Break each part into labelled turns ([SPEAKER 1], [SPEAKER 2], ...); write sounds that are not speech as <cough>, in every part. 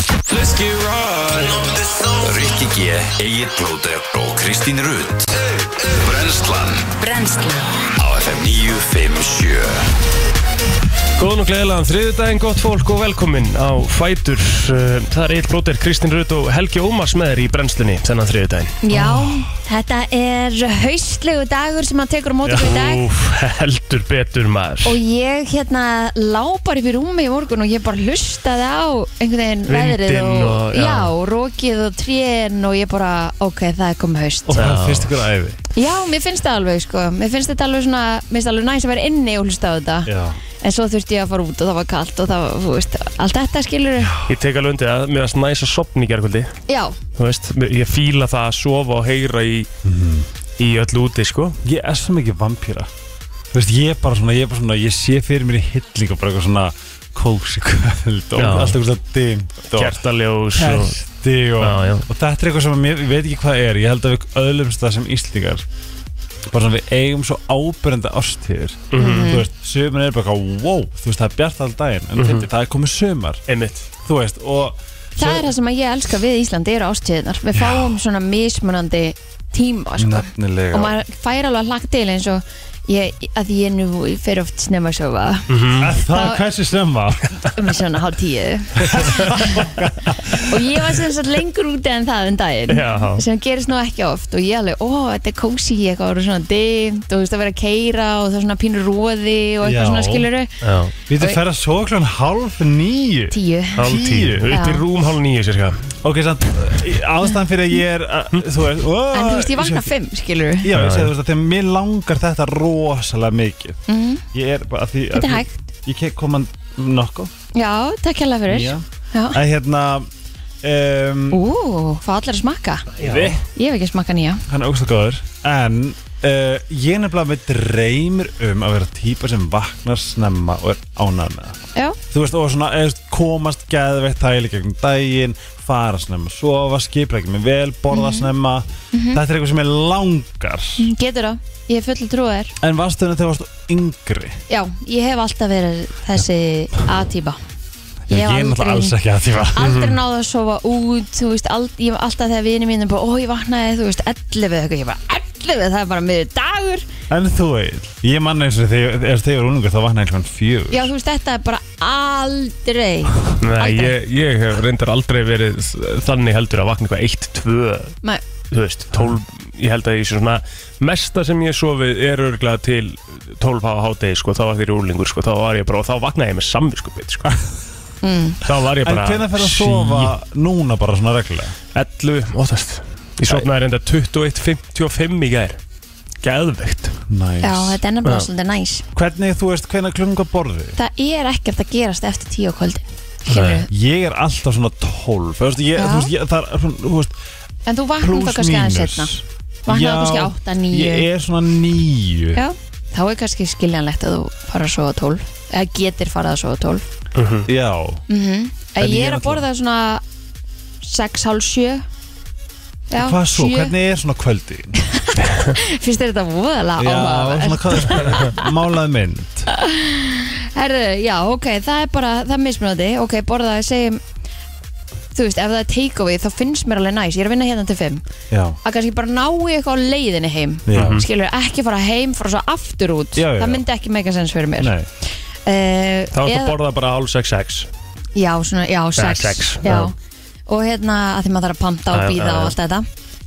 [SPEAKER 1] Let's get right
[SPEAKER 2] Rikki G, Egil Blóter og Kristín Rutt Brenslan
[SPEAKER 3] Brennslan
[SPEAKER 2] á FM 957
[SPEAKER 1] Góðan og gleðilegan þriðudaginn, gott fólk og velkomin á Fætur Uh, Það er Egil Blóter, Kristín Rut og Helgi Ómars með þér í brennslunni þennan þriðudaginn
[SPEAKER 3] Já, þetta er haustlegu dagur sem hann tekur á móti okkur í dag
[SPEAKER 1] Úf, heldur betur maður
[SPEAKER 3] Og ég hérna lápar upp í rúmi í morgun og ég bara hlustaði á einhvern veginn
[SPEAKER 1] Vindinn
[SPEAKER 3] veðrið og,
[SPEAKER 1] og- já.
[SPEAKER 3] já. rokið og trén og ég bara, ok, það er komið haust
[SPEAKER 1] Já.
[SPEAKER 4] Það finnst ykkur æfi
[SPEAKER 3] Já, mér finnst það alveg, sko Mér finnst þetta alveg svona, mér finnst alveg næs að vera inni og hlusta á þetta
[SPEAKER 4] Já.
[SPEAKER 3] En svo þurfti ég að fara út og það var kalt og það var, þú veist, allt þetta skilur
[SPEAKER 1] Ég tek alveg undir það, mér varst næs að sopna í gerkvöldi
[SPEAKER 3] Já,
[SPEAKER 1] Þú veist, mér- ég fíla það að sofa og heyra í, í öll úti, sko
[SPEAKER 4] Ég er svo mikið vampýra Þú veist, ég er bara svona, ég er bara svona Ég sé fyrir mér í hilling og bara eitthvað svona Kósi kvöld og
[SPEAKER 1] Já.
[SPEAKER 4] allt eitthvað svona dimmt og
[SPEAKER 1] Kertaljós og
[SPEAKER 4] Kerti og,
[SPEAKER 1] Já, já.
[SPEAKER 4] og þetta er eitthvað sem ég veit ekki hvað er Ég held að við öðlumst það sem Íslingar bara svona við eigum svo ábyrjandi ástíður
[SPEAKER 1] Mhm.
[SPEAKER 4] þú veist, sömur er bara eitthvað wow, þú veist, það er bjart all daginn
[SPEAKER 1] Mhm.
[SPEAKER 4] en mm það er komið sömar,
[SPEAKER 1] einmitt
[SPEAKER 4] þú veist og
[SPEAKER 3] það er það sem að ég elska við Íslandi eru ástíðunar Við fáum svona mismunandi tíma, sko
[SPEAKER 4] nefnilega
[SPEAKER 3] og maður fær alveg að hlaka til eins og ég, að ég nú fer oft snemma að sofa
[SPEAKER 4] Að það
[SPEAKER 3] þá-
[SPEAKER 4] er hversu snemma
[SPEAKER 3] um svona hálf tíu og ég var sem sagt lengur úti en það en daginn
[SPEAKER 1] Já.
[SPEAKER 3] sem gerist nú ekki oft og ég alveg, ó, þetta er kósi eitthvað og svona dimt og þú veist að vera að keira og það er svona pínur róði og eitthvað
[SPEAKER 4] Já.
[SPEAKER 3] svona skiluru
[SPEAKER 1] Já,
[SPEAKER 4] Við þið ferða svo klán hálf nýju
[SPEAKER 3] tíu
[SPEAKER 1] hálf tíu,
[SPEAKER 4] Tíu?
[SPEAKER 1] upp í
[SPEAKER 3] Já.
[SPEAKER 1] rúm hálf nýju, sérska
[SPEAKER 4] Ok, samt, ástæðan fyrir að ég er að, Þú veist ó,
[SPEAKER 3] en þú veist ég vakna fimm skiluru
[SPEAKER 4] Já, ég segi þú veist að þegar mér langar þetta rosalega mikið
[SPEAKER 3] Mhm.
[SPEAKER 4] Ég er bara að því
[SPEAKER 3] þetta er
[SPEAKER 4] að
[SPEAKER 3] hægt,
[SPEAKER 4] Ég kek koma nokko
[SPEAKER 3] já, takk hérlega fyrir
[SPEAKER 4] Já.
[SPEAKER 3] Já.
[SPEAKER 4] Að hérna um,
[SPEAKER 3] ú, hvað allir að smakka
[SPEAKER 1] Við
[SPEAKER 3] ég hef ekki smakka nýja
[SPEAKER 4] Hann er ógst að góður En uh, ég nefnilega með dreymir um að vera típa sem vaknar snemma og er ánæð með það
[SPEAKER 3] já,
[SPEAKER 4] Þú veist, og svona eða, komast geðveitt hæli gegnum daginn fara snemma, sofa, skipleggja mig vel
[SPEAKER 3] Mhm.
[SPEAKER 4] borða snemma Þetta er eitthvað sem ég langar
[SPEAKER 3] getur það, ég er full trúið þér
[SPEAKER 4] En varstu henni þegar varstu yngri?
[SPEAKER 3] Já, ég hef alltaf verið þessi A-típa
[SPEAKER 4] Já, ég er náttúrulega alls ekki Mhm. að því var
[SPEAKER 3] aldrei náðu að sofa út þú veist, all, ég, alltaf þegar vinið mínum bara, ó, ég vaknaði, þú veist, 11 eða eitthvað, ég bara, 11, það er bara miður dagur
[SPEAKER 4] En þú Egill, ég manna eins og þegar þegar þegar unungur þá vaknaði einhvern fjögur
[SPEAKER 3] Já, þú veist, þetta er bara aldrei
[SPEAKER 1] Nei,
[SPEAKER 3] Aldrei.
[SPEAKER 1] ég, ég hef reyndar aldrei verið þannig heldur að vakna eitthvað eitt, tvö,
[SPEAKER 3] Mæ,
[SPEAKER 1] þú veist, tólf, ég held að ég sé svona, mesta sem ég hef sofið er örgulega til tólf á hátegi, sko, þá var þeirri úrlingur, sko, þá var ég bara, og þá vaknaði ég með samviskupið,
[SPEAKER 4] <laughs>
[SPEAKER 1] sko. Þá var ég
[SPEAKER 4] Mm. En
[SPEAKER 1] bara...
[SPEAKER 4] hvernig fer að sofa núna bara svona reglulega?
[SPEAKER 1] 11, óttast. Ég sofnaði reyndar 21.55 í gær. Geðveikt.
[SPEAKER 4] Næs
[SPEAKER 3] já, þetta er nefnilega
[SPEAKER 1] Já.
[SPEAKER 3] svolítið næs
[SPEAKER 4] Hvernig þú veist hvernig klunga borði?
[SPEAKER 3] Það er ekkert að gerast eftir tíu á kvöldi Skilurðu?
[SPEAKER 4] Ég er alltaf svona tólf Þú veist, ég,
[SPEAKER 3] Já.
[SPEAKER 4] þú veist, ég, það er svona, þú veist,
[SPEAKER 3] En þú vaknar þá
[SPEAKER 4] plus
[SPEAKER 3] kannski aðeins setna
[SPEAKER 4] mínus
[SPEAKER 3] Vaknaði
[SPEAKER 4] Já,
[SPEAKER 3] kannski átta, níu
[SPEAKER 4] Ég er svona níu
[SPEAKER 3] Já, þá er kannski skiljanlegt að þú fara að sofa 12 eða getur farað að sofa 12
[SPEAKER 4] Já,
[SPEAKER 3] mm
[SPEAKER 4] En
[SPEAKER 3] ég
[SPEAKER 4] ég
[SPEAKER 3] er
[SPEAKER 4] er
[SPEAKER 3] að borða svona 6, hálf 7 Já,
[SPEAKER 4] hvað svo?
[SPEAKER 3] sjö. <laughs>
[SPEAKER 4] Hvernig er svona kvöldi?
[SPEAKER 3] Fyrst er þetta voðalega
[SPEAKER 4] Já,
[SPEAKER 3] áhugaverð.
[SPEAKER 4] svona
[SPEAKER 3] <laughs>
[SPEAKER 4] hvað Málað mynd
[SPEAKER 3] Herðu, já, ok, það er bara það er mismunandi, ok, borða að segja þú veist, ef það er takeaway þá finnst mér alveg næs, ég er að vinna hérna til 5
[SPEAKER 4] Já,
[SPEAKER 3] að kannski bara ná í eitthvað á leiðinni heim
[SPEAKER 4] já,
[SPEAKER 3] skilur, ekki fara heim, fara svo aftur út
[SPEAKER 4] Já, já,
[SPEAKER 3] það
[SPEAKER 4] já.
[SPEAKER 3] myndi ekki mega sens fyrir mér
[SPEAKER 4] nei
[SPEAKER 3] Eh,
[SPEAKER 1] Þá ertu
[SPEAKER 3] eða-
[SPEAKER 1] að borða bara hálf 6-6.
[SPEAKER 3] Já, svona, já, sex,
[SPEAKER 1] sex,
[SPEAKER 3] já.
[SPEAKER 1] já.
[SPEAKER 3] Og hérna að því maður þarf að panta og
[SPEAKER 1] Já, já,
[SPEAKER 3] býða
[SPEAKER 1] já,
[SPEAKER 3] og
[SPEAKER 1] já.
[SPEAKER 3] allt þetta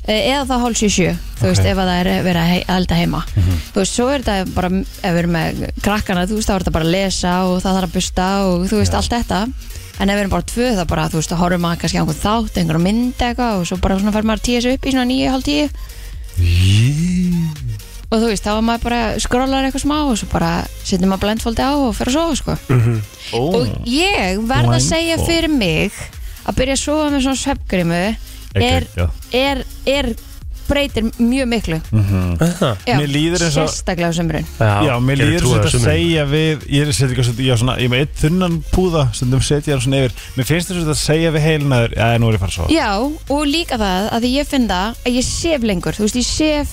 [SPEAKER 3] Eh, Eða þá hálf sjö sjö, þú
[SPEAKER 4] Ok.
[SPEAKER 3] veist, ef að það er verið að hei- elda heima
[SPEAKER 1] Mhm.
[SPEAKER 3] Þú veist, svo er þetta bara, ef við erum með krakkana, þú veist, þá er þetta bara að lesa og það þarf að busta og þú veist, allt þetta En ef við erum bara tvö, þá bara, þú veist, þá horfum maður kannski á einhvern þátt, einhverjum mynd eitthvað og svo bara svona fer maður að tíu þessu upp í svona nýju, hálf tíu og þú veist, þá er maður bara skrólar eitthvað smá og svo bara setjum maður blindfoldi á og fer að sofa, sko
[SPEAKER 4] Ó.
[SPEAKER 3] og ég verð að segja
[SPEAKER 4] Blindfold.
[SPEAKER 3] fyrir mig að byrja að sofa með svona sveppgrimu er,
[SPEAKER 4] já.
[SPEAKER 3] er, er breytir mjög miklu
[SPEAKER 1] Aha.
[SPEAKER 3] Já,
[SPEAKER 4] Mhm. Mér líður eins og-
[SPEAKER 3] sérstaklega á sömurinn
[SPEAKER 4] Já, mér
[SPEAKER 1] gerði
[SPEAKER 4] líður
[SPEAKER 1] trú
[SPEAKER 4] svolítið
[SPEAKER 1] þessu
[SPEAKER 4] að
[SPEAKER 1] minni.
[SPEAKER 4] segja við Ég er að setja eitthvað svolítið- ég á svona Ég er með eitt þunnan púða Stundum setja það svona yfir Mér finnst það svolítið að segja við heilinaður Já, nú er ég farið svo
[SPEAKER 3] já og líka það að því ég finn það að ég sef lengur þú veist ég sef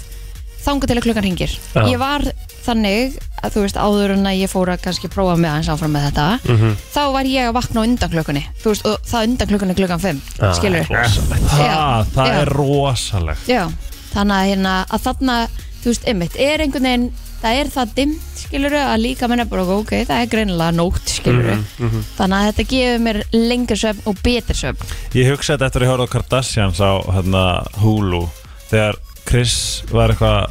[SPEAKER 3] þanga til að klukkan hringir
[SPEAKER 1] Já.
[SPEAKER 3] ég var þannig að þú veist áður en að ég fór að kannski prófa mig aðeins áfram með þetta
[SPEAKER 1] Mhm.
[SPEAKER 3] þá var ég að vakna á undan klukkunni þú veist, og það undan klukkunni er klukkan 5
[SPEAKER 1] Ah,
[SPEAKER 3] skilur Já,
[SPEAKER 4] Það, það
[SPEAKER 3] já.
[SPEAKER 4] er rosalegt
[SPEAKER 3] Já, þannig að, hérna, að þarna, þú veist, einmitt, er einhvern veginn, það er það dimmt, skilur að líka menna bara, ok, það er greinilega nótt, skilur þannig að þetta gefur mér lengur svefn og betur svefn.
[SPEAKER 4] Ég hugsaði þetta eftir að ég horfði á Kardashians á hérna, Hulu þegar Chris var eitthvað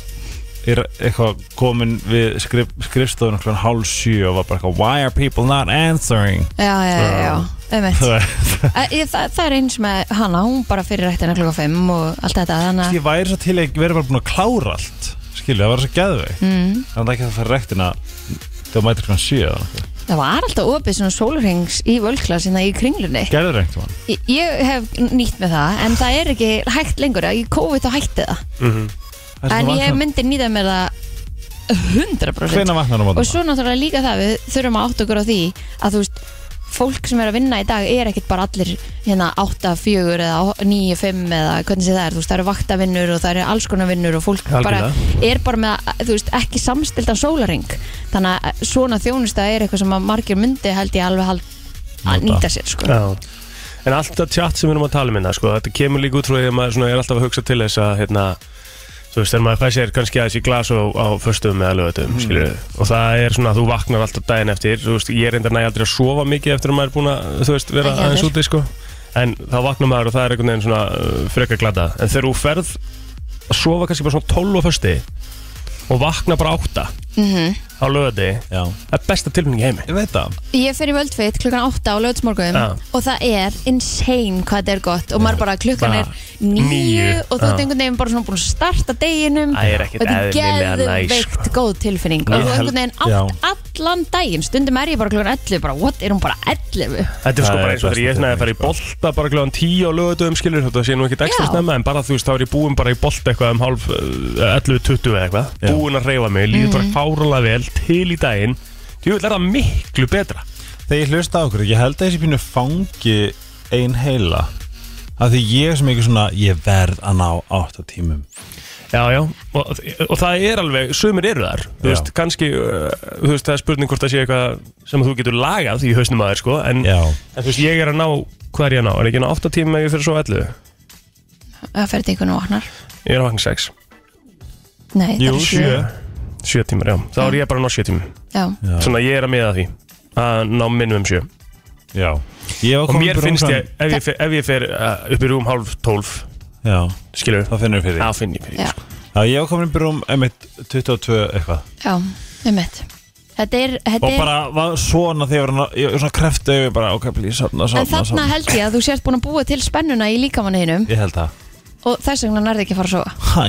[SPEAKER 4] er eitthvað komin við skrif, skrifstofun okkur hálf sjö og var bara eitthvað Why are people not
[SPEAKER 3] <laughs>
[SPEAKER 4] answering?
[SPEAKER 3] Já, já, já, já, einmitt. <laughs>
[SPEAKER 4] Þú veist,
[SPEAKER 3] Að ég- Það, það er eins með hana, hún bara fyrir rættina klokka 5 og allt þetta, þannig að,
[SPEAKER 4] ég væri svo til að vera bara búin að klára allt skilju, það var svo geðveik
[SPEAKER 3] mm,
[SPEAKER 4] þannig að ekki það fara rektina þegar mætir svona sjö eða nokkuð.
[SPEAKER 3] það var alltaf opið svona sólurings í völkla sinna í kringlunni.
[SPEAKER 4] gerður reynt mann
[SPEAKER 3] Ég, ég hef nýtt með það, en það er ekki hægt lengur, að ég COVID og hætti það. En ég myndi nýta með það 100%.
[SPEAKER 4] hvena vaknar á
[SPEAKER 3] og
[SPEAKER 4] mótum
[SPEAKER 3] svo náttúrulega líka það við þurfum að átta okkur á því að þú veist fólk sem er að vinna í dag er ekkert bara allir hérna 8, 4 eða 9, 5 eða hvernig sé það er, þú veist það eru vaktavinnur og það eru alls konar vinnur og fólk bara, er bara með, þú veist, ekki samstildan sólaring, þannig að svona þjónusta er eitthvað sem að margir myndi held ég alveg hald, að
[SPEAKER 4] Nota.
[SPEAKER 3] nýta sér sko.
[SPEAKER 1] Já. En allt það tjátt sem við erum að tala um hérna, sko, þetta kemur líka út frá því að maður svona er alltaf að hugsa til þess að, hérna, þú veist, þegar maður fæsir sér kannski aðeins í glas á, á föstum eða lögatum, mm. og það er svona að þú vaknar alltaf daginn eftir, þú veist, ég reyndar næg aldrei að sofa mikið eftir að maður er búin að, þú veist, vera
[SPEAKER 3] Ekki
[SPEAKER 1] aðeins
[SPEAKER 3] heldur.
[SPEAKER 1] úti, sko, en þá vaknar maður og það er einhvern veginn svona uh, frekar glada, en þegar þú ferð að sofa kannski bara svona 12 á fösti og vakna bara 8 á lögati,
[SPEAKER 4] já,
[SPEAKER 1] það er besta tilfinning í heimi.
[SPEAKER 4] ég veit það
[SPEAKER 3] Ég fer í völdfitt klukkan 8 á lögðsmorgum
[SPEAKER 1] Já.
[SPEAKER 3] og það er insane hvað þetta er gott og maður bara klukkan
[SPEAKER 1] Bara
[SPEAKER 3] er nýju
[SPEAKER 1] níu,
[SPEAKER 3] og þú ert
[SPEAKER 1] já.
[SPEAKER 3] einhvern veginn bara svona búin að starta deginum
[SPEAKER 1] Það er ekkert
[SPEAKER 3] og þetta
[SPEAKER 1] eðlilega
[SPEAKER 3] er
[SPEAKER 1] næs,
[SPEAKER 3] geðveikt
[SPEAKER 1] sko.
[SPEAKER 3] góð tilfinning og
[SPEAKER 4] Ég
[SPEAKER 3] þú
[SPEAKER 4] held-
[SPEAKER 3] einhvern veginn átt allan daginn stundum er ég bara klukkan 11 bara what, er hún bara 11?
[SPEAKER 1] Þetta er sko
[SPEAKER 4] Það
[SPEAKER 1] bara
[SPEAKER 4] er
[SPEAKER 1] eins og þegar ég
[SPEAKER 4] besta sko.
[SPEAKER 1] snæði að fara í
[SPEAKER 4] tilfinning,
[SPEAKER 1] bolta bara kljóðan tíu á lögutum skilur þetta sé nú ekkit ekstra
[SPEAKER 3] Já.
[SPEAKER 1] snemma en bara þú veist þá er ég búinn bara í bolta eitthvað um hálf uh, 11.20 eða eitthvað
[SPEAKER 4] Já.
[SPEAKER 1] búinn að reyfa mig, líður bara fáralega vel til í daginn Jú, þetta er það miklu betra
[SPEAKER 4] þegar ég hlusta á okkur, ég held að þessi pínu fangi ein heila af því ég er sem ekki svona ég verð að ná 8 tímum
[SPEAKER 1] Já, já, og, og það er alveg, sumir eru þar Þú
[SPEAKER 4] Já.
[SPEAKER 1] veist, kannski, uh, þú veist, það er spurning hvort það sé eitthvað sem þú getur lagað í hausnum aðeins sko en,
[SPEAKER 4] já,
[SPEAKER 1] en þú veist, ég er að ná, hvað er ég að ná? Er ég að ná 8 tíma ef ég fyrir svo 11?
[SPEAKER 3] Það fer þetta einhvern og vaknar
[SPEAKER 1] Ég er að vakna 6,
[SPEAKER 3] Nei, það
[SPEAKER 4] jú,
[SPEAKER 3] er 7
[SPEAKER 4] sjö
[SPEAKER 1] 7 tímar, já Þá er ég bara að ná 7 tímum
[SPEAKER 3] Já,
[SPEAKER 4] Já.
[SPEAKER 1] Svona ég er að miða að því að ná minnum um sjö
[SPEAKER 4] já, ég var
[SPEAKER 1] og
[SPEAKER 4] komin
[SPEAKER 1] mér
[SPEAKER 4] bara um
[SPEAKER 1] finnst
[SPEAKER 4] svona-
[SPEAKER 1] ég, ef ég fer, ef ég fer uh, upp í rúm hálf tólf,
[SPEAKER 4] já,
[SPEAKER 1] skilur
[SPEAKER 4] það finnur við fyrir því.
[SPEAKER 1] það finn ég fyrir því,
[SPEAKER 3] já,
[SPEAKER 1] sko.
[SPEAKER 4] já, ég var komin upp í rúm emitt 22 eitthvað
[SPEAKER 3] já, um mitt Þetta er, þetta
[SPEAKER 4] sko. og
[SPEAKER 3] er
[SPEAKER 4] bara var svona þegar hann- ég var svona kreftu yfir bara ok, please, sopna,
[SPEAKER 3] En
[SPEAKER 4] sopna,
[SPEAKER 3] þarna
[SPEAKER 4] sopna
[SPEAKER 3] held ég að þú sért búin að búa til spennuna í líkamanninum
[SPEAKER 4] ég held það
[SPEAKER 3] og þess vegna nærði ekki að fara að sofa.
[SPEAKER 4] hæ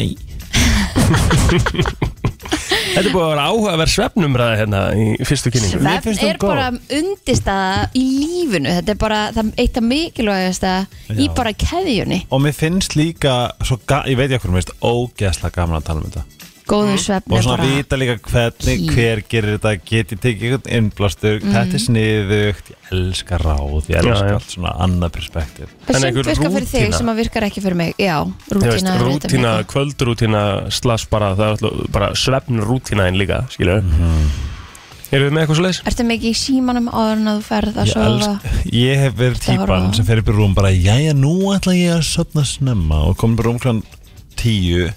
[SPEAKER 1] Þetta er búið að vera áhugaverð svefnumræða hérna í fyrstu kynningu
[SPEAKER 4] Mér finnst
[SPEAKER 3] Svefn
[SPEAKER 4] hún
[SPEAKER 3] er
[SPEAKER 4] góð.
[SPEAKER 3] bara undistaða í lífinu Þetta er bara það, eitt af mikilvægasta í
[SPEAKER 4] Já.
[SPEAKER 3] bara keðjunni
[SPEAKER 4] og mér finnst líka svo ga- ég veit ég okkur mér finnst ógeðslega gaman að tala um þetta
[SPEAKER 3] Góður svefn
[SPEAKER 4] og
[SPEAKER 3] er
[SPEAKER 4] svona
[SPEAKER 3] bara
[SPEAKER 4] vita líka hvernig
[SPEAKER 3] Key.
[SPEAKER 4] hver gerir þetta get ég tekið einhvern innblastur
[SPEAKER 3] Mhm.
[SPEAKER 4] þetta er sniðugt, ég elska ráð ég elska
[SPEAKER 1] Já, já.
[SPEAKER 4] allt svona annað perspektíf
[SPEAKER 1] En
[SPEAKER 3] Það sem
[SPEAKER 1] einhver
[SPEAKER 3] virkar fyrir þig
[SPEAKER 1] rútína.
[SPEAKER 3] sem að virkar ekki fyrir mig Já,
[SPEAKER 1] Þú veist,
[SPEAKER 3] rútina er auðvitað
[SPEAKER 1] rútína,
[SPEAKER 3] mikilvæg.
[SPEAKER 1] kvöldrútína slags bara, það er alltaf bara svefnrútínaðin líka, skilur mm -hmm. Eru við með eitthvað svo leis?
[SPEAKER 3] Ertu mikið í símanum áður en að þú ferð að
[SPEAKER 4] ég,
[SPEAKER 3] sofa
[SPEAKER 4] elska, ég hef verið
[SPEAKER 3] Þetta horfa á.
[SPEAKER 4] típan sem fer upp í rúm bara jæja, nú ætla ég að sopna snemma og komin upp í rúm klan 10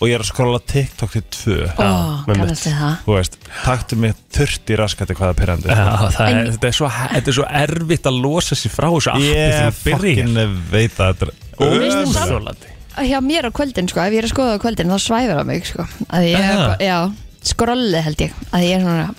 [SPEAKER 4] og ég er að skrolla TikTok til 2
[SPEAKER 3] Ó,
[SPEAKER 1] með
[SPEAKER 3] kannast þið það
[SPEAKER 4] þú veist, taktu mig 30 raskati hvaða pyrrandi
[SPEAKER 1] Já, það er,
[SPEAKER 3] En-
[SPEAKER 1] þetta, er svo, þetta er svo erfitt að losa sér frá þessu appi
[SPEAKER 4] ég
[SPEAKER 1] þegar þú
[SPEAKER 4] fokkin veit að þetta
[SPEAKER 1] byrjar
[SPEAKER 4] er
[SPEAKER 3] Veistu samt-
[SPEAKER 1] Óþolandi.
[SPEAKER 3] Hjá mér á kvöldin, sko, ef ég er að skoða á kvöldin þá svæfir það mig, sko Að ég er
[SPEAKER 1] Aha.
[SPEAKER 3] bara, já, skrolli held ég Að ég er svona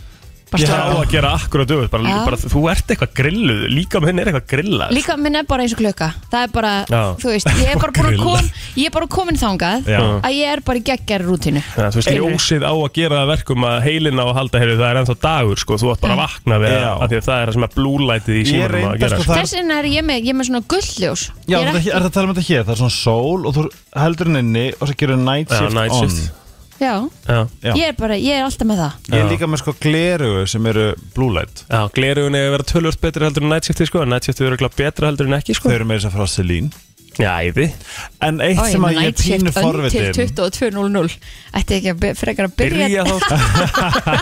[SPEAKER 3] bara
[SPEAKER 1] Ég á
[SPEAKER 3] skrolli.
[SPEAKER 1] að gera akkurat auðvitað, bara,
[SPEAKER 3] Já.
[SPEAKER 1] bara þú ert eitthvað grilluð, líka minn er eitthvað grillað
[SPEAKER 3] Líka minn er bara eins og klukka Það er bara,
[SPEAKER 1] Já.
[SPEAKER 3] þú veist, ég er bara búin að
[SPEAKER 4] Grilla.
[SPEAKER 3] kom Ég er bara komin þangað
[SPEAKER 4] Já.
[SPEAKER 3] Að ég er bara í geggjari rútinu
[SPEAKER 1] Já, þú veist,
[SPEAKER 3] Skilurðu?
[SPEAKER 1] ljósið á að gera það verkum að heilin á að halda heyrðu, það er ennþá dagur, sko, þú átt bara að vakna við
[SPEAKER 4] Já.
[SPEAKER 1] að því að það er það sem er blúlætið í
[SPEAKER 4] Ég
[SPEAKER 1] símanum á að
[SPEAKER 4] reyndar
[SPEAKER 1] gera,
[SPEAKER 4] sko
[SPEAKER 1] sko.
[SPEAKER 4] það
[SPEAKER 3] Þess vegna er ég með, ég er með svona gullljós
[SPEAKER 4] Já,
[SPEAKER 3] Ég
[SPEAKER 4] er,
[SPEAKER 3] er
[SPEAKER 4] ekki... er það að tala um þetta hér? Það er svona sól og þú heldur henni inni og svo gerur night
[SPEAKER 1] Já,
[SPEAKER 4] shift
[SPEAKER 1] night
[SPEAKER 4] on
[SPEAKER 1] shift.
[SPEAKER 3] já,
[SPEAKER 1] Já,
[SPEAKER 4] Já.
[SPEAKER 3] ég er bara, ég er alltaf með það
[SPEAKER 4] Ég er
[SPEAKER 1] Já.
[SPEAKER 4] líka með sko glerugu sem eru blue light
[SPEAKER 1] já glerugun er að vera tölvöld betri heldur en nætsjöfti, sko, en nætsjöfti eru ekki betra heldur en ekki,
[SPEAKER 4] Þau
[SPEAKER 1] sko.
[SPEAKER 4] eru með þess að frá Celine
[SPEAKER 1] Já, æði
[SPEAKER 4] En eitt sem að ég er pínu
[SPEAKER 3] Til
[SPEAKER 4] forvitin
[SPEAKER 3] 22.00 Ætti ekki að be- frekar að byrja
[SPEAKER 1] Byrja þá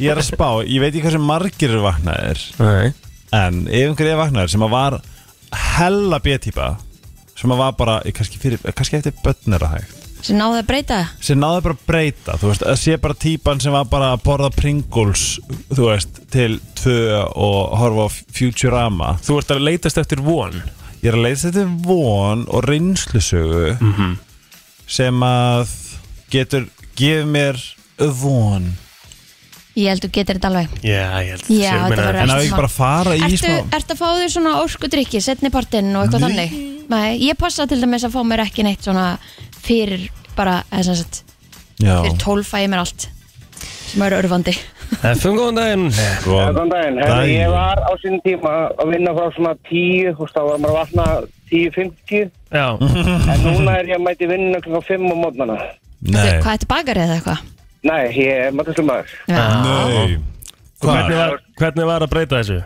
[SPEAKER 4] Ég er að spá, ég veit ekki hversu margir eru vaknaðir
[SPEAKER 1] Nei
[SPEAKER 4] En ef einhver er vaknaður sem að var hella B-típa sem að var bara, eh, kannski, fyrir, eh, kannski eftir börnera hægt
[SPEAKER 3] sem náði að breyta
[SPEAKER 4] sem náði bara að breyta, þú veist, að sé bara típan sem var bara að borða Pringles þú veist, til tvö og horfa á Futurama
[SPEAKER 1] Þú ert að leitast eftir von
[SPEAKER 4] Ég er að leiða þetta von og reynslusögu sem að getur gefið mér von
[SPEAKER 3] Ég held þú getur þetta alveg
[SPEAKER 1] Já, ég held
[SPEAKER 3] Já, þetta verður
[SPEAKER 4] En
[SPEAKER 3] Ertu
[SPEAKER 4] að ég
[SPEAKER 3] smá-
[SPEAKER 4] bara að fara í
[SPEAKER 3] Ertu,
[SPEAKER 4] smá
[SPEAKER 3] ertu að fá þér svona orkudrykki setni partinn og eitthvað þannig? Nei, ég passa til dæmis að fá mér ekki neitt svona fyrir bara, eða sem sagt
[SPEAKER 4] Já,
[SPEAKER 3] fyrir tólf fæ ég mér allt sem er örfandi
[SPEAKER 1] Fum um góðan daginn
[SPEAKER 4] von
[SPEAKER 5] Góðan daginn, Herra,
[SPEAKER 4] Daginn.
[SPEAKER 5] ég var á sínum tíma að vinna frá svona 10, þú veist, þá var maður að vakna 10.50,
[SPEAKER 1] Já,
[SPEAKER 5] en núna er ég að mæti vinna klukkan 5 á mótnana.
[SPEAKER 4] Nei,
[SPEAKER 3] Hvað þetta bakar eða eitthvað?
[SPEAKER 5] Nei, ég er maturslumar.
[SPEAKER 3] Já.
[SPEAKER 4] nei
[SPEAKER 1] <laughs> hvernig
[SPEAKER 4] Hvað?
[SPEAKER 1] var, hvernig var að breyta þessu?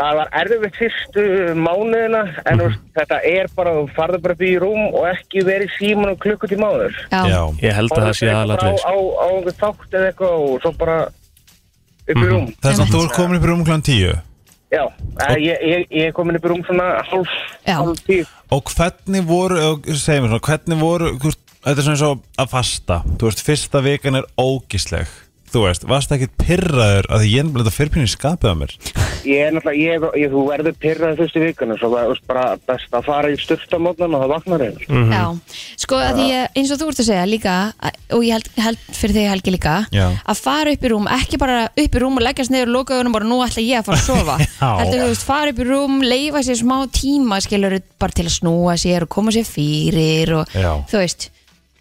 [SPEAKER 5] Það var erfitt fyrstu mánuðina, en þú veist,
[SPEAKER 1] Mhm.
[SPEAKER 5] þetta er bara, þú farður bara upp í rúm og ekki verið síman og klukku til mánuður.
[SPEAKER 3] Já.
[SPEAKER 4] Já,
[SPEAKER 1] Ég held að það sé sko. aðalatrið
[SPEAKER 5] Á, á, á einhver þátt eða eitthvað og svo bara upp
[SPEAKER 1] Mhm.
[SPEAKER 5] í rúm.
[SPEAKER 4] þess að þú er komin upp í rúmklan tíu
[SPEAKER 5] Já, eh, ég, ég, ég er komin upp í rúm svona hálf,
[SPEAKER 3] Já.
[SPEAKER 5] hálf tíu.
[SPEAKER 4] Og hvernig voru, og segjum við svona, hvernig voru, hvort, þetta er svona eins og að fasta, þú veist, fyrsta vikan er ógísleg, þú veist, varst ekkert pyrraður að því ég er bara þetta fyrirpinni skapið á mér.
[SPEAKER 5] Ég er náttúrulega, ég, ég, þú verður pyrraði fyrstu vikuna, svo það er bara best að fara í styrsta mótnan og það vaknar einn.
[SPEAKER 4] Mhm.
[SPEAKER 3] Já, sko að því ég, eins og þú ert að segja líka að- og ég held, held fyrir þig Helgi líka
[SPEAKER 4] Já.
[SPEAKER 3] að fara upp í rúm, ekki bara upp í rúm og leggjast niður og loka augunum bara nú ætla ég að fara að sofa
[SPEAKER 4] <laughs> Já.
[SPEAKER 3] heldur þú veist, fara upp í rúm, leifa sér smá tíma skilur bara til að snúa sér og koma sér fyrir og
[SPEAKER 4] Já.
[SPEAKER 3] þú veist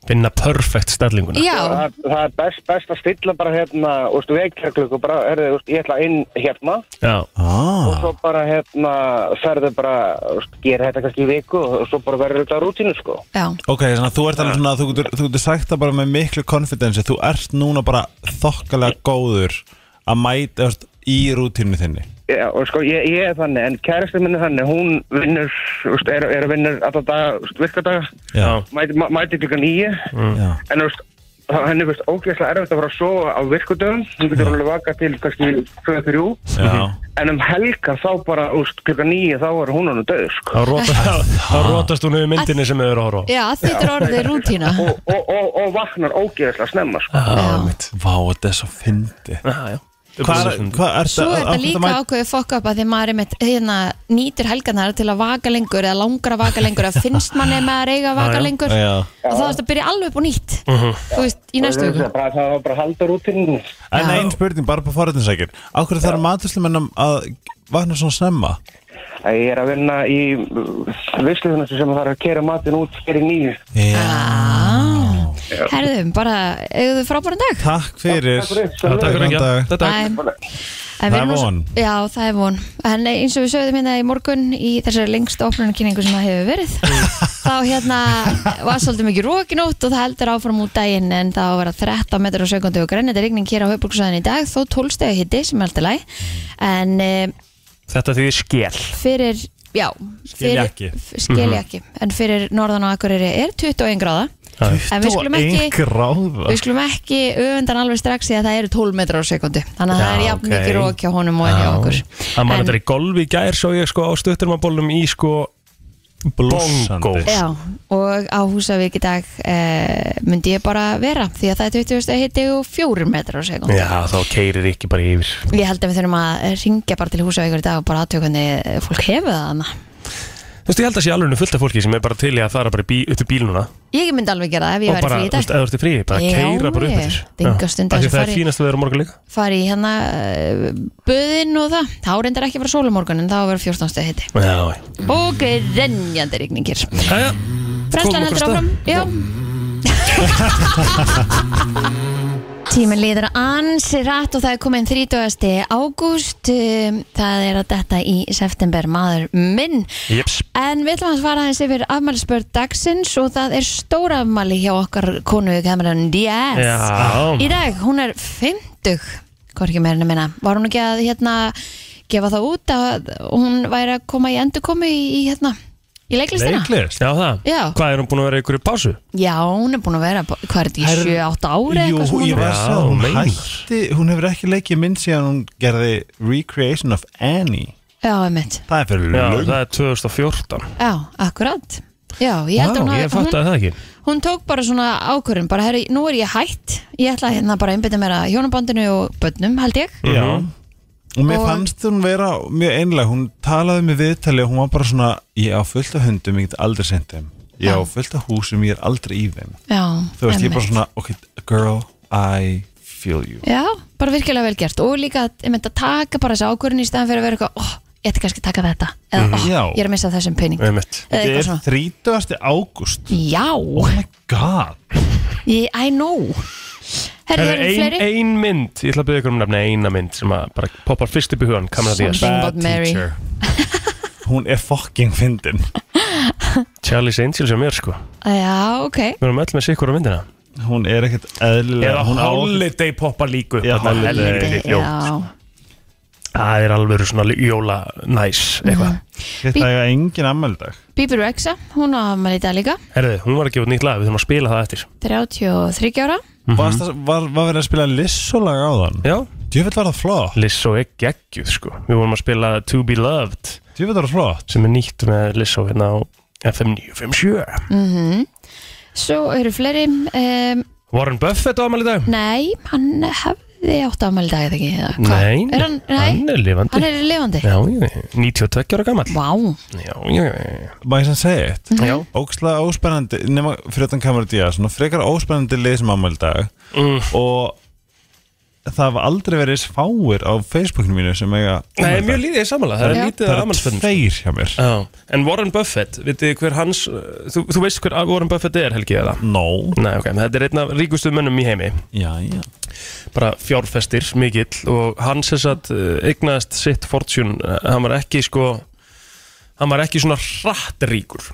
[SPEAKER 1] Finna perfect stærlinguna
[SPEAKER 3] Já,
[SPEAKER 5] Það, það er best, best að stilla bara hérna, úrstu veikjarklöku, bara, herðu, úrstu, ég ætla inn hérna
[SPEAKER 1] Já,
[SPEAKER 5] og
[SPEAKER 4] Ah,
[SPEAKER 5] svo bara hérna ferðu bara, úrstu, gera þetta kannski í viku og svo bara verður þetta rútínu, sko.
[SPEAKER 3] já,
[SPEAKER 4] ok, þannig að þú ert alveg svona, þú getur, þú getur sagt það bara með miklu konfidensi, þú ert núna bara þokkalega góður að mæta, þú veist, í rútínu þinni.
[SPEAKER 5] Já, og sko, ég, ég er þannig, en kæristið minni þannig, hún vinnur, úrstu, er, er að vinnur alltaf dag, úrstu, virkadaga,
[SPEAKER 1] já,
[SPEAKER 5] mæti, mæ- mæti klukkan nýju,
[SPEAKER 4] Já.
[SPEAKER 5] en úrstu, henni finnst ógeðslega erfitt að fara að sofa á virkudöfum, hún getur alveg vaka til kannski 2-3
[SPEAKER 4] Já.
[SPEAKER 5] En um helgar þá bara, úst, klukka nýja þá er hún hann döð, sko.
[SPEAKER 1] þá rótast, þá rótast hún yfir myndinni sem við erum að horfa á.
[SPEAKER 3] já þetta er orðið rútína
[SPEAKER 5] Og, og, og, og vaknar ógeðslega snemma, sko.
[SPEAKER 4] Ah,
[SPEAKER 3] Já.
[SPEAKER 4] Vá, þetta er svo fyndi.
[SPEAKER 1] Já, já.
[SPEAKER 4] Hvað er það?
[SPEAKER 3] Svo er þetta líka ákveðið fokk upp að því maður einmitt, hérna, nýtir helgarnar til að vaka lengur eða langar að vaka lengur eða finnst manni að maður eiga að
[SPEAKER 1] Já,
[SPEAKER 3] vaka
[SPEAKER 1] já.
[SPEAKER 3] lengur
[SPEAKER 4] Já. Mhm.
[SPEAKER 3] og þá ertu að byrja alveg upp og nýtt þú veist, í næstu
[SPEAKER 5] Það
[SPEAKER 3] viku
[SPEAKER 5] er bara, það var bara að halda rútinu.
[SPEAKER 4] En
[SPEAKER 3] Já.
[SPEAKER 4] einn spurning, bara på forrætinsækir Ákveður þarf maturslumenn að vakna svona snemma?
[SPEAKER 5] Ég er að vinna í vissluðunastu sem þarf að kera matin út fyrir nýju.
[SPEAKER 4] Já
[SPEAKER 3] ah, Herðum, bara, eigðu frábæran dag
[SPEAKER 4] Takk fyrir
[SPEAKER 1] Já, takk fyrir
[SPEAKER 4] Góðan
[SPEAKER 1] ekki.
[SPEAKER 4] dag.
[SPEAKER 1] Þetta
[SPEAKER 3] Æ, en við
[SPEAKER 4] Það er
[SPEAKER 3] erum nú svo-
[SPEAKER 4] von.
[SPEAKER 3] Já, það er von En eins og við sögðum hérna í morgun í þessari lengstu opnunarkynningu sem það hefur
[SPEAKER 4] <laughs>
[SPEAKER 3] verið þá hérna var svolítið mikið rókinótt og það heldur áfram út daginn en það á að vera 13 metrar á sekundi og grænit er rigning hér á höfbruksvæðin í dag þó 12 stegi hitti sem er alltaf læg en e,
[SPEAKER 1] Þetta því skell
[SPEAKER 3] fyrir Já, fyrir-
[SPEAKER 4] ekki. Mhm.
[SPEAKER 3] f- skilja ekki en fyrir norðan og akkurýri er 21 gráða en við skulum ekki
[SPEAKER 4] gráða
[SPEAKER 3] Við skulum ekki öfundan alveg strax því að það eru 12 metrar á sekundu þannig að það er
[SPEAKER 1] Já,
[SPEAKER 3] jafn
[SPEAKER 1] ok.
[SPEAKER 3] mikið rók hjá honum og enn hjá okkur
[SPEAKER 1] Það maður
[SPEAKER 3] En-
[SPEAKER 1] þetta er í golfi í gær svo ég sko á stutturmabólum í sko Bongo
[SPEAKER 4] Blússandi.
[SPEAKER 3] Já, og á Húsavík í dag e, myndi ég bara vera því að það er 20. hitti og 4 metrar á sekund
[SPEAKER 1] Já, þá keirir ekki bara yfir
[SPEAKER 3] Ég held að við þurfum að ringja bara til Húsavíkur í dag og bara aðtöku hvernig fólk hefur það hana
[SPEAKER 1] Þú veist, ég held að sé alveg fullt af fólki sem er bara til í að fara bara í bí, upp í bíl núna
[SPEAKER 3] Ég myndi alveg gera það ef ég
[SPEAKER 1] og
[SPEAKER 3] væri
[SPEAKER 1] bara,
[SPEAKER 3] frí í
[SPEAKER 1] þú veist,
[SPEAKER 3] dag
[SPEAKER 1] eða þú ert í frí bara
[SPEAKER 3] Já,
[SPEAKER 1] keira bara upp
[SPEAKER 3] ég.
[SPEAKER 1] eftir
[SPEAKER 3] Dinga
[SPEAKER 1] Já.
[SPEAKER 3] stund
[SPEAKER 1] Af því
[SPEAKER 3] að þessu
[SPEAKER 1] Það er
[SPEAKER 3] fari-
[SPEAKER 1] fínast að vera morgun líka
[SPEAKER 3] fari í hérna e, böðin og það þá reyndar ekki að vera sólumorgun en þá verður 14. hitti
[SPEAKER 1] Já, já.
[SPEAKER 3] og grenjandi rigningir
[SPEAKER 1] Jæja, Komum
[SPEAKER 3] Brennslan
[SPEAKER 1] okkur
[SPEAKER 3] heldur
[SPEAKER 1] af stað.
[SPEAKER 3] áfram Já <laughs> Tíminn líður ansi rætt og það er komin 30. ágúst um, það er að detta í september maður minn
[SPEAKER 1] Jeps
[SPEAKER 3] en við ætlum að svara aðeins yfir afmælisbörn dagsins og það er stóra afmæli hjá okkar konu Cameron Diaz
[SPEAKER 1] Já,
[SPEAKER 3] í dag, hún er 50 hvorki meirinu minna, var hún ekki að hérna gefa það út að hún væri að koma í endurkomi í, í hérna Í leiklistina?
[SPEAKER 4] Leiklist
[SPEAKER 1] Já, það
[SPEAKER 3] Já.
[SPEAKER 1] Hvað er hún búin að vera í einhverju pásu?
[SPEAKER 3] Já, hún er búin að vera, hvað er þetta,
[SPEAKER 4] Herru,
[SPEAKER 3] í 7-8 ári
[SPEAKER 4] Jú,
[SPEAKER 3] eitthvað sem hún
[SPEAKER 4] ég
[SPEAKER 3] er?
[SPEAKER 4] var að
[SPEAKER 1] Já,
[SPEAKER 4] segja, hún
[SPEAKER 1] meinar.
[SPEAKER 4] hætti Hún hefur ekki leikið mynd síðan hún gerði Recreation of Annie
[SPEAKER 3] Já, einmitt.
[SPEAKER 4] Það er fyrir
[SPEAKER 1] Já,
[SPEAKER 4] löng
[SPEAKER 1] það er 2014
[SPEAKER 3] Já, akkurat. Já, ég held að hún,
[SPEAKER 1] Já, ég
[SPEAKER 3] hafi-
[SPEAKER 1] fatt að það ekki
[SPEAKER 3] hún, hún tók bara svona ákvörðun, bara herri, nú er ég hætt, ég ætla hérna bara að einbytta mér að hjónabandinu og börnum, held ég.
[SPEAKER 4] Já
[SPEAKER 1] Mhm.
[SPEAKER 4] Og mér
[SPEAKER 3] Og-
[SPEAKER 4] fannst hún vera mjög einlega Hún talaði með viðtali og hún var bara svona Ég á fullt af hundum, ég get aldrei sent þeim Ég á
[SPEAKER 3] Já.
[SPEAKER 4] fullt af húsum, ég er aldrei í þeim
[SPEAKER 3] Já,
[SPEAKER 4] Þú veist, ég er bara svona Ok, girl, I feel you
[SPEAKER 3] Já, bara virkilega vel gert og líka að, einmitt, að taka bara þessi ákvörðun í staðan fyrir að vera eitthvað, ó, ég ætti kannski að taka þetta eða ó,
[SPEAKER 4] Mhm, Já.
[SPEAKER 3] ég er að missa af þessum pening
[SPEAKER 1] Einmitt.
[SPEAKER 3] eða
[SPEAKER 4] Þetta
[SPEAKER 3] eitthvað
[SPEAKER 4] er
[SPEAKER 3] svona
[SPEAKER 4] 30. ágúst
[SPEAKER 3] Já,
[SPEAKER 4] God
[SPEAKER 3] ég, I know Herri,
[SPEAKER 1] Það
[SPEAKER 3] það
[SPEAKER 1] er
[SPEAKER 3] eru
[SPEAKER 1] ein,
[SPEAKER 3] fleiri
[SPEAKER 1] ein mynd Ég ætla að byrja ykkur um nefna eina mynd sem að bara poppar fyrst upp í hugan Kamera Díaz
[SPEAKER 3] Something about Mary. <laughs>
[SPEAKER 4] Hún er fucking fyndin
[SPEAKER 1] Charlie's Angels og mér sko Við
[SPEAKER 3] Já, ok
[SPEAKER 1] erum öll með sikkur á myndina
[SPEAKER 4] Hún er ekkert eðlilega
[SPEAKER 1] Eða
[SPEAKER 4] hún á ekkert-
[SPEAKER 1] Holiday poppar líka upp
[SPEAKER 4] Já,
[SPEAKER 1] þarna,
[SPEAKER 4] Holiday.
[SPEAKER 1] helviti,
[SPEAKER 3] Já,
[SPEAKER 1] jú. Það er alveg svona jóla næs eitthvað
[SPEAKER 3] Mhm.
[SPEAKER 4] Þetta
[SPEAKER 3] Bí-
[SPEAKER 4] er engin ammældag
[SPEAKER 3] Bíbi Rexa, hún á afmæli í dag líka
[SPEAKER 1] Herðu, hún var að gefa út nýtt lag, við þurfum að spila það eftir
[SPEAKER 3] 33 ára
[SPEAKER 4] mm -hmm. Var, var verið að spila lissolag á þann?
[SPEAKER 1] Já,
[SPEAKER 4] Djöfell var það flott
[SPEAKER 1] Lissó er geggjuð sko Við vorum að spila To Be Loved
[SPEAKER 4] Djöfell var það flott
[SPEAKER 1] sem er nýtt með Lissó hérna á FM
[SPEAKER 3] Mm.
[SPEAKER 1] 957
[SPEAKER 3] Svo eru fleiri um,
[SPEAKER 1] Warren Buffett á amal í dag
[SPEAKER 3] Nei, hann hefði átt afmæli í dag eða ekki eða hvað?
[SPEAKER 1] Nei,
[SPEAKER 3] Er hann, nei, hann,
[SPEAKER 1] er lifandi
[SPEAKER 3] er lifandi
[SPEAKER 1] Já, já, já, 92 ára gammal
[SPEAKER 3] Vá,
[SPEAKER 1] Já, já, já,
[SPEAKER 4] Má ég sem segja eitt?
[SPEAKER 3] Mhm.
[SPEAKER 1] já.
[SPEAKER 4] Ókslega óspennandi, nema fyrir þann kameru díða Svona frekar óspennandi lið sem ammældag
[SPEAKER 1] Mm.
[SPEAKER 4] Og það hafa aldrei verið eins fáir á Facebookinu mínu sem eiga
[SPEAKER 1] Nei,
[SPEAKER 4] afmælisdag.
[SPEAKER 1] mjög lítið í sammála, það
[SPEAKER 3] Já.
[SPEAKER 1] er sko. lítið
[SPEAKER 4] Það eru
[SPEAKER 1] amalsfönd
[SPEAKER 4] tveir hjá mér
[SPEAKER 1] Já, en Warren Buffett, vitið þið hver hans uh, þú, þú veist hver Warren Buffett er, Helgi, eða?
[SPEAKER 4] No
[SPEAKER 1] Nei, ok, þetta er einn af ríkustu mönnum í heimi
[SPEAKER 4] Já, já
[SPEAKER 1] bara fjárfestir mikill og hann sem sagt eh, eignaðist sitt fortune, eh, hann var ekki sko hann var ekki svona hratt ríkur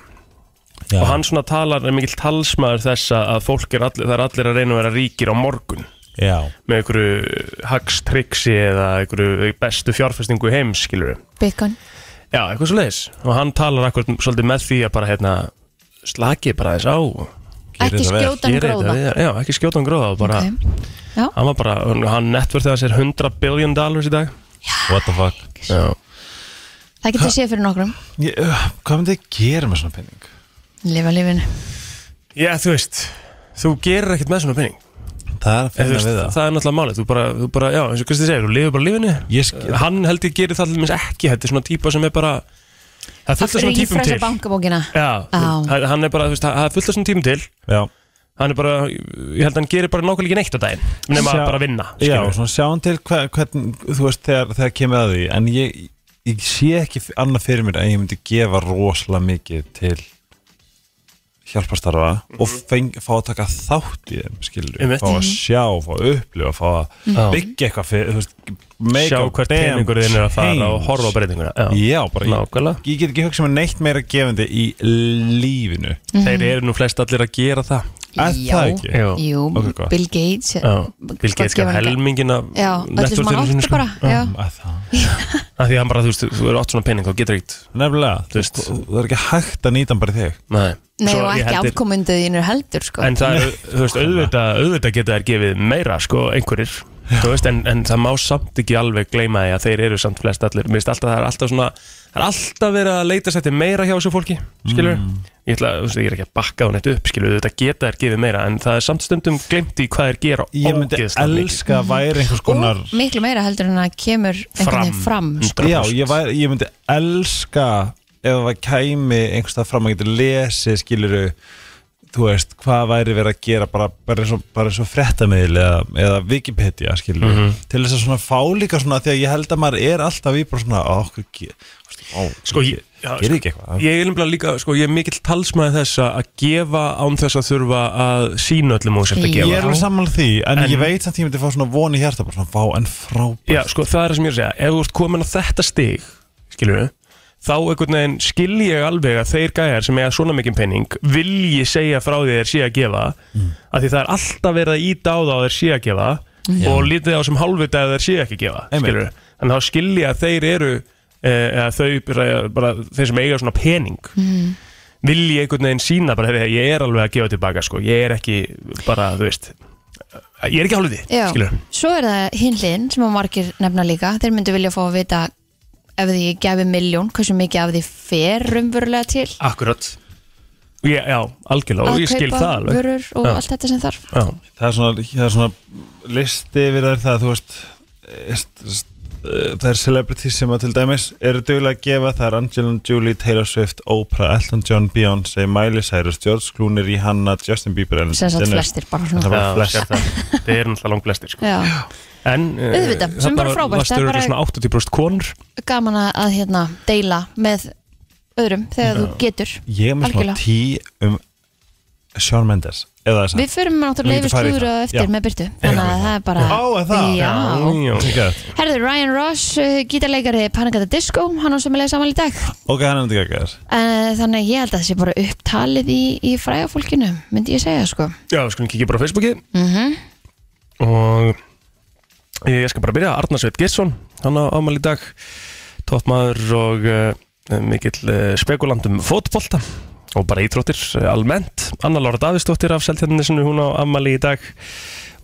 [SPEAKER 4] Já,
[SPEAKER 1] og hann svona talar, er mikill talsmaður þess að að fólk er allir, það er allir að reyna að vera ríkir á morgun
[SPEAKER 4] já.
[SPEAKER 1] með einhverju hagstriksi eða einhverju bestu fjárfestingu heims skilur við,
[SPEAKER 3] Bitcoin
[SPEAKER 1] já, eitthvað svo leiðis og hann talar akkur svolítið með því að bara hérna slakið bara þess á
[SPEAKER 4] Gerið
[SPEAKER 3] Ekki
[SPEAKER 4] það vel,
[SPEAKER 3] skjóta hann
[SPEAKER 1] gerið þetta
[SPEAKER 3] gróða
[SPEAKER 1] við- já, ekki skjóta hann gróða og bara,
[SPEAKER 3] Ok. Já,
[SPEAKER 1] hann var bara, hann netverðið að sér 100 billion dollars í dag
[SPEAKER 4] What the fuck
[SPEAKER 1] já
[SPEAKER 3] það getur séð fyrir nokkrum
[SPEAKER 4] ég, uh, Hvað myndi ég gera með svona penning?
[SPEAKER 3] Lifa lífinu
[SPEAKER 1] Já, þú veist, þú gerir ekkert með svona penning
[SPEAKER 4] Það er að
[SPEAKER 1] Eða, þú
[SPEAKER 4] finna
[SPEAKER 1] veist,
[SPEAKER 4] við
[SPEAKER 1] það.
[SPEAKER 4] það
[SPEAKER 1] er náttúrulega málið, þú bara, þú bara já, eins og Kristi segir, þú lifir bara lífinu
[SPEAKER 4] Ég skil-
[SPEAKER 1] Hann held ég gerir það allir minns ekki, þetta er svona típa sem er bara Það er fullt af svona típum til
[SPEAKER 3] Rífræsa bankabókina
[SPEAKER 1] Já,
[SPEAKER 3] Á.
[SPEAKER 1] það- hann er bara, þú veist, það það er fullt af svona típum til
[SPEAKER 4] Já,
[SPEAKER 1] Hann er bara, ég held að hann gerir bara nákvæmlega ekki neitt á daginn Nefn að
[SPEAKER 4] Sjá-
[SPEAKER 1] bara vinna,
[SPEAKER 4] já
[SPEAKER 1] skilur.
[SPEAKER 4] svona sjáum til hver, hvernig, þú veist, þegar, þegar kemur að því En ég, ég sé ekki f- annað fyrir mér að ég myndi gefa rosalega mikið til hjálparstarfa og feng, fá að taka þátt í þeim, skilur
[SPEAKER 1] Mhm. Einmitt. Mhm.
[SPEAKER 4] Fá að sjá, fá að upplifa, fá að
[SPEAKER 1] Já.
[SPEAKER 4] byggja eitthvað fyrir, þú veist make
[SPEAKER 1] Sjá
[SPEAKER 4] a
[SPEAKER 1] hvert
[SPEAKER 4] damn
[SPEAKER 1] peningur þinn er að fara og
[SPEAKER 4] change.
[SPEAKER 1] horfa á breytinguna
[SPEAKER 4] Já, bara ég,
[SPEAKER 1] nákvæmlega
[SPEAKER 4] ég get ekki hugsað mér neitt meira gefandi í lífinu
[SPEAKER 3] Mhm.
[SPEAKER 1] Þeir eru nú flest allir að gera það
[SPEAKER 4] Er það ekki?
[SPEAKER 1] Já.
[SPEAKER 3] Jú,
[SPEAKER 4] Ok, gott.
[SPEAKER 3] Bill Gates
[SPEAKER 1] Já,
[SPEAKER 3] hvað
[SPEAKER 1] Bill Gates
[SPEAKER 3] gefur
[SPEAKER 1] gaf
[SPEAKER 3] hann-
[SPEAKER 1] helmingin af
[SPEAKER 3] Já, öllu sem hann
[SPEAKER 1] networkinu sínu,
[SPEAKER 3] átti
[SPEAKER 1] sko.
[SPEAKER 3] bara Já,
[SPEAKER 4] Að Um, það
[SPEAKER 1] Af því að hann bara, þú veist, þú eru átt svona pening, þá getur ekkert
[SPEAKER 4] Nefnilega,
[SPEAKER 1] Þú
[SPEAKER 4] þú
[SPEAKER 1] veist.
[SPEAKER 4] veist, það er ekki hægt að nýta hann bara í þig
[SPEAKER 1] Nei,
[SPEAKER 3] Nei,
[SPEAKER 1] Svo
[SPEAKER 3] og
[SPEAKER 1] ég
[SPEAKER 3] ekki
[SPEAKER 1] held þeir-
[SPEAKER 3] afkomunduð innur heldur sko.
[SPEAKER 1] En það er, þú veist, auðvitað, auðvitað geta þær gefið meira, sko, einhverjir Þú veist, en, en það má samt ekki alveg gleyma því að þeir eru samt flest allir Mér veist alltaf, það er alltaf svona, það er alltaf verið að leita sætti meira hjá þessu fólki, skilur
[SPEAKER 4] Mm.
[SPEAKER 1] Ég ætla, þú veist, ég er ekki að bakka hún eitt upp, skilur, auðvitað geta þær gefið meira En það er samt stundum glemt í hvað þær gera
[SPEAKER 4] Ég myndi
[SPEAKER 1] ógeðslega mikið.
[SPEAKER 4] elska að væri einhvers
[SPEAKER 3] Sko,
[SPEAKER 4] konar
[SPEAKER 3] Og miklu meira heldur en að kemur einhvern veginn fram sko.
[SPEAKER 1] 100%.
[SPEAKER 4] Já, ég, væri, ég myndi elska ef það kæmi einhvers það fram að geta lesið, skiluru þú veist, hvað væri verið að gera bara, bara eins og, bara eins og frettamiðil eða, eða Wikipedia, skiluru til þess að svona fá líka svona, því að ég held að maður er alltaf í bara svona, á, okkur ge- þú veist, á,
[SPEAKER 1] Sko, ég- já,
[SPEAKER 4] gerir ekki eitthvað
[SPEAKER 1] Ég er nefnilega líka, sko, ég er mikill talsmaði þess að að gefa án þess að þurfa að sína öllum og sért að
[SPEAKER 3] Já.
[SPEAKER 1] gefa
[SPEAKER 4] Ég er alveg samanlega því, en,
[SPEAKER 1] En-
[SPEAKER 4] ég veit samt ég myndi fá svona von í hjarta, bara svona, vá, en frábært
[SPEAKER 1] Já, sko, það er það sem ég er að segja Ef þú ert komin á þetta stig, skilur við Þá einhvern veginn skil ég alveg að þeir gæjar sem eiga svona mikinn penning vilji segja frá því þeir sé að gefa af því það er alltaf verið að íta á þá að þeir sé að gefa og lítið á sem hálfvita að þeir sé ekki að gefa
[SPEAKER 4] Einmitt.
[SPEAKER 1] skilur við, en þá skil ég að þeir eru eh, eða þau, bara, bara þeir sem eiga svona pening vilji einhvern veginn sína bara, heyrðu, ég er alveg að gefa tilbaka sko. ég er ekki bara, þú veist ég er ekki hálfið því,
[SPEAKER 3] Já,
[SPEAKER 1] skilur
[SPEAKER 3] svo er það hinliðin sem að margir nefna líka þeir myndu vilja fá að vita ef því ég gefi miljón, hversu mikið af því fer rumverulega til
[SPEAKER 1] Akkurat Já, já algjörlega, og
[SPEAKER 3] að
[SPEAKER 1] ég skil það alveg
[SPEAKER 3] vörur og
[SPEAKER 1] Já.
[SPEAKER 3] allt þetta sem þarf
[SPEAKER 1] Já,
[SPEAKER 4] það er svona, það er svona listi við þær það þú veist est- est- eh, það er celebrities sem að til dæmis eru duglega að gefa það er Angelina Jolie, Taylor Swift, Oprah, Elton John, Beyoncé, Miley Cyrus, George Clooney, Rihanna, Justin Bieber Ellen
[SPEAKER 3] sem sagt
[SPEAKER 4] DeGeneres.
[SPEAKER 3] flestir bara
[SPEAKER 4] Það
[SPEAKER 3] svona
[SPEAKER 4] var
[SPEAKER 1] já
[SPEAKER 4] flest.
[SPEAKER 1] sér það. Þið eru náttúrulega langt flestir sko.
[SPEAKER 3] Já,
[SPEAKER 1] En eh,
[SPEAKER 3] Auðvitað, sem
[SPEAKER 1] þarna
[SPEAKER 3] bara frábært, það
[SPEAKER 1] Varstu
[SPEAKER 3] er
[SPEAKER 1] bara...
[SPEAKER 3] bara-
[SPEAKER 1] svona 80% konur
[SPEAKER 3] gaman að- að hérna deila með öðrum þegar þú getur
[SPEAKER 4] ég er með svona
[SPEAKER 3] Algjörlega.
[SPEAKER 4] tí um Shawn Mendes eða þess
[SPEAKER 3] Við förum
[SPEAKER 4] Við
[SPEAKER 3] náttúrulega
[SPEAKER 4] getum
[SPEAKER 3] yfir
[SPEAKER 4] farið í
[SPEAKER 3] slúður
[SPEAKER 4] það.
[SPEAKER 3] eftir
[SPEAKER 4] Já.
[SPEAKER 3] með Byrtu þannig að það er bara
[SPEAKER 4] Ó, er það?
[SPEAKER 3] Já.
[SPEAKER 1] Já, já.
[SPEAKER 4] að
[SPEAKER 3] Herðu, Ryan Ross, uh, gítarleikari Panic! at the Disco, hann á sem er leið saman í dag
[SPEAKER 4] ok, hann er þetta ekki að
[SPEAKER 3] en, uh, þannig að ég held að það sé bara upptalið í, í fræga fólkinu, myndi ég segja sko.
[SPEAKER 1] Já, við skulum kíkja bara á Facebooki
[SPEAKER 3] mm
[SPEAKER 1] og ég skal bara byrja Arnar Sveit Gesson, hann á ámæli í dag toppmaður og uh, mikill uh, spekulant um fótbolta og bara ítróttir uh, almennt Anna Lóra Davidsdóttir af Seltjarnisinu hún á ammali í dag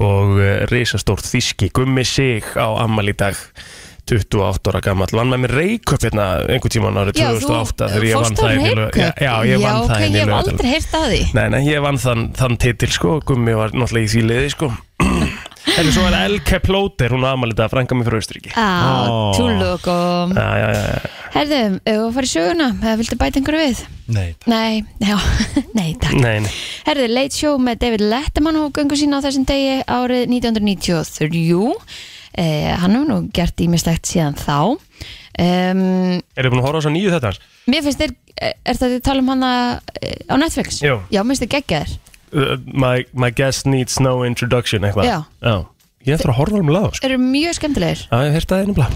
[SPEAKER 1] og uh, risastórt þíski gummi sig á ammali í dag 28 ára gammal, vann með mér reikup hérna einhvern tíman árið 2008 þegar ég vann það í
[SPEAKER 3] heilu
[SPEAKER 1] Laug- já, já, ég vann það
[SPEAKER 3] Já, ok,
[SPEAKER 1] hérna í
[SPEAKER 3] ég hef
[SPEAKER 1] Laugardal.
[SPEAKER 3] aldrei heyrt að því
[SPEAKER 1] Nei, nei, ég vann þann, þann titil sko Gummi var náttúrulega í því liði sko En svo er Elke Plóter Hún aðmælita að frænga mig frá Austuríki
[SPEAKER 3] Á,
[SPEAKER 4] Ó.
[SPEAKER 3] túlug og
[SPEAKER 1] Já, já, já, já.
[SPEAKER 3] Herðu, ef þú farið söguna, eða viltu bæta einhverju við?
[SPEAKER 4] Nei,
[SPEAKER 3] Nei, já, <laughs> nei, takk
[SPEAKER 1] Nei, nei,
[SPEAKER 3] Herðu, Late Show með David Letterman hóf göngu sína á þessum degi árið 1993 eh, Hann hefur nú gert ímislegt síðan þá um,
[SPEAKER 1] eru búin að horfa á svo nýju þetta hans?
[SPEAKER 3] Mér finnst þér, eh, er þetta að tala um hana eh, á Netflix?
[SPEAKER 1] Jú.
[SPEAKER 3] Já, mér finnst þér geggja þér
[SPEAKER 1] Uh, my, my guest needs no introduction eitthvað
[SPEAKER 3] Já.
[SPEAKER 1] Ég ætla að horfa um laga sko
[SPEAKER 3] Eru mjög skemmtilegir
[SPEAKER 1] Já, ég hérta það einum blá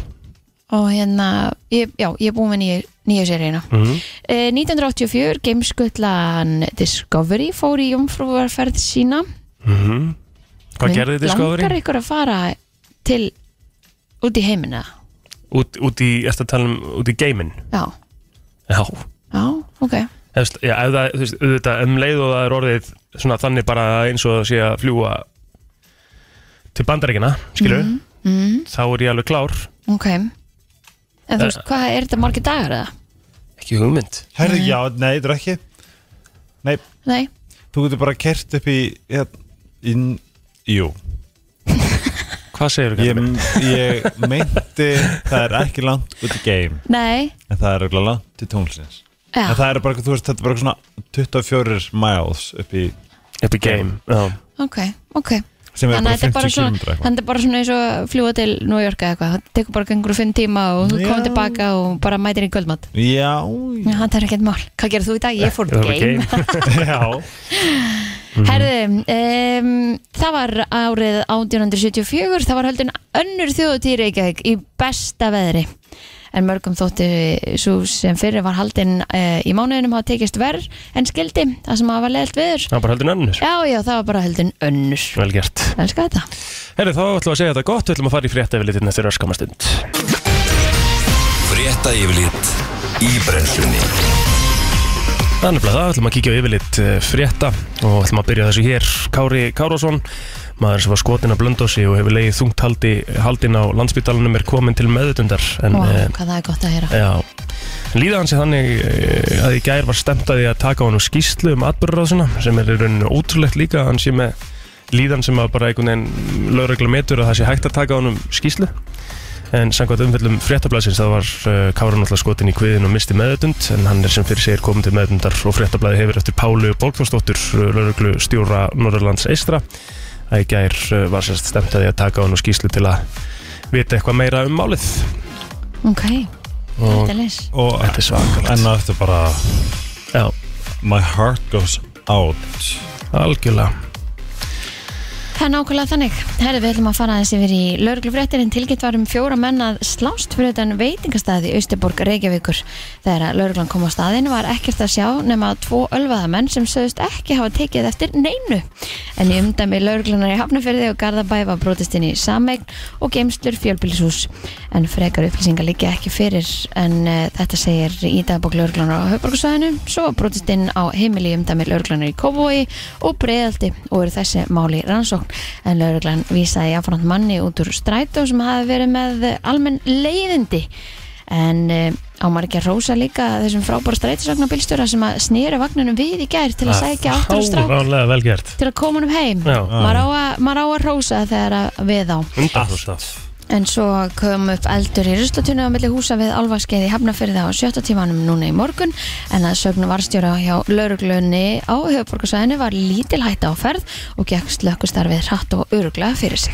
[SPEAKER 3] og hérna, ég, já, ég er búin með nýju, nýju seríuna.
[SPEAKER 1] Mhm.
[SPEAKER 3] Eh, 1984, gameskutlan Discovery fór í jomfrúarferð sína.
[SPEAKER 1] Mhm. Hvað gerði þið sko
[SPEAKER 3] Langar ykkur að fara til, út í heimina?
[SPEAKER 1] Út, út í, eftir að tala um, út í geimin
[SPEAKER 3] Já,
[SPEAKER 1] Já
[SPEAKER 3] já, ok.
[SPEAKER 1] Efst, já, ef það, þú veist, auðvitað um leið og það er orðið svona þannig bara eins og það sé að fljúa til bandaríkina, skilur
[SPEAKER 3] Mhm,
[SPEAKER 1] þá er ég alveg klár
[SPEAKER 3] Ok.
[SPEAKER 1] Eh.
[SPEAKER 3] En þú veist, hvað er þetta margir dagar eða?
[SPEAKER 1] Ekki hugmynd
[SPEAKER 4] herðu, já, nei, þetta er ekki nei,
[SPEAKER 3] Nei,
[SPEAKER 4] þú getur bara kert upp í, í, í jú,
[SPEAKER 1] Hvað segir þú?
[SPEAKER 4] Ég, ég meinti það er ekki langt út í game
[SPEAKER 3] nei,
[SPEAKER 4] en það er eiginlega langt til tónlisins en
[SPEAKER 3] já,
[SPEAKER 4] það er bara, þú veist, þetta er bara svona 24 miles upp í
[SPEAKER 1] Upp í game Já,
[SPEAKER 3] ok, ok.
[SPEAKER 4] sem er
[SPEAKER 3] Þannig að
[SPEAKER 4] bara
[SPEAKER 3] þetta er bara
[SPEAKER 4] 50 km
[SPEAKER 3] svona, þannig að þetta er bara svona eins og að fljúa til New York eða eitthvað. Það tekur bara gengur fimm tíma og þú
[SPEAKER 4] Já.
[SPEAKER 3] komið tilbaka og bara mætir í kvöldmatt. Já,
[SPEAKER 4] já,
[SPEAKER 3] það er ekkert mál. Hvað gerðu þú í dag? Ég fór
[SPEAKER 1] Ég
[SPEAKER 3] game.
[SPEAKER 1] fór í
[SPEAKER 3] <laughs> game.
[SPEAKER 1] <laughs>
[SPEAKER 3] Mhm.
[SPEAKER 4] já
[SPEAKER 3] Herðu, um, það var árið 1874, það var höldin önnur þjóðutíð í Reykjavík í besta veðri. En mörgum þótti svo sem fyrir var haldin uh, í mánuðinum hafa tekist verð en skildi það sem hafa var leðalt veður.
[SPEAKER 1] það var bara heldur nönnur
[SPEAKER 3] Já, já, það var bara höldin önnur.
[SPEAKER 1] Vel gert
[SPEAKER 3] Elskar þetta.
[SPEAKER 1] Herri, þá ætlum við að segja þetta gott Við ætlum að fara í fréttafilitin eftir öskamastund
[SPEAKER 2] Frétta yfirlit í brennslunni
[SPEAKER 1] Þannig að það ætlum að kíkja á yfirlit eh, frétta og ætlum að byrja á þessu hér Kári Kárásson, maður sem var skotin að blöndósi og hefur leiðið þungt haldi, haldin á landsbytalanum er komin til meðutundar en
[SPEAKER 3] Ó,
[SPEAKER 1] eh,
[SPEAKER 3] hvað það er gott að heyra.
[SPEAKER 1] Já, líða hans er þannig eh, að í gær var stemt að því að taka á hann skýslu um atbyrðaráðsina sem er í rauninu ótrúlegt líka að hann sé með líðan sem að bara einhvern veginn lögregla metur að það sé hægt að taka á hann skýslu en samkvæmt umfellum fréttablaðsins það var uh, Kára náttúrulega skotin í kviðin og misti meðutund en hann er sem fyrir segir komin til meðutundar og fréttablaði hefur eftir eh, Pálu Bólkvarsdóttur lögreglu stjóra Norrlands eistra að í gær uh, var sérst stemt að því að taka á hann skýslu til að vita eitthvað meira um málið
[SPEAKER 3] Ok,
[SPEAKER 1] og
[SPEAKER 3] þetta er leys.
[SPEAKER 4] og
[SPEAKER 1] þetta er svakalegt
[SPEAKER 4] enn aftur bara
[SPEAKER 1] Já,
[SPEAKER 4] my heart goes out
[SPEAKER 1] algjörlega
[SPEAKER 3] Það er nákvæmlega þannig. Herðu, við ætlum að fara aðeins yfir í lauruglufréttir en tilgætt var um fjóra menn að slást fyrir utan veitingastæði í Austuborg Reykjavíkur. Þegar lauruglan kom á staðin var ekkert að sjá nema tvo ölvaðamenn sem sögust ekki hafa tekið eftir neinu. En í umdæmi lauruglunar í Hafnafjörði og Garðabæ var brotist inn í sameign og geimslur fjölbýlishús. en frekar upplýsingar liggja ekki fyrir en uh, þetta segir í dagbók lauruglunar á höfborgarsvæðinu svo var brotist inn á heimili umdæmi lauruglunar í Kópavogi og breyðaldi og eru þessi máli rannsókn en lauruglan vísaði jáfnframt manni út úr strætó sem hafi verið með eh, almenn leiðindi en uh, á maður ekki að rósa líka þessum frábæra strætisvagnabílstjóra sem að snýra vagnunum við í gær til að sækja áttur og strák
[SPEAKER 1] Ránlega vel gert
[SPEAKER 3] til að koma honum heim
[SPEAKER 1] Já.
[SPEAKER 3] maður á, að, maður á að rósa þegar að við á
[SPEAKER 1] Alltaf
[SPEAKER 3] en svo kom upp eldur í ruslatunni á milli húsa við álfaskeið í Hafnafyrði á sjötta tímanum núna í morgun en að sögnu varstjóra hjá lauruglunni á höfuborgarsæðinu var lítil hætta á ferð og gekk slökkustarfið hratt og öruglega fyrir sig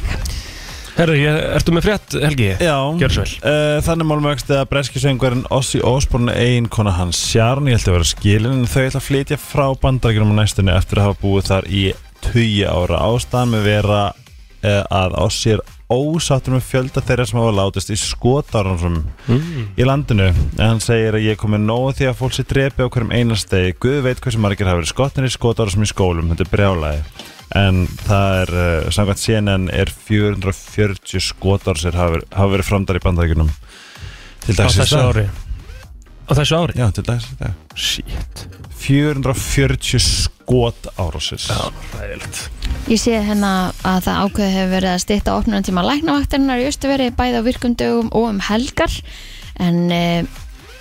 [SPEAKER 1] Herðu, ég, ertu með frétt, Helgi?
[SPEAKER 4] Já
[SPEAKER 1] Gjörðu svo vel.
[SPEAKER 4] Eh, Þannig málum vexti að breski söngurinn Ossi Osborn eiginkona hans Sjarn Ég held að vera skilin en þau ætla að flytja frá bandarækjunum á næstunni eftir að hafa búið þar í 20 ára ástæðan með vera eh, að Ossi er ósáttur með fjölda þeirra sem hafa látist í skotarunum í landinu en hann segir að ég er komið nóg því að fólk sér drepi á hverjum einastegi Guð veit hversu margir hafa verið skotnir í skotarunum sem í skólum þetta er brjálæði en það er, uh, samkvæmt CNN er 440 skotar sem hafa, verið- hafa verið framdar í bandaríkunum til
[SPEAKER 1] Á
[SPEAKER 4] dags í
[SPEAKER 1] þessu
[SPEAKER 4] dag
[SPEAKER 1] ári Á þessu ári?
[SPEAKER 4] Já, til dags í dag Shit 440 skot árásins
[SPEAKER 1] Ræðilegt
[SPEAKER 3] Ég sé hérna að það ákveði hefur verið að stýtta opnunartíma læknavaktarinnar í Östuveri bæði á virkum dögum og um helgar en e,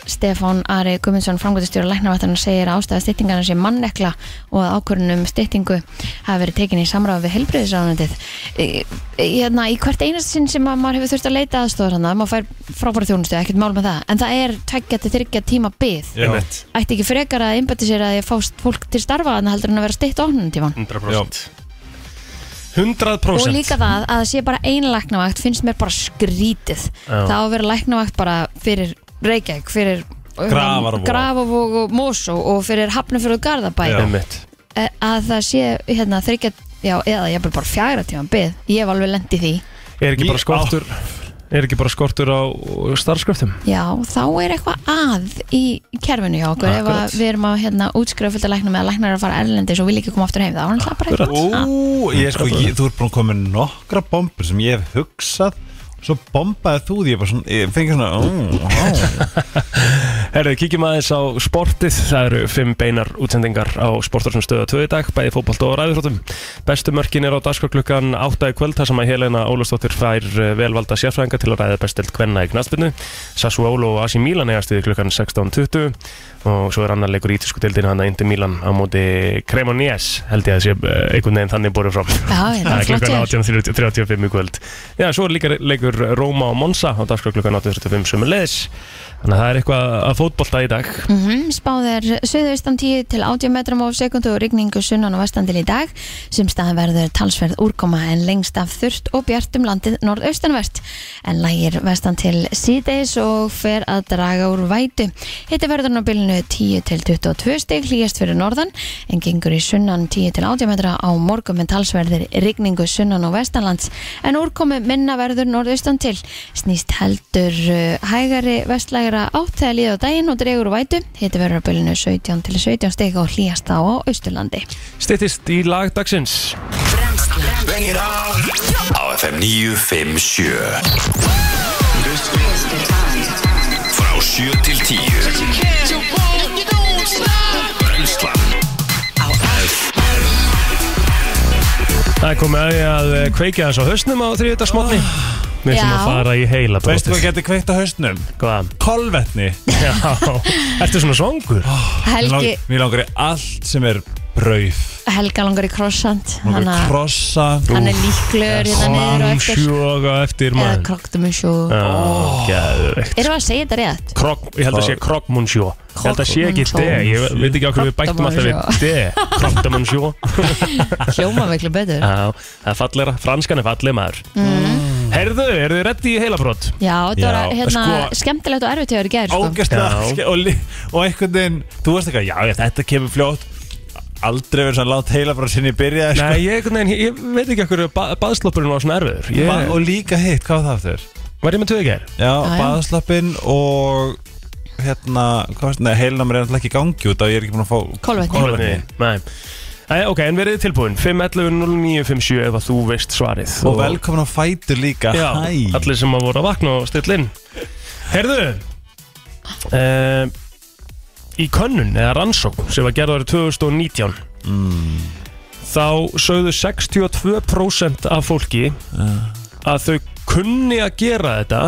[SPEAKER 3] Stefán Ari Guðmundsson framgötustjóra læknavaktarinnar segir að ástæða stýttingarna sé mannekla og að ákvörunum stýttingu hafi verið tekin í samráð við helbriðisránundið e, e, hérna, Í hvert einast sinn sem að maður hefur þurft að leita aðstofar þannig að maður fær frábæra þjónustu, ekkert mál með það en það er tveggja til þryggja tíma byð
[SPEAKER 4] Já.
[SPEAKER 1] Einmitt.
[SPEAKER 3] Ætti ekki frekar að einbæti sér að ég fást fólk til starfa en heldur en að vera stýtt opnunartíman
[SPEAKER 1] 100% 100%
[SPEAKER 3] og líka það að það sé bara ein læknavakt finnst mér bara skrítið
[SPEAKER 1] Já.
[SPEAKER 3] það á að vera læknavakt bara fyrir Reykjavík, fyrir um,
[SPEAKER 4] Grafarvog.
[SPEAKER 3] Grafarvog og Mosó og fyrir Hafnafjörðu Garðabæ
[SPEAKER 4] Já.
[SPEAKER 1] Einmitt
[SPEAKER 3] Eh, að það sé hérna þryggja já, eða ég er bara fjagra tíma byð ég hef alveg lent í því
[SPEAKER 1] Er ekki
[SPEAKER 4] Ný-
[SPEAKER 1] bara skortur Er ekki bara skortur á starfskröftum?
[SPEAKER 3] já, þá er eitthvað að í kerfinu hjá okkur ef
[SPEAKER 1] Akkurat.
[SPEAKER 3] að við erum að hérna, útskrifa fullt af læknum eða læknar eru að fara erlendis og vilja ekki koma aftur heim þá er náttúrulega bara eitthvað að.
[SPEAKER 4] Ú, ég, sko, ég, þú er búin að koma með nokkra bombur sem ég hef hugsað Svo bombaði þú því, ég bara svona, ég fengi svona, "Mm, ó, ó.
[SPEAKER 1] Herðu, kíkjum aðeins á sportið Það eru fimm beinar útsendingar á sportar sem stöða tvö í dag, bæði fótbolt og ræðurhróttum Bestu mörkin er á dagskorklukkan 8 í kvöld, þar sem að Helena Ólustóttir fær eh, velvalda sérfræðinga til að ræða bestild hvenna í knastbyrnu Sassuolo og Asi Milan eigast við klukkan 16.20 og svo er annar leikur í ítisku deildinu hann að Indi Milan á móti Cremonies, held ég að sé eh, einhvern veginn þannig borðið fram
[SPEAKER 3] Já, já,
[SPEAKER 1] Það er
[SPEAKER 3] flott
[SPEAKER 1] klukkan
[SPEAKER 3] hjá þér.
[SPEAKER 1] 18.35 í kvöld Já, svo er líka leikur Róma og Monsa á dagskrá klukkan 18.35 sem er leðis Þannig að það er eitthvað að fótbolta í dag
[SPEAKER 3] Mm -hmm, spáð er söðaustan 10 til 80 metrum á sekundu og rigningu sunnan og vestandil í dag sem staðan verður talsverð úrkoma en lengst af þurft og bjart um landið norðaustanvert en lægir vestan til síðdeis og fer að draga úr vætu hitti verður á bylnu 10 til 22 stig hlýjast fyrir norðan en gengur í sunnan 10 til 80 metra á morgun með talsverðir rigningu sunnan og vestanlands en úrkomi minna verður norðaustan til snýst heldur uh, hægari vestlægra átt þegar líða á daginn og dregur úr vætu hitti verður á bylunu 17 til 17 stig og hlýjast á á austurlandi
[SPEAKER 1] Stittist í lagdagsins
[SPEAKER 2] Bengir á Á FM 957 Frá 7 til 10 Brennslan Á
[SPEAKER 1] Það er komið að því að eh, kveikja þess á hausnum á þriðutarsmotni Við sem að
[SPEAKER 3] Já.
[SPEAKER 1] fara í heila
[SPEAKER 4] Veistu hvað getur kveikt á hausnum?
[SPEAKER 1] Hvað?
[SPEAKER 4] Kolvetni
[SPEAKER 1] Já, ertu svona svangur?
[SPEAKER 4] Mér
[SPEAKER 3] Helgi,
[SPEAKER 4] lang- Mér langar í allt sem er brauð
[SPEAKER 3] Helga langar í krossand
[SPEAKER 4] Mér
[SPEAKER 3] hann
[SPEAKER 4] langar í
[SPEAKER 3] að-
[SPEAKER 4] krossa
[SPEAKER 3] hann er líklegur hérna niður og eftir
[SPEAKER 1] Sjóga eftir
[SPEAKER 3] eða
[SPEAKER 1] mann
[SPEAKER 3] kroktumusjó
[SPEAKER 4] Eh.
[SPEAKER 1] Gæðveikt
[SPEAKER 3] erum við að segja þetta rétt?
[SPEAKER 1] Krok, ég held að sé Krokmundsjó Ég held að sé ekki D, ég veit ekki okkur við bættum alltaf við D, Krokmundsjó
[SPEAKER 3] <laughs> hljóma miklu betur
[SPEAKER 1] Já, það er fallera, franskan er falleg maður
[SPEAKER 4] Mm.
[SPEAKER 1] Herðu, eru þið reddi í heilabrótt?
[SPEAKER 3] Já, þetta
[SPEAKER 4] Já,
[SPEAKER 3] var hérna,
[SPEAKER 4] sko-
[SPEAKER 3] skemmtilegt og erfitt hjá þér í gerð sko.
[SPEAKER 1] Já.
[SPEAKER 4] Ógæstlega og, lí- og einhvern veginn Þú veist eitthvað, já, já, þetta kemur fljótt Aldrei verið svona látt heila frá sinni byrjaði sko.
[SPEAKER 1] Nei, ég, einhvern veginn, ég veit ekki okkur ba baðsloppurinn var svona erfiður
[SPEAKER 4] Ba-
[SPEAKER 1] ég,
[SPEAKER 4] Og líka hitt, hvað var það aftur?
[SPEAKER 1] Var ég með tvö í gær?
[SPEAKER 4] Já,
[SPEAKER 3] já.
[SPEAKER 4] baðslappinn og hérna, hvað veist, nei, heilnamur er alltaf ekki í gangi út af ég er ekki búin að fá
[SPEAKER 3] Kolvetni.
[SPEAKER 1] Nei, nei. Æ, ok, en verið þið tilbúin 511-0957 ef að þú veist svarið
[SPEAKER 4] Og velkomin á fætur líka
[SPEAKER 1] Já,
[SPEAKER 4] Hæ
[SPEAKER 1] allir sem að voru að vakna og stilla inn Herðu uh, Í könnun eða rannsókn sem var gerð árið 2019 þá sögðu 62% af fólki að þau kunni að gera þetta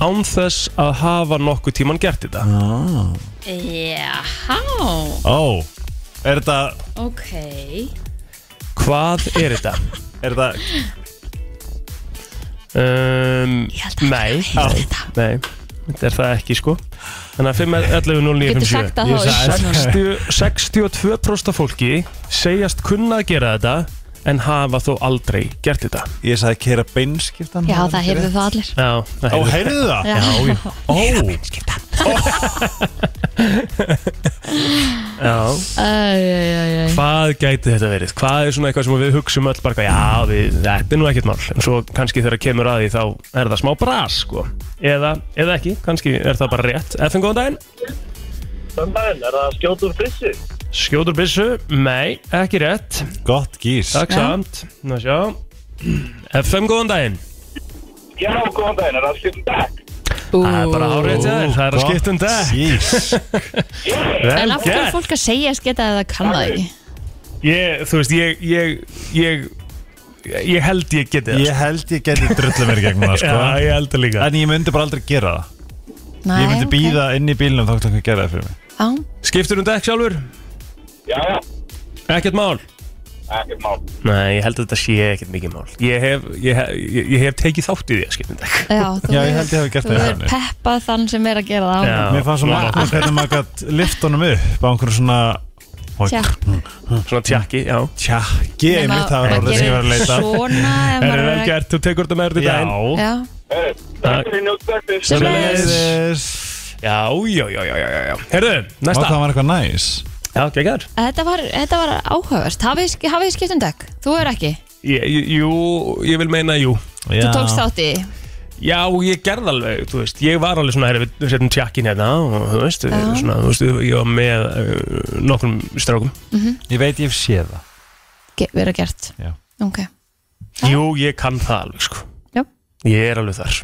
[SPEAKER 1] án þess að hafa nokkuð tíman gert þetta
[SPEAKER 3] Jáhá,
[SPEAKER 4] Ó Er þetta
[SPEAKER 3] ok
[SPEAKER 1] Hvað er þetta?
[SPEAKER 4] Er þetta
[SPEAKER 1] Um,
[SPEAKER 3] held að
[SPEAKER 1] nei,
[SPEAKER 3] ég veit þetta.
[SPEAKER 1] nei, þetta er það ekki sko Þannig að 5, 11, 0, 9, 5,
[SPEAKER 3] Getur sagt að það á Ísland
[SPEAKER 1] 60, 62% af fólki segjast kunna að gera þetta en hafa þó aldrei gert þetta
[SPEAKER 4] Ég sagði keira beinskiptan
[SPEAKER 3] Já, það heyrðu það allir
[SPEAKER 1] Já, það
[SPEAKER 4] Ó,
[SPEAKER 1] hefur-
[SPEAKER 4] heyrðu það?
[SPEAKER 3] Já.
[SPEAKER 1] já, já,
[SPEAKER 4] Ó
[SPEAKER 1] já.
[SPEAKER 3] Æjæjæjæj
[SPEAKER 1] Hvað gæti þetta verið? Hvað er svona eitthvað sem við hugsum öll bara, já, við, þetta er nú ekkert mál en svo kannski þegar kemur að því þá er það smá bras sko eða, eða ekki, kannski er það bara rétt Efinn, góðan daginn
[SPEAKER 5] Sömmæðin, er það skjótur byssu?
[SPEAKER 1] Skjótur byssu? Nei, ekki rétt
[SPEAKER 4] Gott gís
[SPEAKER 1] Takk
[SPEAKER 3] Já.
[SPEAKER 1] samt, ná sjá FM, góðan daginn
[SPEAKER 5] Já, góðan daginn, er það skjótur dag?
[SPEAKER 1] Það er bara hárið til þér, það er að
[SPEAKER 4] gott
[SPEAKER 1] skipta um dag <laughs>
[SPEAKER 4] Gís
[SPEAKER 3] En
[SPEAKER 1] Vel
[SPEAKER 3] af hverju er
[SPEAKER 1] gert
[SPEAKER 3] fólk að segja að sketa eða kann það ekki?
[SPEAKER 1] Ég, þú veist, ég ég, ég, ég held ég geti það
[SPEAKER 4] Ég held ég geti drullu mér gegn það
[SPEAKER 1] sko.
[SPEAKER 4] sko
[SPEAKER 1] Já, ég held það líka
[SPEAKER 4] En ég myndi bara aldrei gera það
[SPEAKER 3] Næ,
[SPEAKER 4] Ég myndi býða inn í bílnum þá kannski að gera það fyrir mig
[SPEAKER 3] Já,
[SPEAKER 1] Skiptur um dag sjálfur?
[SPEAKER 5] Já, já,
[SPEAKER 1] Ekkert mál
[SPEAKER 5] ekki mál.
[SPEAKER 1] Nei, ég held að þetta sé ekkert mikið mál Ég hef, ég hef, ég, ég hef tekið þátt í því að skipta um dag
[SPEAKER 3] já, þú
[SPEAKER 4] Já, ég held ég hafi gert
[SPEAKER 3] þú
[SPEAKER 4] það
[SPEAKER 3] hefur
[SPEAKER 4] þannig.
[SPEAKER 3] peppað þann sem er að gera það áfram.
[SPEAKER 4] Mér fannst svo magnað hvernig maður gætt lift honum upp á einhverju svona Og-
[SPEAKER 3] Tja,
[SPEAKER 1] Svona tjakki, já
[SPEAKER 4] Tja, ég
[SPEAKER 3] nema
[SPEAKER 4] mitt það var
[SPEAKER 3] að
[SPEAKER 4] orðið sem ég var að
[SPEAKER 3] gera
[SPEAKER 4] leita <laughs>
[SPEAKER 3] Svona ef
[SPEAKER 1] Er
[SPEAKER 3] maður
[SPEAKER 1] það
[SPEAKER 3] er að-
[SPEAKER 1] gert, þú tekur þetta með þér í daginn
[SPEAKER 4] Já,
[SPEAKER 3] Já,
[SPEAKER 1] Takk.
[SPEAKER 5] Þetta er njótt dagfis.
[SPEAKER 3] Sömuleiðis.
[SPEAKER 4] leiðis
[SPEAKER 1] Já, já, já, já, já, já, já Herðu,
[SPEAKER 4] Og
[SPEAKER 1] næsta
[SPEAKER 4] það var eitthvað næs
[SPEAKER 1] Já, geggar
[SPEAKER 3] þetta var, þetta var áhugavert Hafið þið- hafið þið skipt um dekk? Þú er ekki,
[SPEAKER 1] Jú, ég vil meina jú
[SPEAKER 3] þú tókst þátt í
[SPEAKER 1] Já, ég gerði alveg, þú veist Ég var alveg svona, herri, við setjum tjakkin hérna og þú veist, svona, þú veist, ég var með uh, nokkrum strákum
[SPEAKER 4] Ég veit ég hef séð það
[SPEAKER 3] Ge- vera gert
[SPEAKER 4] Já.
[SPEAKER 3] Ok,
[SPEAKER 1] Jú, ég kann það alveg, sko
[SPEAKER 3] Já.
[SPEAKER 1] Ég er alveg þar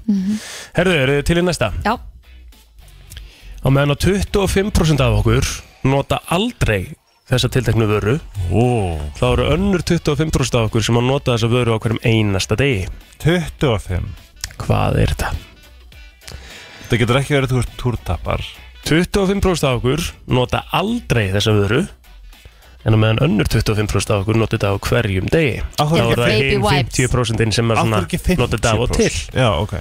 [SPEAKER 1] Herðu, eru þið til í næsta?
[SPEAKER 3] já,
[SPEAKER 1] Á meðan á 25% af okkur nota aldrei þessa tilteknu vöru
[SPEAKER 4] Ó,
[SPEAKER 1] þá eru önnur 25% af okkur sem að nota þessa vöru á hverjum einasta degi
[SPEAKER 4] 25
[SPEAKER 1] Hvað er þetta?
[SPEAKER 4] Það getur ekki verið þú ert túrtapar
[SPEAKER 1] 25% af okkur nota aldrei þessa vöru en á meðan önnur 25% af okkur nota þetta á hverjum degi
[SPEAKER 4] Akkur
[SPEAKER 1] þá
[SPEAKER 3] Já,
[SPEAKER 1] er það
[SPEAKER 3] baby
[SPEAKER 1] hinn
[SPEAKER 3] wipes.
[SPEAKER 1] 50% sem að svona nota þetta af og til
[SPEAKER 4] Já, ok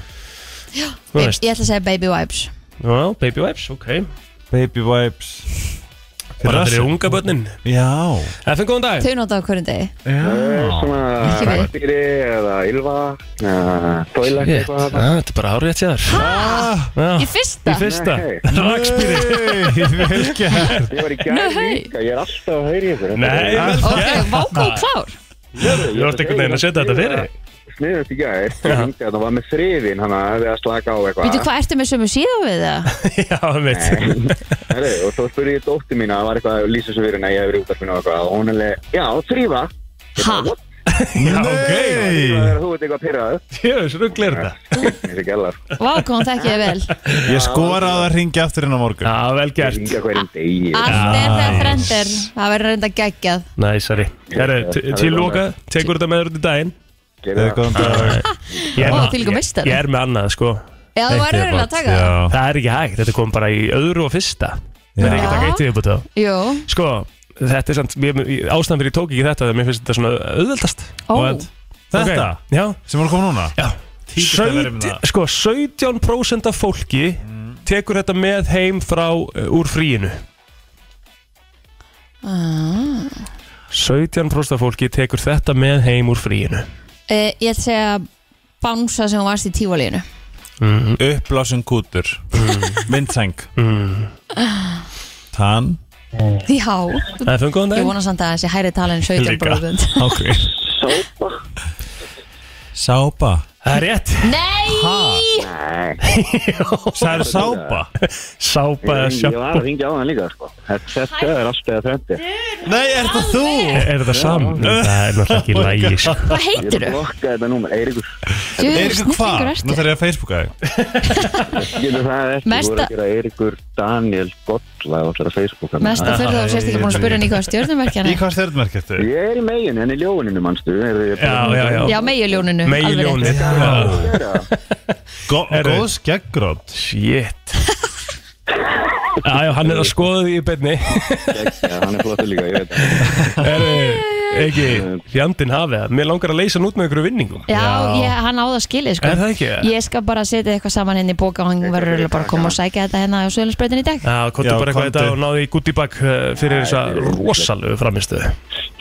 [SPEAKER 1] Þú
[SPEAKER 3] Ba-
[SPEAKER 1] veist.
[SPEAKER 3] ég ætla að segja baby wipes
[SPEAKER 1] Já, baby wipes, ok
[SPEAKER 4] Baby wipes
[SPEAKER 1] bara
[SPEAKER 4] Rassi.
[SPEAKER 1] fyrir unga börnin
[SPEAKER 4] Já
[SPEAKER 1] <laughs> FN, góðan dag
[SPEAKER 3] Þau nota á hverjum degi
[SPEAKER 4] Já
[SPEAKER 3] Ekki
[SPEAKER 5] Svona
[SPEAKER 3] við.
[SPEAKER 5] rættýri eða ylva, tóila
[SPEAKER 1] Shit, já,
[SPEAKER 5] eitthvað.
[SPEAKER 1] Þetta er bara árið að séðar
[SPEAKER 3] Í fyrsta?
[SPEAKER 1] Í fyrsta
[SPEAKER 5] Nei.
[SPEAKER 1] Rakspýri
[SPEAKER 4] Vel gert
[SPEAKER 5] Ég var í gær
[SPEAKER 3] Nei.
[SPEAKER 5] líka, ég er alltaf að heyri ykkur.
[SPEAKER 1] Nei, vel
[SPEAKER 3] Ok,
[SPEAKER 1] gert
[SPEAKER 3] vákó klár
[SPEAKER 1] Þú ert einhvern veginn að setja þetta fyrir
[SPEAKER 5] Sniðast í gær, það var með friðin hann að hefði að slaka á eitthvað.
[SPEAKER 3] Veitu hvað ertu með sömu síðan við það?
[SPEAKER 1] Já, mitt
[SPEAKER 5] Herri, og svo spurði ég dóttir mín að það var eitthvað að lýsa sem verið að ég hef verið út af og eitthvað og hún er leið, já, þrýfa
[SPEAKER 3] Ha?
[SPEAKER 1] Já, ok
[SPEAKER 5] Það er þú veit eitthvað pyrraðu
[SPEAKER 1] Jöfus, rugl er þetta
[SPEAKER 5] Þessi gælar
[SPEAKER 3] Vákó, hún þekki ég vel
[SPEAKER 4] Ég skora á það að ringja aftur inn á morgun
[SPEAKER 1] Já, vel gert
[SPEAKER 5] Ringja hverjum degi
[SPEAKER 3] Allt er það frendir Það verður reynda geggjað
[SPEAKER 1] Næsari Herru,
[SPEAKER 5] Yes,
[SPEAKER 1] t-
[SPEAKER 5] yes,
[SPEAKER 1] til
[SPEAKER 5] það er
[SPEAKER 1] loka, tekur þetta með þér út í daginn
[SPEAKER 5] Gerðu
[SPEAKER 4] Eða
[SPEAKER 5] það.
[SPEAKER 4] góðan dag
[SPEAKER 1] Ég er
[SPEAKER 3] Ó,
[SPEAKER 1] með-
[SPEAKER 3] þvílíkur meistari.
[SPEAKER 1] Ég er með annað, sko
[SPEAKER 3] Já, þú verður reynda að taka það
[SPEAKER 4] Já
[SPEAKER 1] Það er ekki hægt, þetta kom bara í öðru og fyrsta Það er
[SPEAKER 4] Já.
[SPEAKER 1] ekki að taka eitt viðbútt á
[SPEAKER 3] Jú,
[SPEAKER 1] Sko, þetta er samt, mér- ég- ástæðan fyrir ég tók ekki þetta þegar mér finnst þetta svona auðveldast
[SPEAKER 3] ó,
[SPEAKER 1] Og að-
[SPEAKER 4] Þetta
[SPEAKER 1] Ok, Já,
[SPEAKER 4] sem voru komið núna
[SPEAKER 1] já
[SPEAKER 4] Tíkist að vera með
[SPEAKER 1] Sautj-
[SPEAKER 4] það.
[SPEAKER 1] Sko, 17% af fólki tekur þetta með heim frá uh, úr fríinu
[SPEAKER 3] Ah.
[SPEAKER 1] 17% af fólki tekur þetta með heim úr fríinu
[SPEAKER 3] e, ég ætla að segja Bánsa sem hún varst í tífalínu
[SPEAKER 4] Uppblásin kútur Vindseng Tann
[SPEAKER 3] Já,
[SPEAKER 1] Það er fengið góðan
[SPEAKER 3] ég
[SPEAKER 1] dag
[SPEAKER 3] vona samt að þessi hæri tala en 17 bróðund
[SPEAKER 4] Ok Sápa
[SPEAKER 1] Það er rétt
[SPEAKER 3] Nei,
[SPEAKER 5] Nei,
[SPEAKER 4] Sæður sápa
[SPEAKER 1] <laughs> Sápa eða
[SPEAKER 5] ég
[SPEAKER 1] sjampo
[SPEAKER 5] var að ringja á hann líka sko. Þetta þetta er alltaf að trendi
[SPEAKER 4] Nei, er þetta þú?
[SPEAKER 1] Er, er þetta saman? Það er náttúrulega ekki lægi sko.
[SPEAKER 3] Hvað
[SPEAKER 5] Ég er
[SPEAKER 3] heitir
[SPEAKER 5] að
[SPEAKER 3] þú?
[SPEAKER 5] blokka þetta númer, Eiríkur
[SPEAKER 4] Eiríkur hvað? Nú þarf ég að Facebooka þig
[SPEAKER 5] Getur það ekki,
[SPEAKER 3] Mesta-
[SPEAKER 5] Mesta... voru að gera Eiríkur Daniel Gottla og allar að Facebooka
[SPEAKER 3] Mest að fyrir þá sérst ekki búin að spyrja hann í hvað stjórnumverkjan
[SPEAKER 4] Í hvað stjórnmerkertu?
[SPEAKER 5] Ég er í megin, en í ljóðuninu mannstu
[SPEAKER 1] Já, já, já
[SPEAKER 3] Já, meiljóninu
[SPEAKER 1] Meiljónið Herru.
[SPEAKER 4] Góð skeggrót
[SPEAKER 1] Shit Já, já, hann er að skoða því í beinni
[SPEAKER 5] Já, hann er flottur líka, ég veit það
[SPEAKER 1] Herru, ekki Fjandinn hafið það Mér langar að leysa hann út með einhverju vinningum
[SPEAKER 3] Já, ég, hann á það skilið sko
[SPEAKER 1] Er það ekki?
[SPEAKER 3] Ég skal bara setja eitthvað saman henni í bóka og hann verður örugglega bara að koma og sækja þetta hérna á Söðlansbreytin í dag
[SPEAKER 1] Já, kontu
[SPEAKER 4] Já,
[SPEAKER 1] bara eitthvað
[SPEAKER 4] komdu.
[SPEAKER 1] þetta og náði í gútibak fyrir þessa rosalegu framistu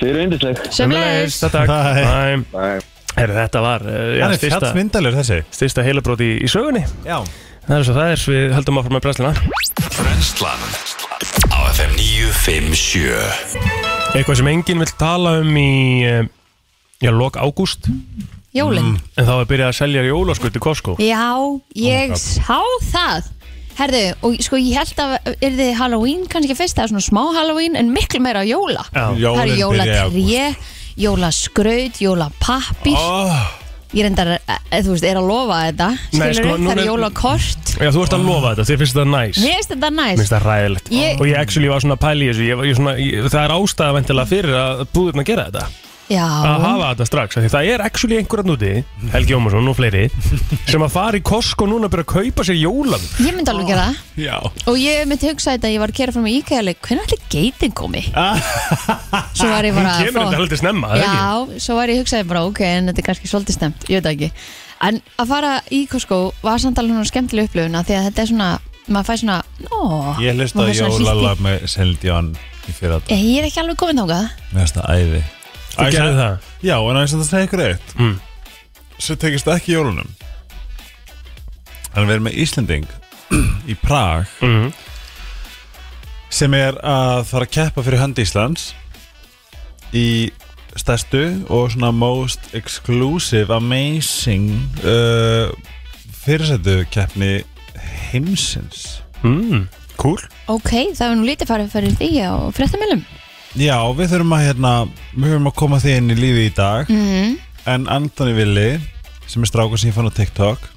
[SPEAKER 5] Þið eru yndislegt
[SPEAKER 3] Sömleis
[SPEAKER 1] Þetta
[SPEAKER 4] Bye.
[SPEAKER 5] Bye.
[SPEAKER 1] Herru, þetta var eh, já,
[SPEAKER 4] Hann er
[SPEAKER 1] styrsta,
[SPEAKER 4] fjallsmyndalur þessi
[SPEAKER 1] styrsta heilabróti í sögunni
[SPEAKER 4] Já
[SPEAKER 1] Það er svo það er, við höldum áfram með brennsluna
[SPEAKER 2] Brennslan Á FM 957
[SPEAKER 1] Eitthvað sem enginn vill tala um í eh, Já, lok ágúst
[SPEAKER 3] Jólin
[SPEAKER 1] En þá er byrjað að selja jólaskutt í Costco
[SPEAKER 3] Já, ég sá það Herðu, og sko ég held að er þið Halloween kannski fyrst það er svona smá Halloween en miklu meira jóla
[SPEAKER 1] Já,
[SPEAKER 3] Það er
[SPEAKER 4] Jólin byrja í ágúst.
[SPEAKER 3] jólatré, jólaskraut, jólapappir
[SPEAKER 4] Ó,
[SPEAKER 3] Ég reyndar, eh, þú veist, er að lofa þetta
[SPEAKER 1] Nei,
[SPEAKER 3] Skilur
[SPEAKER 1] sko, núna
[SPEAKER 3] það
[SPEAKER 1] er-
[SPEAKER 3] er jólakort
[SPEAKER 1] já þú ert að lofa þetta, þið finnst þetta næs
[SPEAKER 3] Mér finnst þetta
[SPEAKER 1] Mér
[SPEAKER 3] næst
[SPEAKER 1] finnst það ræðilegt
[SPEAKER 3] Ég-
[SPEAKER 1] Og ég actually var svona að pæla í þessu ég, var- ég svona, ég, Það er ástæða vendilega fyrir að búðurna gera þetta
[SPEAKER 3] Já,
[SPEAKER 1] Að hafa þetta strax af Því það er actually einhverjarn úti Helgi Ómarsson og fleiri Sem að fara í Costco núna að byrja að kaupa sér jólan
[SPEAKER 3] ég myndi alveg gera það
[SPEAKER 4] Já
[SPEAKER 3] Og ég myndi hugsa þetta að ég var að kera fram í IKEA-leik Hvernig allir geitin
[SPEAKER 4] <laughs>
[SPEAKER 3] komi? svo var ég
[SPEAKER 1] Hún
[SPEAKER 3] bara
[SPEAKER 1] kemur þetta heldur snemma, það ekki?
[SPEAKER 3] Já, svo var ég hugsaði bara ok, en þetta er kannski svolítið stemt, ég veit það ekki En að fara í Costco var samt alveg svona skemmtileg upplifun af Því að þetta er svona, maður fær svona, ó
[SPEAKER 4] Ég hlusta
[SPEAKER 3] maður fær svona
[SPEAKER 4] jólala
[SPEAKER 3] hlýtt í-
[SPEAKER 4] með Seldjón í fyrir þetta
[SPEAKER 3] Eh, Ég er ekki alveg komin þángað
[SPEAKER 4] Mér finnst það æði
[SPEAKER 1] Þú gerði það?
[SPEAKER 4] Já, en aðeins að það segja ykkur eitt
[SPEAKER 1] Mm.
[SPEAKER 4] Svo tekist það ekki í jólunum Þannig við erum með Íslending í Prag
[SPEAKER 1] Mhm.
[SPEAKER 4] sem er að fara að keppa fyrir hönd Íslands í stærstu og svona most exclusive amazing uh, fyrirsættu keppni heimsins
[SPEAKER 1] Mm, cool
[SPEAKER 3] Ok, það var nú lítið farið fyrir því á fréttamilum
[SPEAKER 4] Já, við þurfum að hérna, við þurfum að koma því inn í lífi í dag
[SPEAKER 3] mm.
[SPEAKER 4] En Antoni Villi sem er strákur sem ég fann á TikTok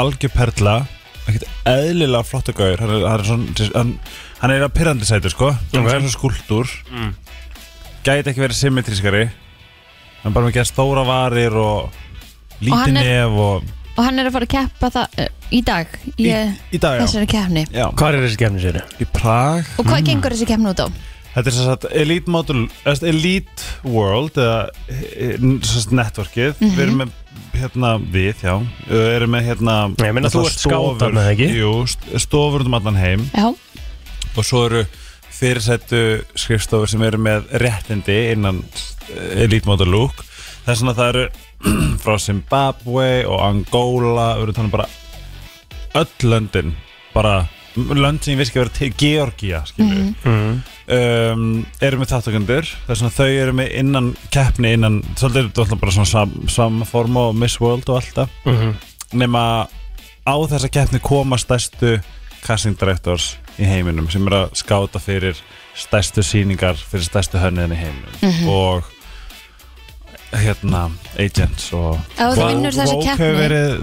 [SPEAKER 4] algjör perla ekkert eðlilega flottu gaur hann er, hann er, svona, hann, hann er að pyrrandi sætu sko hann er svona skúltúr
[SPEAKER 1] Mm.
[SPEAKER 4] gæti ekki verið symmetrískari hann er bara með að gera stóra varir og
[SPEAKER 3] Og
[SPEAKER 4] lítið
[SPEAKER 3] hann er-
[SPEAKER 4] nef og
[SPEAKER 3] Og hann er að fara að keppa það eh, í dag
[SPEAKER 4] í,
[SPEAKER 3] Ég,
[SPEAKER 4] í dag já, Mhm.
[SPEAKER 3] Þessari keppni
[SPEAKER 4] já.
[SPEAKER 1] Hvar er þessi kemni sér?
[SPEAKER 4] í Prag
[SPEAKER 3] Og hvað gengur þessi keppni út á?
[SPEAKER 4] Þetta er sem sagt Elite, Model, eða sem sagt Elite World eða e, n- sem sagt networkið við erum með hérna við, já við erum með hérna
[SPEAKER 1] Nei, ég meina, þú ert
[SPEAKER 4] stofur-
[SPEAKER 1] skátarna, eða ekki?
[SPEAKER 4] Jú, st- stofur um allan heim
[SPEAKER 3] Já,
[SPEAKER 4] og svo eru fyrirsættu skrifstofur sem eru með réttindi innan eh, Elite Model Look það er svona það eru <clears throat> frá Zimbabwe og Angola við erum þannig bara öll löndin bara lönd sem ég veist ekki að vera til Georgia skilju
[SPEAKER 1] Mm.
[SPEAKER 4] um, eru með þáttakundur það er svona þau eru með innan keppni innan, svolítið er þetta alltaf bara svona sam, sama forma og Miss World og alltaf
[SPEAKER 1] Mm
[SPEAKER 4] nema á þessa keppni koma stærstu casting directors í heiminum sem eru að skáta fyrir stærstu síningar fyrir stærstu hönniðin í heiminum
[SPEAKER 3] Mhm.
[SPEAKER 4] og hérna agents og
[SPEAKER 3] ef þú
[SPEAKER 1] Vá,
[SPEAKER 3] vinnur þessa
[SPEAKER 4] Vogue hefur
[SPEAKER 3] keppni
[SPEAKER 4] verið,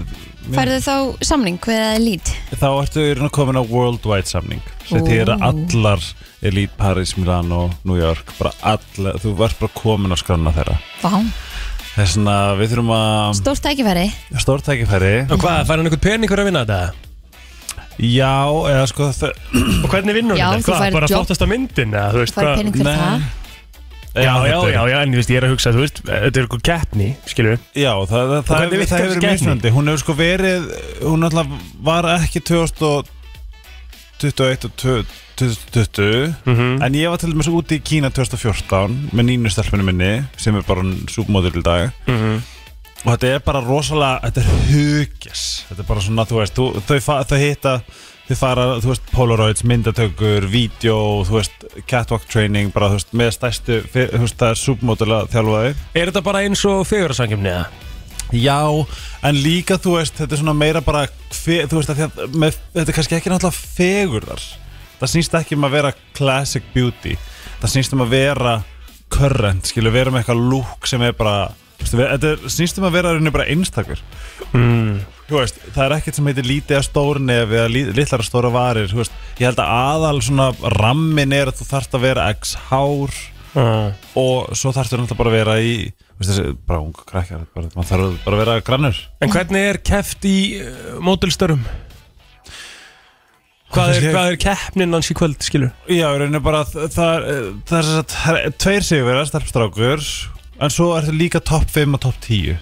[SPEAKER 3] Færðu þá samning, hvað er lít?
[SPEAKER 4] þá ertu í raun og komin á worldwide samning sem
[SPEAKER 3] Ó.
[SPEAKER 4] þýðir að allar Elite Paris, Milano, New York bara allar, þú varst bara komin á skranna þeirra
[SPEAKER 3] Vá,
[SPEAKER 4] þess vegna við þurfum að
[SPEAKER 3] stórt tækifæri
[SPEAKER 4] stórt tækifæri
[SPEAKER 1] Og hvað, fær hann einhvern pening fyrir að vinna þetta?
[SPEAKER 4] já, eða sko þau-
[SPEAKER 1] Og hvernig vinnur
[SPEAKER 3] Já,
[SPEAKER 1] hann þetta?
[SPEAKER 3] þú
[SPEAKER 1] Hvað,
[SPEAKER 3] færð
[SPEAKER 1] bara
[SPEAKER 3] jobb.
[SPEAKER 1] flottasta myndin? eða, þú veist,
[SPEAKER 3] Færðu
[SPEAKER 1] hvað-
[SPEAKER 3] pening fyrir
[SPEAKER 4] Nei.
[SPEAKER 3] það
[SPEAKER 1] Já, já,
[SPEAKER 4] þetta er-
[SPEAKER 1] já, já, en ég veist, ég er að hugsa, þú veist, þetta er eitthvað keppni, skilur við
[SPEAKER 4] Já, það, það, það,
[SPEAKER 1] hvernig
[SPEAKER 4] hefur- það hefur
[SPEAKER 1] virkar þessi
[SPEAKER 4] verið
[SPEAKER 1] keppni?
[SPEAKER 4] mismunandi Hún hefur sko verið, hún alltaf var ekki 2021 og 2020
[SPEAKER 1] Mhm.
[SPEAKER 4] En ég var til dæmis úti í Kína 2014 með nínu stelpunni minni sem er bara súpmóður í dag
[SPEAKER 1] Mhm.
[SPEAKER 4] Og þetta er bara rosalega, þetta er hugis Þetta er bara svona, þú veist, þú, þau, fa- þau hitta Þau fara, þú veist, Polaroids, myndatökur, vídeo, þú veist, catwalk training Bara, þú veist, með stærstu, fyr- þú veist, það er súpmóðurlega þjálfaði
[SPEAKER 1] Er þetta bara eins og fegurarsangjöfni, eða?
[SPEAKER 4] Já, en líka þú veist þetta er svona meira bara hve, þú veist að því að með, þetta er kannski ekki náttúrulega fegurðar það snýst ekki um að vera classic beauty það snýst um að vera current, skilur, vera með eitthvað lúk sem er bara, veistu, ve- þetta er- snýst um að vera í rauninni bara einstakur Þú veist, það er ekkert sem heitir lítið að stór nefi eða lí- litlar að stóra varir, þú veist ég held að aðal svona rammin er að þú þarft að vera x hár
[SPEAKER 1] Ah.
[SPEAKER 4] og svo þarftu náttúrulega bara að vera í veist, þessi, bara ungu krakkar bara, maður þarf bara að vera grannur
[SPEAKER 1] En hvernig er keft í uh, mótilstörum? Hvað er,
[SPEAKER 4] Ég-
[SPEAKER 1] hvað er keppnin hans í kvöld, skilur?
[SPEAKER 4] Já, í rauninni bara þ- það er, eh, það er, sem sagt- það er tveir sigurverðar, starfstrákur en svo ertu líka topp 5 og topp 10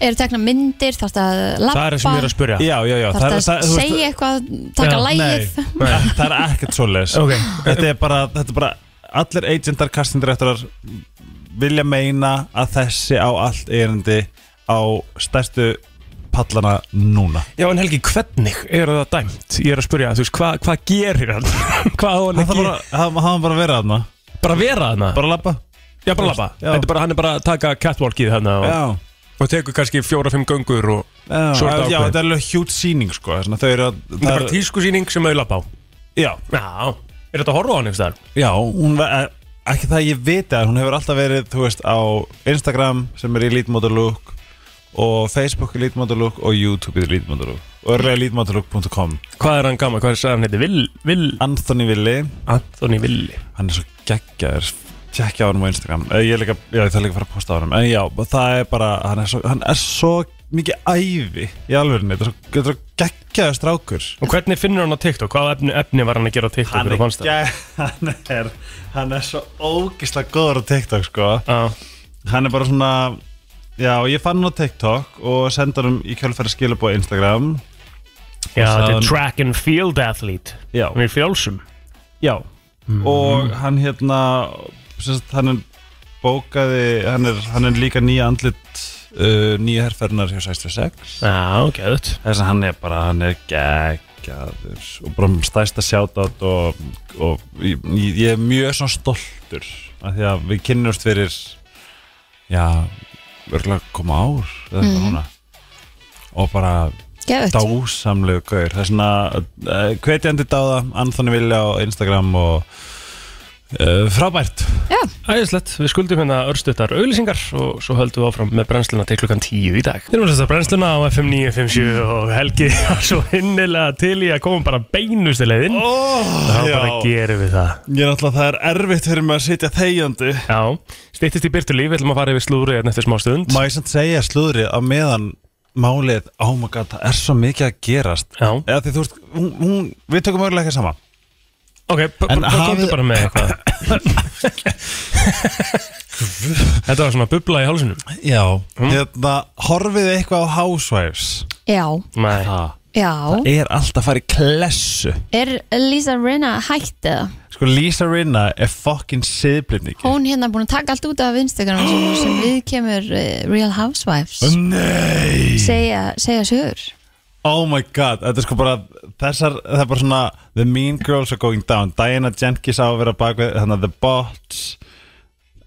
[SPEAKER 3] Eru tekna myndir, þarf það að lappa
[SPEAKER 1] Það er það sem ég er að spurja
[SPEAKER 4] Já, já, já
[SPEAKER 3] Þarf það að
[SPEAKER 4] þú veist,
[SPEAKER 3] segja eitthvað, taka
[SPEAKER 1] Já,
[SPEAKER 3] lægið
[SPEAKER 4] Nei, <laughs> það er ekkert svoleiðis
[SPEAKER 1] Ok.
[SPEAKER 4] þetta, er bara, þetta er bara allir agentar, kastindirektorar vilja meina að þessi á allt erindi á stærstu pallana núna
[SPEAKER 1] Já, en Helgi, hvernig er það dæmt? Ég er að spurja, þú veist, hvað hva gerir hann? <laughs> hvað á
[SPEAKER 4] Hann
[SPEAKER 1] hann að
[SPEAKER 4] þarf
[SPEAKER 1] gera?
[SPEAKER 4] bara, hann, hann bara að vera þarna
[SPEAKER 1] Bara vera þarna?
[SPEAKER 4] bara að labba
[SPEAKER 1] já, bara labba
[SPEAKER 4] Já.
[SPEAKER 1] Þetta er bara, hann er bara að taka catwalkið þarna og, og tekur kannski fjóra-fimm göngur og
[SPEAKER 4] Já,
[SPEAKER 1] Svo er
[SPEAKER 4] já,
[SPEAKER 1] þetta ákveðið.
[SPEAKER 4] þetta er alveg hjút síning sko Þannig að þau eru að
[SPEAKER 1] það er bara tískusýning sem auðla á
[SPEAKER 4] Já,
[SPEAKER 1] Já, er þetta að horfa á hann einhvers þar?
[SPEAKER 4] já hún, var- ekki það að ég viti að hún hefur alltaf verið Þú veist, á Instagram sem er í lítmótalúk Og Facebook í lítmótalúk og YouTube í lítmótalúk Og örlega lítmótalúk.com
[SPEAKER 1] Hvað er hann gaman? Hvað er það hann heiti? Vill, Vill,
[SPEAKER 4] Anthony Willi,
[SPEAKER 1] Anthony Villi
[SPEAKER 4] hann er svo geggjaður Tjekkja á hann á Instagram Eh, Ég er líka, já, ég þarf líka að fara að posta á hann En já, það er bara, hann er svo, hann er svo mikið ævi í alvörinu Þetta er svo- þetta er svo geggjaður strákur
[SPEAKER 1] Og hvernig finnur hann á TikTok? Hvað efni, efni var hann að gera á TikTok?
[SPEAKER 4] hann
[SPEAKER 1] þegar þú
[SPEAKER 4] er,
[SPEAKER 1] fannst það?
[SPEAKER 4] gæ, <laughs> hann er hann er svo ógislega góður á TikTok sko.
[SPEAKER 1] Já.
[SPEAKER 4] hann er bara svona já, ég fann hann á TikTok og senda hann í kjölfæri skilabóð Instagram
[SPEAKER 1] Já,
[SPEAKER 4] Og
[SPEAKER 1] þetta er
[SPEAKER 4] sagði-
[SPEAKER 1] track and field athlete
[SPEAKER 4] já,
[SPEAKER 1] Hann er í fjálsum
[SPEAKER 4] já. og hann hérna sem sagt, hann er bókaði hann er, hann er líka nýja andlit uh, nýja herrferðinar hjá 66
[SPEAKER 1] Já, geðut
[SPEAKER 4] þess að hann er bara hann er geggjaður og bara stæsta sjátátt og, og ég, ég er mjög svona stoltur af því að við kynnumst fyrir já, örgulega koma ár eða eitthvað núna og bara
[SPEAKER 3] Geðut
[SPEAKER 4] dásamlegu gaur það er svona uh, hvetjandi dáða Anthony Vilja á Instagram og uh, frábært
[SPEAKER 1] Æðislegt, við skuldum hérna örstuttar auðlýsingar og svo höldum við áfram með brennsluna til klukkan 10 í dag. Mm. Við erum að setja brennsluna á FM 957 og Helgi <laughs> var svo innilega til í að koma bara beinustu leiðin.
[SPEAKER 4] oh,
[SPEAKER 1] Þá bara gerum við það.
[SPEAKER 4] ég er alltaf það er erfitt fyrir mig að sitja þegjandi
[SPEAKER 1] Já, stýttist í byrtulíf, við ætlum að fara yfir slúrið hérna eftir smá stund.
[SPEAKER 4] Má ég samt segja slúðrið á meðan málið, oh my god, það er svo mikið að gerast
[SPEAKER 1] Já,
[SPEAKER 4] eða því þú veist, hún, hún, við tökum örgulega ekki sama
[SPEAKER 1] ok, b-
[SPEAKER 4] En
[SPEAKER 1] b- bara komdu
[SPEAKER 4] hafið-
[SPEAKER 1] bara með <laughs> eitthvað. Þetta var svona bubla í hálsunum.
[SPEAKER 4] Já Hérna, horfið þið eitthvað á Housewives
[SPEAKER 3] Já,
[SPEAKER 1] Nei,
[SPEAKER 3] já
[SPEAKER 4] Er alltaf að fara í klessu
[SPEAKER 3] Er Lisa Rinna hætt eða?
[SPEAKER 4] Sko, Lisa Rinna er fucking siðblindingi
[SPEAKER 3] Hún hérna búin að taka allt út af Instagram sem, sem við kemur Real Housewives
[SPEAKER 4] Nei
[SPEAKER 3] segja, segja sögur
[SPEAKER 4] Oh my god, þetta er sko bara þessar, það er bara svona The Mean Girls are going down, Diana Jenkins á að vera bak við, þannig að The Bots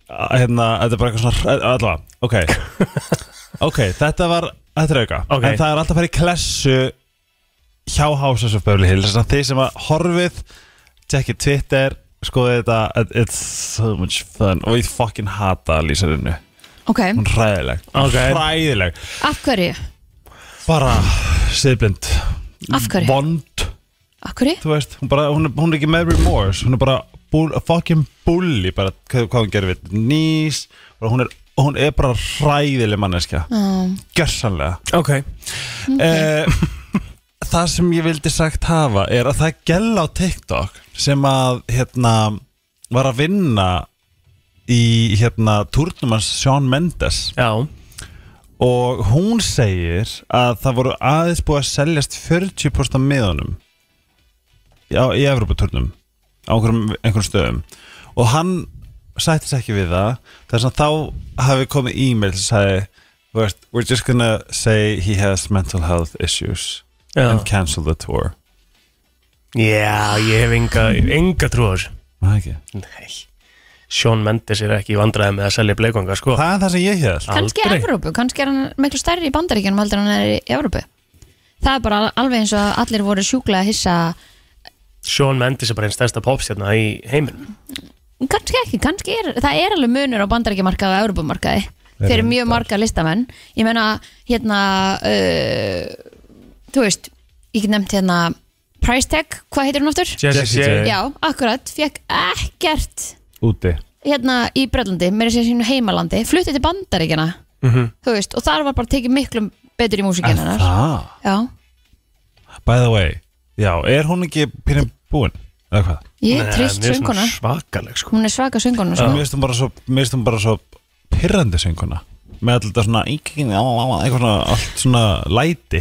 [SPEAKER 4] að- hérna, þetta er bara eitthvað svona að- allavega, ok
[SPEAKER 1] <laughs>
[SPEAKER 4] ok, þetta var, þetta er auka
[SPEAKER 1] Ok.
[SPEAKER 4] en það er alltaf að fara í klessu hjá Houses of Beverly Hills þannig að þið sem að horfið tjekkið Twitter, skoðið þetta it's so much fun og ég fucking hata Lísarinnu,
[SPEAKER 3] Ok,
[SPEAKER 4] hún er hræðileg
[SPEAKER 1] Ok.
[SPEAKER 4] hræðileg,
[SPEAKER 3] af hverju?
[SPEAKER 4] bara siðblind,
[SPEAKER 3] Af hverju?
[SPEAKER 4] vond
[SPEAKER 3] Af hverju?
[SPEAKER 4] þú veist, hún, bara, hún, er, hún er ekki með remorse hún er bara bull, a fucking bully bara hvað, hvað hún gerir við nýs og hún er, hún er bara hræðileg manneskja
[SPEAKER 3] Já,
[SPEAKER 4] gjörsanlega
[SPEAKER 1] ok.
[SPEAKER 4] okay. Eh, það sem ég vildi sagt hafa er að það er gæla á TikTok sem að hérna var að vinna í hérna turnumans Sean Mendes
[SPEAKER 1] Já,
[SPEAKER 4] og hún segir að það voru aðeins búið að seljast 40% af miðunum á, í Evropaturnum á einhverjum, einhverjum stöðum og hann sættis ekki við það þess að þá hafi komið e-mail sem sagði þú veist, we're just gonna say he has mental health issues
[SPEAKER 1] já.
[SPEAKER 4] and cancel the tour
[SPEAKER 1] Já, ég hef enga, enga trú á þessu.
[SPEAKER 4] Var það ekki?
[SPEAKER 1] Nei, Sean Mendes er ekki í vandræði með að selja bleikvanga sko
[SPEAKER 4] það er það sem ég held
[SPEAKER 3] kannski
[SPEAKER 1] Aldrei.
[SPEAKER 3] Evrópu, kannski er hann miklu stærri í bandaríkjanum heldur en hann er í Evrópu Það er bara alveg eins og allir voru sjúklega hissa
[SPEAKER 1] Sean Mendes er bara einn stærsta popstjarna í heiminum
[SPEAKER 3] kannski ekki, kannski er, það er alveg munur á bandarækjumarkaði og európumarkaði fyrir mjög marga listamenn ég meina, hérna uh, þú veist, ég get nefnt hérna Price Tag, hvað heitir hún aftur?
[SPEAKER 1] Jesse
[SPEAKER 4] Jesse J.
[SPEAKER 1] J
[SPEAKER 3] Já, akkurat, fekk ekkert
[SPEAKER 4] úti
[SPEAKER 3] hérna í Brellandi, meira sér sínu heimalandi fluttið til bandaríkjana
[SPEAKER 1] Mhm.
[SPEAKER 3] þú veist, og þar var bara tekið miklu betur í músikinn hennar
[SPEAKER 4] ah,
[SPEAKER 3] Já,
[SPEAKER 4] By the way, já, er hún ekki pínum búin? Eða hvað?
[SPEAKER 3] ég
[SPEAKER 1] Nei,
[SPEAKER 3] er trist
[SPEAKER 1] mér finnst hún
[SPEAKER 3] sönguna
[SPEAKER 1] Eh, Svakaleg sko
[SPEAKER 3] hún er svaka sönguna
[SPEAKER 4] Svo
[SPEAKER 3] sko.
[SPEAKER 4] Mér finnst hún bara svo, mér finnst hún bara svo pyrrandi sönguna með alltaf þetta svona einkenni, á, á, á, eitthvað svona, allt svona læti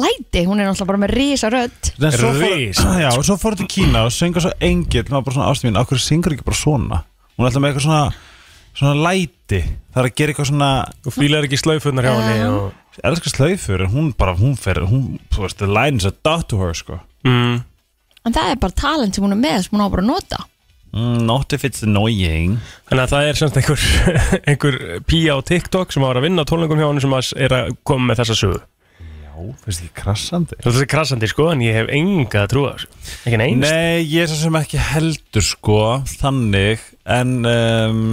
[SPEAKER 3] læti, hún er náttúrulega bara með rísa rödd
[SPEAKER 4] En svo fór-
[SPEAKER 1] Ris.
[SPEAKER 4] <clears throat> Já, og svo fór þetta kína og söngur svo engill maður bara svona ástum mín, okkur syngur ekki bara svona hún er alltaf með eitthvað svona svona læti, það er að gera eitthvað svona
[SPEAKER 1] Þú fílar ekki slaufunnar hjá henni og...
[SPEAKER 4] elskar slaufur, en hún bara, hún fer hún, þú veist, the lines are dot to her, sko
[SPEAKER 1] mm.
[SPEAKER 3] en það er bara talent sem hún er með sem hún á bara að nota
[SPEAKER 4] mm, not if it's annoying
[SPEAKER 1] Þannig að það er semst einhver, <laughs> einhver pía á TikTok sem var að vinna á tónleikum hjá henni sem að er að koma með þessa sögu
[SPEAKER 4] já, finnst ekki krassandi
[SPEAKER 1] Þetta er krassandi sko en ég hef enga að trúa þessu Ekki neins
[SPEAKER 4] nei, ég er svo sem ekki heldur, sko þannig, en um,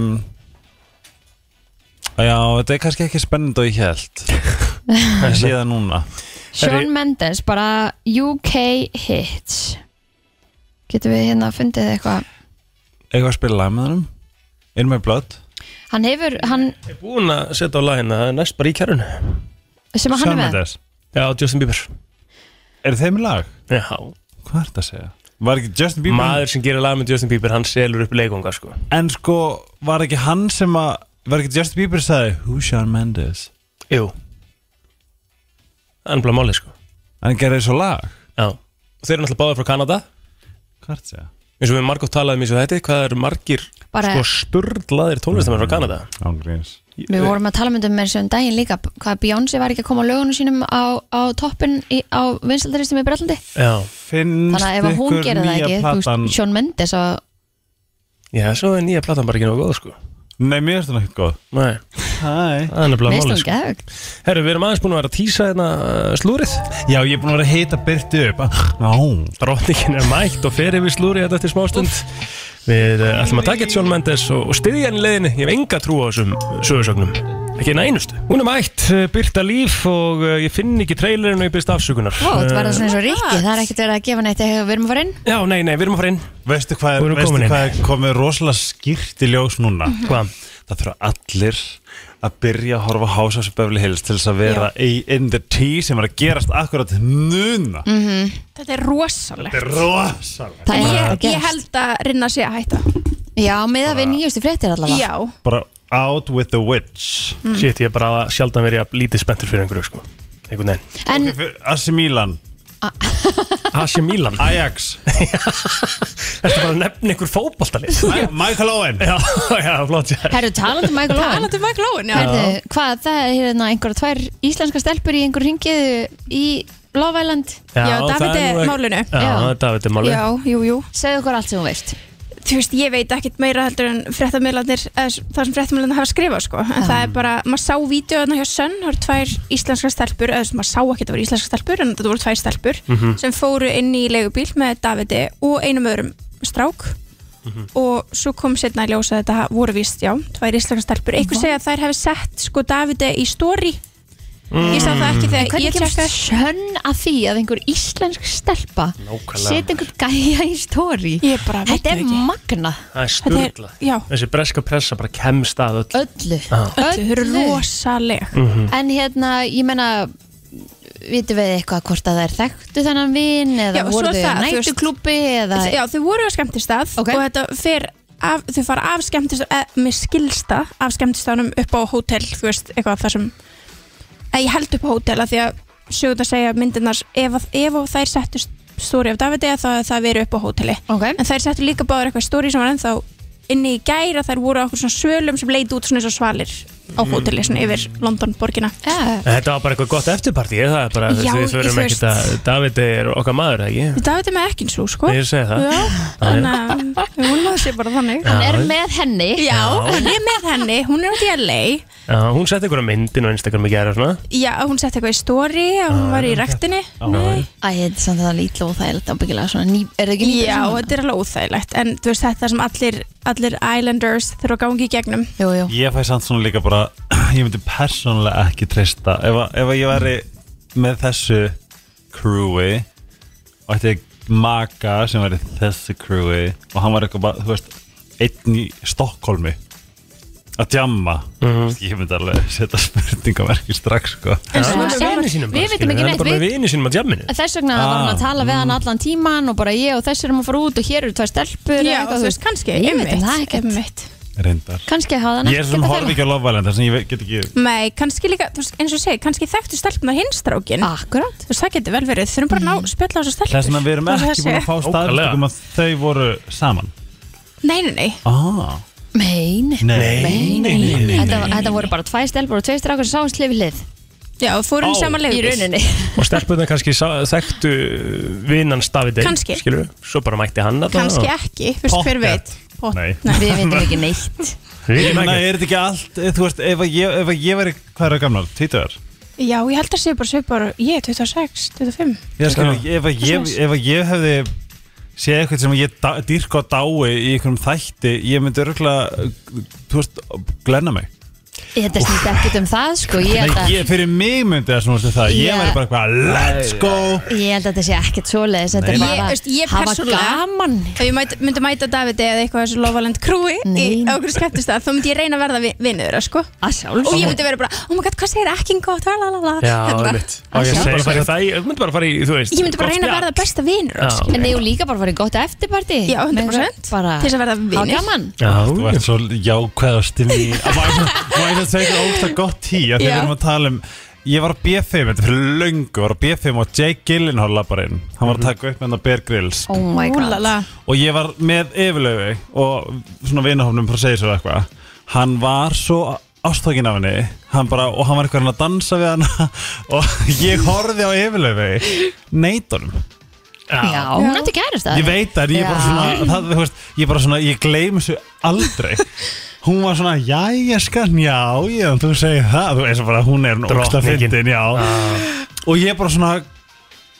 [SPEAKER 4] já, þetta er kannski ekki spennend og ég
[SPEAKER 3] <laughs>
[SPEAKER 4] held en síðan núna
[SPEAKER 3] Shawn Mendes, bara UK hits getum við hérna fundið eitthvað
[SPEAKER 4] eitthvað að spila lag með hannum In My Blood
[SPEAKER 3] hann hefur, hann,
[SPEAKER 1] Ég er búin að setja á lagina það er næst bara í kærunu
[SPEAKER 3] sem að hann er með
[SPEAKER 4] Mendes
[SPEAKER 1] Já, Justin Bieber
[SPEAKER 4] Er þeim í lag?
[SPEAKER 1] Já,
[SPEAKER 4] Hvað er þetta að segja? Var ekki Justin Bieber
[SPEAKER 1] maður sem gerir lag með Justin Bieber hann selur upp leikunga sko
[SPEAKER 4] En sko, var ekki hann sem að Var ekki Justin Bieber sagði Who's Shawn Mendes?
[SPEAKER 1] Jú Hann er bara málið sko
[SPEAKER 4] Hann gerði svo lag
[SPEAKER 1] Já, og þeir eru náttúrulega báðið frá Kanada
[SPEAKER 4] Hvað er þetta að segja?
[SPEAKER 1] eins og við margótt talaðum um í svo þetta hvað eru margir
[SPEAKER 3] Bara-
[SPEAKER 1] sko sturlaðir tónlistamenn frá Kanada
[SPEAKER 4] Ángríns
[SPEAKER 3] við vorum að tala myndum með þessu um daginn líka hvað Beyoncé var ekki að koma á lögunum sínum á, á toppin í, á vinsaldaristum í Brellandi
[SPEAKER 1] Já,
[SPEAKER 4] Finnst
[SPEAKER 3] þannig að ef að hún
[SPEAKER 4] ykkur
[SPEAKER 3] gerir það
[SPEAKER 4] nýja
[SPEAKER 3] ekki þú veist,
[SPEAKER 4] platan
[SPEAKER 3] Shawn Mendes og,
[SPEAKER 1] já, svo er nýja platan bara ekki nógu góð sko
[SPEAKER 4] Nei, mér er þetta ekkert góð
[SPEAKER 1] Nei,
[SPEAKER 4] Hæ
[SPEAKER 1] það er nefnilega
[SPEAKER 3] veist
[SPEAKER 1] málið
[SPEAKER 3] hún
[SPEAKER 1] sko.
[SPEAKER 3] geðvögt
[SPEAKER 1] Herru, við erum aðeins búin að vera að tísa hérna uh, slúrið
[SPEAKER 4] Já, ég er búin að vera að heita Byrti upp Já
[SPEAKER 1] Drottningin er mætt og fer yfir slúrið þetta eftir smástund Við uh, ætlum að taka eitt Sjón Mendes og, og styðja hann í leiðinni Ég hef enga trú á þessum uh, sögursögnum Ekki eina einustu Hún er mætt, uh, Byrta Líf og uh, ég finn ekki trailerinn og ég byrst afsökunar
[SPEAKER 3] Ó, þetta
[SPEAKER 1] Eh,
[SPEAKER 3] var það
[SPEAKER 6] Oh
[SPEAKER 3] svona eins og Rikki, það er ekkert verið að gefa neitt eða við erum að fara inn
[SPEAKER 1] Já, nei, nei, við erum að fara inn
[SPEAKER 4] Veistu hvað
[SPEAKER 1] Þú
[SPEAKER 4] er,
[SPEAKER 1] erum
[SPEAKER 4] veistu
[SPEAKER 1] komin inn.
[SPEAKER 4] hvað er komið rosalega skýrt í ljós núna?
[SPEAKER 1] Hvað?
[SPEAKER 4] það þurfa allir að byrja að horfa á House of Beverly Hills til þess að vera í in the tea sem er að gerast akkurat núna mm.
[SPEAKER 6] Þetta er rosalegt
[SPEAKER 4] rosalega
[SPEAKER 3] Það er
[SPEAKER 6] ég,
[SPEAKER 3] ekkert að
[SPEAKER 6] ég
[SPEAKER 3] gerast
[SPEAKER 6] held að rinna sé að hætta
[SPEAKER 3] Já, með að við nýjustu fréttir allavega
[SPEAKER 6] Já,
[SPEAKER 4] bara out with the witch
[SPEAKER 1] Mm. Shit, ég er bara sjaldan verið að lítið spenntur fyrir einhverju sko einhvern veginn
[SPEAKER 3] En
[SPEAKER 4] Asi Milan,
[SPEAKER 1] Asi Milan
[SPEAKER 4] Ajax,
[SPEAKER 1] Þetta bara að nefna einhver fótboltalið <laughs>
[SPEAKER 4] Ma- Michael Owen
[SPEAKER 1] Já, já, flott já.
[SPEAKER 3] herru, talandi um Michael Owen
[SPEAKER 6] talandi um Michael Owen já.
[SPEAKER 3] Herðu, hvað, það er hérna einhverja tvær íslenska stelpur í einhverju ringið í Love Island
[SPEAKER 6] Já, David
[SPEAKER 1] það
[SPEAKER 6] er
[SPEAKER 1] nú ekki-
[SPEAKER 6] málinu.
[SPEAKER 1] Já,
[SPEAKER 3] Já.
[SPEAKER 1] David er málinu
[SPEAKER 6] já, jú, jú
[SPEAKER 3] Segðu okkur allt sem þú veist
[SPEAKER 6] Þú veist, ég veit ekkit meira heldur en fréttamiðlarnir eða s- það sem fréttamiðlarnir hafa skrifað sko. en það
[SPEAKER 3] Ah.
[SPEAKER 6] er bara, maður sá vídeoðna hjá Sönn það voru tvær íslenskar stelpur eða sem maður sá ekki að það voru íslenskar stelpur en þetta voru tvær stelpur sem fóru inn í leigubíl með Davidi og einum öðrum strák og svo kom setna í ljósa þetta voru víst, já, tvær íslenskar stelpur einhver segja að þær hefði sett sko Davidi í stóri ég sá það ekki þegar ég
[SPEAKER 3] Hvernig kemst
[SPEAKER 6] tjekkaði
[SPEAKER 3] sönn að því að einhver íslensk stelpa
[SPEAKER 1] Nákvæmlega.
[SPEAKER 3] setja einhvern gæja í stóri
[SPEAKER 6] Ég bara veit
[SPEAKER 3] Þetta er
[SPEAKER 6] ekki.
[SPEAKER 3] magna
[SPEAKER 1] Það er
[SPEAKER 6] Þetta er-
[SPEAKER 1] sturgla
[SPEAKER 6] já.
[SPEAKER 1] Þessi breska pressa bara kemst að öll
[SPEAKER 3] öllu
[SPEAKER 6] Þau eru rosaleg
[SPEAKER 3] En hérna, ég menna vitum við eitthvað hvort að það er þekktu þennan vin eða
[SPEAKER 6] Já, og
[SPEAKER 3] voru
[SPEAKER 6] svo
[SPEAKER 3] þau
[SPEAKER 6] það, þú veist-
[SPEAKER 3] nættuklubbi eða
[SPEAKER 6] Já, þau voru á skemmtistað
[SPEAKER 3] Ok.
[SPEAKER 6] og þetta fer af, þau fara af skemmtistað, eða mér skilsta af skemmtistaðnum upp á hótel, þú veist, eitthvað þar sem, eða ég held upp á hótel að því að sögum það segja myndirnar ef, að- ef að þær settu stóri af Davide þá hefði það verið upp á hóteli.
[SPEAKER 3] Ok.
[SPEAKER 6] En þær settu líka báður eitthvað stóri sem var ennþá inni í gæra, þær voru á okkur svona svölum sem leit út svona eins og svalir á
[SPEAKER 1] Mm.
[SPEAKER 6] hóteli, svona yfir London borgina.
[SPEAKER 1] En
[SPEAKER 3] Já,
[SPEAKER 1] Þetta var bara eitthvað gott eftirparti Það er bara,
[SPEAKER 6] Já,
[SPEAKER 1] við
[SPEAKER 6] ég-
[SPEAKER 1] þurfum
[SPEAKER 6] þú
[SPEAKER 1] ekkert
[SPEAKER 6] veist-
[SPEAKER 1] að David er okkar maður, ekki?
[SPEAKER 6] Davide með ekki eins og sko.
[SPEAKER 1] Ég segi það
[SPEAKER 6] Já, þannig að við vonum að það sé bara þannig.
[SPEAKER 3] Hann er með henni
[SPEAKER 6] Já, hann er með henni, hún er út í LA
[SPEAKER 1] Já, hún setti einhverja myndin og Instagram í gera og svona
[SPEAKER 6] Já, hún setti eitthvað í story og hún var í rektinni Nei.
[SPEAKER 3] Æ, þetta er samt að það er ítla og það er þetta ábyggilega svona ný, er það ekki nýbyrð
[SPEAKER 6] Já, þetta er alveg óþægilegt en þú veist þetta sem allir allir Islanders þurfa að gangi í gegnum
[SPEAKER 3] jú, jú.
[SPEAKER 4] Ég fæ samt svona líka bara <clears throat> Ég myndi persónulega ekki treysta Ef, að- ef að ég væri með þessu crewi Og ætti ég maka sem væri þessu crewi Og hann var eitthvað bara, þú veist Einn í Stokkólmi Að djamma Ég myndi alveg setja spurningamerki strax sko
[SPEAKER 3] En
[SPEAKER 1] Hann
[SPEAKER 3] svo
[SPEAKER 1] er með
[SPEAKER 3] sjáum-
[SPEAKER 1] vini sínum bara,
[SPEAKER 3] Við veitum
[SPEAKER 1] skilurðu,
[SPEAKER 3] ekki
[SPEAKER 1] hann er
[SPEAKER 3] neitt
[SPEAKER 1] bara með
[SPEAKER 3] við-
[SPEAKER 1] vini sínum á
[SPEAKER 6] <laughs>
[SPEAKER 1] djamminu
[SPEAKER 3] Þess vegna var hann
[SPEAKER 4] Ah,
[SPEAKER 3] að tala við hann allan tíman og bara ég og þessi erum að fara út og hér eru tvær stelpur eða
[SPEAKER 6] Já,
[SPEAKER 3] eitthvað,
[SPEAKER 6] þú veist, kannski,
[SPEAKER 3] Ég veit um það
[SPEAKER 6] einmitt,
[SPEAKER 3] ekkert.
[SPEAKER 6] einmitt.
[SPEAKER 4] Reyndar
[SPEAKER 3] Kannski hafði hann
[SPEAKER 4] Ég er
[SPEAKER 3] ekki
[SPEAKER 4] sem
[SPEAKER 3] getað
[SPEAKER 4] horf
[SPEAKER 3] þeirra.
[SPEAKER 4] ekki á Love Island Þannig ég get ekki
[SPEAKER 6] Nei, kannski líka, þú veist, eins og ég segi, kannski þekktu stelpunar hinstrákin
[SPEAKER 3] Akkurát
[SPEAKER 6] Þú veist, það getur vel verið, þurfum bara
[SPEAKER 3] Mm.
[SPEAKER 6] að ná spjalla á þessu stelpur
[SPEAKER 4] Þess vegna við erum ekki
[SPEAKER 6] Þó það
[SPEAKER 4] búin að
[SPEAKER 6] sé-
[SPEAKER 4] fá staðfestingum að þau voru saman
[SPEAKER 6] Nei, nei, nei,
[SPEAKER 4] ah,
[SPEAKER 3] Mein
[SPEAKER 4] Nei,
[SPEAKER 3] Þetta, þetta voru bara tvær stelpur og tvei strákar sem sáum slið við hlið
[SPEAKER 6] já, fórum
[SPEAKER 4] Á.
[SPEAKER 6] saman
[SPEAKER 3] í
[SPEAKER 6] leiðis
[SPEAKER 3] rauninni
[SPEAKER 1] Og stelpunna kannski sá- þekktu vinnan Davide
[SPEAKER 6] Kannski.
[SPEAKER 1] skilurðu. Svo bara mætti hann að
[SPEAKER 6] Kannski ekki, þú veist, hver veit Pott-
[SPEAKER 4] Nei.
[SPEAKER 3] Við veitum ekki neitt
[SPEAKER 4] Ég meina,
[SPEAKER 1] Nei,
[SPEAKER 4] er þetta ekki allt, eh, þú veist, ef að ég, ef að ég veri, hvað er það gammal, tvítuðar?
[SPEAKER 6] Já, ég held að séu bara svipar, ég er 26, 25
[SPEAKER 4] Ég skil, ef að ég, ef að ég hefði séð eitthvað sem ég da, dýrka á dái í einhverjum þætti, ég myndi örgulega, þú veist, glenna mig.
[SPEAKER 3] Þetta snýst ekkert um það sko Ég held
[SPEAKER 4] Nei,
[SPEAKER 3] að,
[SPEAKER 4] ég, fyrir mig myndi það svona sem það,
[SPEAKER 3] Já.
[SPEAKER 4] ég væri bara eitthvað, let's go.
[SPEAKER 3] ég held að þetta sé ekkert svoleiðis Þetta
[SPEAKER 4] Nei,
[SPEAKER 3] er
[SPEAKER 4] nei.
[SPEAKER 6] Ég-
[SPEAKER 3] bara
[SPEAKER 6] veist, ég
[SPEAKER 3] að hafa
[SPEAKER 6] persónulega-
[SPEAKER 3] gaman
[SPEAKER 6] Ef ég mæt, myndi mæta Davidi eða eitthvað þessu Lovaland krúi
[SPEAKER 3] Nei.
[SPEAKER 6] í okkur skemmtistað, þá myndi ég reyna að verða vi- vinur þeirra, sko.
[SPEAKER 3] Að
[SPEAKER 6] Og ég
[SPEAKER 3] sjálfsög
[SPEAKER 6] myndi vera bara, oh my god, hvað segir ekki gott, lalalala.
[SPEAKER 1] Já,
[SPEAKER 6] Hérna.
[SPEAKER 1] einmitt
[SPEAKER 3] Á,
[SPEAKER 1] Ég
[SPEAKER 3] ég
[SPEAKER 1] myndi
[SPEAKER 3] segi
[SPEAKER 1] bara fara í það, ég myndi bara fara í, þú veist
[SPEAKER 6] Ég myndi bara
[SPEAKER 1] gott
[SPEAKER 6] reyna að verða
[SPEAKER 1] spjall.
[SPEAKER 6] besta vinur,
[SPEAKER 1] Já.
[SPEAKER 6] sko.
[SPEAKER 3] En ég líka bara farið gott eftirparti
[SPEAKER 6] Já, 100%.
[SPEAKER 3] Bara
[SPEAKER 6] Til þess að verða
[SPEAKER 3] hafa
[SPEAKER 6] vinir.
[SPEAKER 3] gaman
[SPEAKER 4] Þú
[SPEAKER 1] Já,
[SPEAKER 4] ert svo jákvæðast í mér.
[SPEAKER 6] <laughs>
[SPEAKER 4] Mæði að segja ógst að gott tí, að þegar við
[SPEAKER 6] Já.
[SPEAKER 4] erum að tala um, ég var á B5, þetta er fyrir löngu, var á B5 og Jake Gyllenhaal lappa reyn. Hann var að taka upp með hann að Bear Grylls.
[SPEAKER 3] Oh my god
[SPEAKER 6] Úlala.
[SPEAKER 4] og ég var með yfirlegu og svona vinahofnum frá segir svo eitthvað hann var svo ástókin af henni hann bara, og hann var eitthvað að dansa við hana <laughs> og ég horfði á yfirlegu neitunum,
[SPEAKER 3] Já, hún átti kærast það
[SPEAKER 4] ég veit það en ég bara
[SPEAKER 3] Já.
[SPEAKER 4] svona, það, þú veist, ég bara svona ég gleym þessu aldrei hún var svona, jæja skan, já já, þú segir það, þú veist bara hún er ógsta
[SPEAKER 1] Drottningin.
[SPEAKER 4] fyndin, já og ég bara svona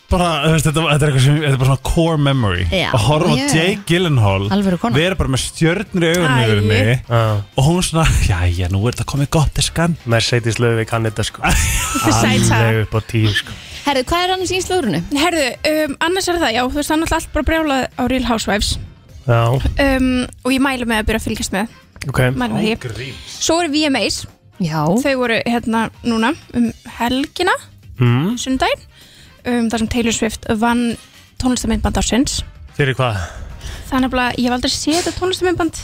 [SPEAKER 4] bara, þú veist, þetta, þetta er eitthvað sem, þetta er bara svona core memory
[SPEAKER 3] Já.
[SPEAKER 4] að horfa á
[SPEAKER 3] Já.
[SPEAKER 4] Jake Gyllenhaal
[SPEAKER 3] Alvöru kona.
[SPEAKER 4] vera bara með stjörnur í augunum
[SPEAKER 6] Æ.
[SPEAKER 4] yfir mig
[SPEAKER 1] Já.
[SPEAKER 4] og hún svona, jæja, nú er þetta komið gott eskan
[SPEAKER 1] Mercedes Löfvík hann þetta sko
[SPEAKER 6] Sæta.
[SPEAKER 1] Alveg upp á tíu sko
[SPEAKER 3] Herðu, hvað er annars í slúrunu?
[SPEAKER 6] Herðu, um, annars er það, já, þú veist, hann er alltaf bara brjálað á Real Housewives
[SPEAKER 1] Já,
[SPEAKER 6] um, og ég mælu með að byrja að fylgjast með,
[SPEAKER 1] ok
[SPEAKER 6] mælu með því. Svo er VMAs,
[SPEAKER 3] Já
[SPEAKER 6] þau voru hérna núna um helgina,
[SPEAKER 1] Mm.
[SPEAKER 6] sundaginn, um, þar sem Taylor Swift vann tónlistamindband ársins.
[SPEAKER 1] Fyrir hvað?
[SPEAKER 6] Þannig að ég hef aldrei séð þetta tónlistamindband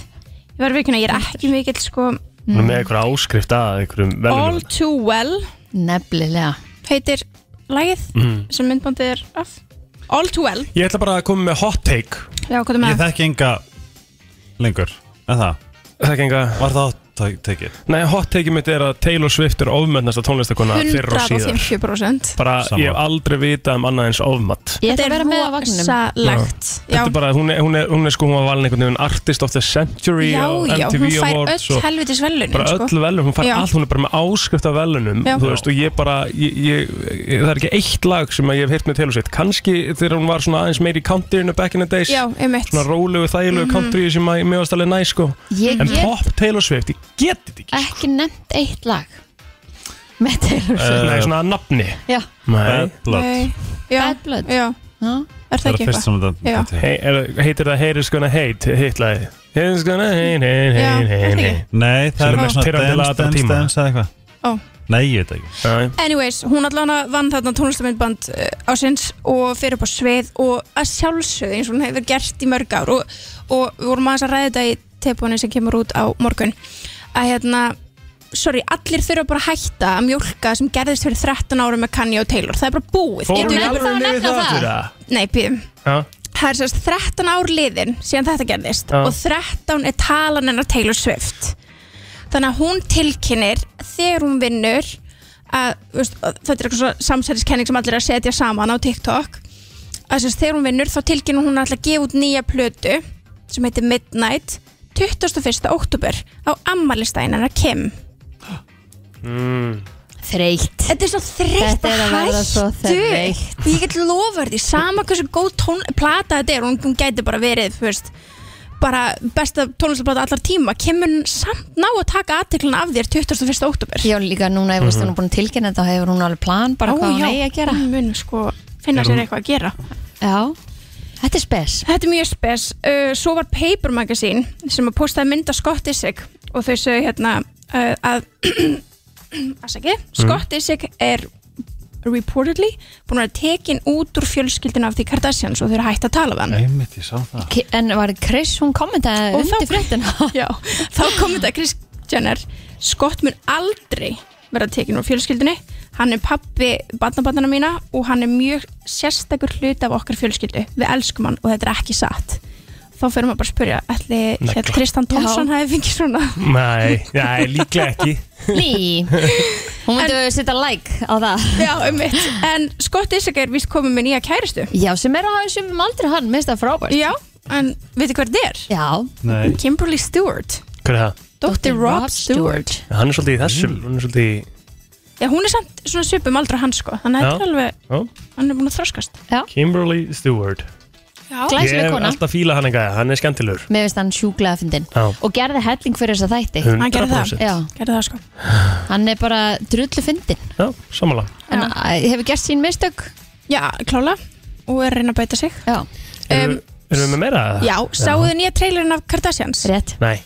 [SPEAKER 6] Ég var vikuna, ég er ekki mikill sko
[SPEAKER 1] Hún er með einhverja áskrift að einhverjum
[SPEAKER 6] All
[SPEAKER 1] velum
[SPEAKER 6] Too Well
[SPEAKER 3] Nefnilega
[SPEAKER 6] heitir lagið
[SPEAKER 1] Mhm.
[SPEAKER 6] sem myndbandið er af All Too Well
[SPEAKER 1] Ég ætla bara að koma með hot take
[SPEAKER 6] Já, hvað er
[SPEAKER 4] ég
[SPEAKER 6] með það?
[SPEAKER 4] þekki enga lengur en það,
[SPEAKER 1] Það genga
[SPEAKER 4] var það átt- tekið
[SPEAKER 1] Nei, hot take mitt er að Taylor Swift er ofmennasta tónlistakona fyrr og síðar
[SPEAKER 6] 150%
[SPEAKER 1] Bara,
[SPEAKER 4] Sammála.
[SPEAKER 1] ég hef aldrei vitað um annað eins ofmatt
[SPEAKER 3] Ég ætla að vera með á vagninum
[SPEAKER 6] rosalegt Já,
[SPEAKER 1] Þetta er bara, hún er, hún er, hún er sko, hún var valin einhvern veginn Artist of the Century
[SPEAKER 6] já,
[SPEAKER 1] og
[SPEAKER 6] já,
[SPEAKER 1] MTV
[SPEAKER 6] hún fær
[SPEAKER 1] Awards
[SPEAKER 6] öll
[SPEAKER 1] og
[SPEAKER 6] helvitis velunin
[SPEAKER 1] bara
[SPEAKER 6] sko.
[SPEAKER 1] öll velum, hún fær
[SPEAKER 6] Já.
[SPEAKER 1] allt, hún er bara með áskrift af velunum
[SPEAKER 6] Já.
[SPEAKER 1] þú veist, og ég bara, ég, ég, ég, það er ekki eitt lag sem að ég hef heyrt með Taylor Swift kannski þegar hún var svona aðeins meiri í countryinu back in the days,
[SPEAKER 6] Já, Mhm. einmitt
[SPEAKER 1] svona rólegu þægilegu country sem að ég meðast alveg næ sko
[SPEAKER 3] Ég
[SPEAKER 1] en
[SPEAKER 3] get
[SPEAKER 1] pop Taylor Swift, ég geti þetta ekki
[SPEAKER 3] ekki nefnt eitt lag með Taylor Swift
[SPEAKER 1] Nei, svona að nafni
[SPEAKER 3] Já,
[SPEAKER 1] Nei.
[SPEAKER 4] Bad Blood,
[SPEAKER 6] Nei, Já,
[SPEAKER 3] Bad Blood
[SPEAKER 6] já,
[SPEAKER 3] Já.
[SPEAKER 6] er það
[SPEAKER 4] það
[SPEAKER 6] ekki
[SPEAKER 4] er fyrst
[SPEAKER 6] eitthvað?
[SPEAKER 4] sem
[SPEAKER 6] Já.
[SPEAKER 4] þetta
[SPEAKER 1] Hey, er, heitir það Haters Gonna Hate hitt lagi Haters Gonna Hate, hate,
[SPEAKER 6] Já,
[SPEAKER 1] hate,
[SPEAKER 6] er það
[SPEAKER 1] hate,
[SPEAKER 6] ekki?
[SPEAKER 1] hate.
[SPEAKER 4] nei,
[SPEAKER 1] Sem
[SPEAKER 4] það
[SPEAKER 1] er
[SPEAKER 4] er með
[SPEAKER 1] mest
[SPEAKER 4] svona
[SPEAKER 1] pirrandi lag
[SPEAKER 4] dance,
[SPEAKER 1] allra
[SPEAKER 4] dance,
[SPEAKER 1] tíma.
[SPEAKER 4] dance eða
[SPEAKER 6] Ó.
[SPEAKER 4] eitthvað nei, ég veit ekki
[SPEAKER 1] Já.
[SPEAKER 6] Anyways, hún allan vann þarna tónlistamindband á sinns og fyrir upp á svið og að sjálfsögðu eins og hún hefur gert í mörg ár og, og við vorum aðeins að ræða þetta í tebunni sem kemur út á morgun að hérna, sorry, allir þurfa bara að hætta að mjólka sem gerðist fyrir 13 árum með Kanye og Taylor, það er bara búið
[SPEAKER 1] Fór
[SPEAKER 6] Getum
[SPEAKER 1] hún
[SPEAKER 6] við-
[SPEAKER 3] ennþá
[SPEAKER 1] alveg
[SPEAKER 3] að
[SPEAKER 1] niður
[SPEAKER 3] nefna
[SPEAKER 1] það
[SPEAKER 3] það?
[SPEAKER 1] fyrir það?
[SPEAKER 6] Nei, býðum
[SPEAKER 1] Já.
[SPEAKER 6] Það er sérst 13 ár liðin síðan þetta gerðist
[SPEAKER 1] Já.
[SPEAKER 6] og 13 er talan hennar Taylor Swift þannig að hún tilkinnir þegar hún vinnur að, þú veist, að þetta er eitthvað svo samsætiskenning sem allir er að setja saman á TikTok að sérst þegar hún vinnur þá tilkinnir hún ætla að gefa út nýja plötu sem heitir Midnight 21. oktober á ammælistæðin hennar Kim
[SPEAKER 3] Þreytt
[SPEAKER 6] Þetta er svo þreytt
[SPEAKER 3] Þetta er að verða svo
[SPEAKER 6] hættu.
[SPEAKER 3] þreytt.
[SPEAKER 6] Ég get lofa þér því sama hversu góð tón, plata þetta er hún, hún gæti bara verið þú veist, bara besta tónlistablata allar tíma kemur hún samt ná að taka aðteklun af þér 21. oktober
[SPEAKER 3] Já, líka núna, ég veist, hún er búin að tilkynna þetta og hefur hún alveg plan bara hvað hún eigi að gera.
[SPEAKER 6] hún mun sko finna sér eitthvað að gera
[SPEAKER 3] Já, þetta er spes.
[SPEAKER 6] Þetta er mjög spes uh, Svo var Paper Magazine sem að postaði mynd af Scott Disick og þau sögðu hérna uh, að <clears throat> Asaki, Scott Disick er reportedly búin að vera tekin út úr fjölskyldinu af því Kardashians og þau eru hægt að tala við hann
[SPEAKER 4] Einmitt, ég sá það
[SPEAKER 3] Ki- En var Chris, hún kommentaði
[SPEAKER 6] Og þá-
[SPEAKER 3] Eh, undir fréttina.
[SPEAKER 6] <laughs> Já, þá kom þetta Kris Jenner Scott mun aldrei vera tekin úr fjölskyldinu hann er pappi barnabarnana mína og hann er mjög sérstakur hluti af okkar fjölskyldu við elskum hann og þetta er ekki satt þá fyrir maður bara að spyrja ætli
[SPEAKER 1] Negla.
[SPEAKER 6] hérna Kristján Tómsson
[SPEAKER 3] Já.
[SPEAKER 6] hafi fengið svona
[SPEAKER 3] <laughs>
[SPEAKER 1] Nei, nei, líklega ekki
[SPEAKER 3] Ný, hún myndi að setja like á það.
[SPEAKER 6] já, um mitt, en Scott Isaac er vist komið með nýja kæristu
[SPEAKER 3] Já, sem er á þessum aldrei hann, minnst það frábært.
[SPEAKER 6] já, en veitir hvað þetta er?
[SPEAKER 3] Já,
[SPEAKER 4] Nei,
[SPEAKER 6] Kimberly Stewart,
[SPEAKER 1] Hver er það?
[SPEAKER 6] Dr. Rob Stewart
[SPEAKER 1] Hann er svolítið í þessum Hann er svolítið í
[SPEAKER 6] já, hún er samt svona svipum aldra hans sko þannig að
[SPEAKER 1] Já.
[SPEAKER 6] þetta er alveg,
[SPEAKER 1] Ó,
[SPEAKER 6] hann er búin að þroskast
[SPEAKER 1] Kimberly Stewart
[SPEAKER 6] já,
[SPEAKER 1] Ég
[SPEAKER 3] Glæsileg
[SPEAKER 1] hef
[SPEAKER 3] kona.
[SPEAKER 1] alltaf fíla hann eitthvað Hann er skemmtilegur
[SPEAKER 3] Mér finnst hann sjúklega fyndin.
[SPEAKER 1] Já.
[SPEAKER 3] Og gerði helling fyrir þessa þætti.
[SPEAKER 1] 100%
[SPEAKER 6] hann gerði það.
[SPEAKER 3] Já,
[SPEAKER 6] gerði það sko
[SPEAKER 3] hann er bara drullu fyndin.
[SPEAKER 1] Já, samanlega
[SPEAKER 3] En a- hefur gert sín mistök?
[SPEAKER 6] Já, klála og er að reyna að bæta sig
[SPEAKER 3] Já,
[SPEAKER 1] Erum
[SPEAKER 6] Um,
[SPEAKER 1] við- erum við með meira? eða?
[SPEAKER 6] Já, sáu þið nýja trailerinn af Kardashians?
[SPEAKER 3] rétt.
[SPEAKER 1] Nei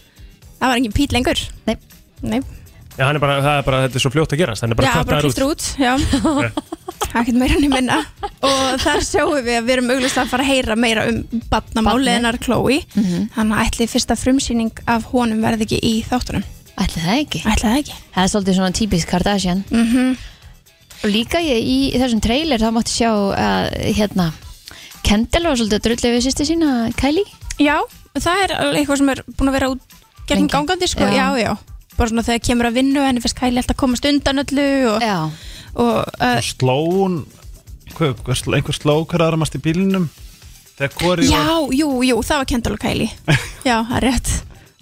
[SPEAKER 6] Það var engin pít lengur
[SPEAKER 3] Nei.
[SPEAKER 6] Nei.
[SPEAKER 1] Já, hann er bara, það er bara, þetta er svo fljótt að gerast Hann er bara
[SPEAKER 6] Já, bara
[SPEAKER 1] kattaður út
[SPEAKER 6] kliftur út Já,
[SPEAKER 1] <laughs>
[SPEAKER 6] ekkert meira enn í minna Og þar sjáum við að við erum auglust að fara að heyra meira um
[SPEAKER 3] Barnið. Mhm.
[SPEAKER 6] badnamáliðinar Chloe Þannig að ætli fyrsta frumsýning af honum verði ekki í þáttunum
[SPEAKER 3] Ætli það ekki.
[SPEAKER 6] Ætli það ekki
[SPEAKER 3] Það er svolítið svona típisk Kardashian. Mm
[SPEAKER 6] Mhm.
[SPEAKER 3] -hmm. Og líka ég, í þessum trailer þá mátti sjá að hérna, Kendall var svolítið drullu við sýsti sína, Kylie.
[SPEAKER 6] Já, það er alveg eitthvað sem er búin að vera út gegn
[SPEAKER 3] Lengi.
[SPEAKER 6] gangandi sko, já.
[SPEAKER 3] Já.
[SPEAKER 6] já, Bara svona þegar kemur að vinnu henni fyrst kæli alltaf komast undan öllu og,
[SPEAKER 3] Já,
[SPEAKER 6] og uh,
[SPEAKER 4] slón hvað, hvað, sló- einhver sló hver aðramast í bílinum þegar hvori var
[SPEAKER 6] Já, jú, jú, það var Kendall og Kylie
[SPEAKER 1] <laughs>
[SPEAKER 6] Já, það er rétt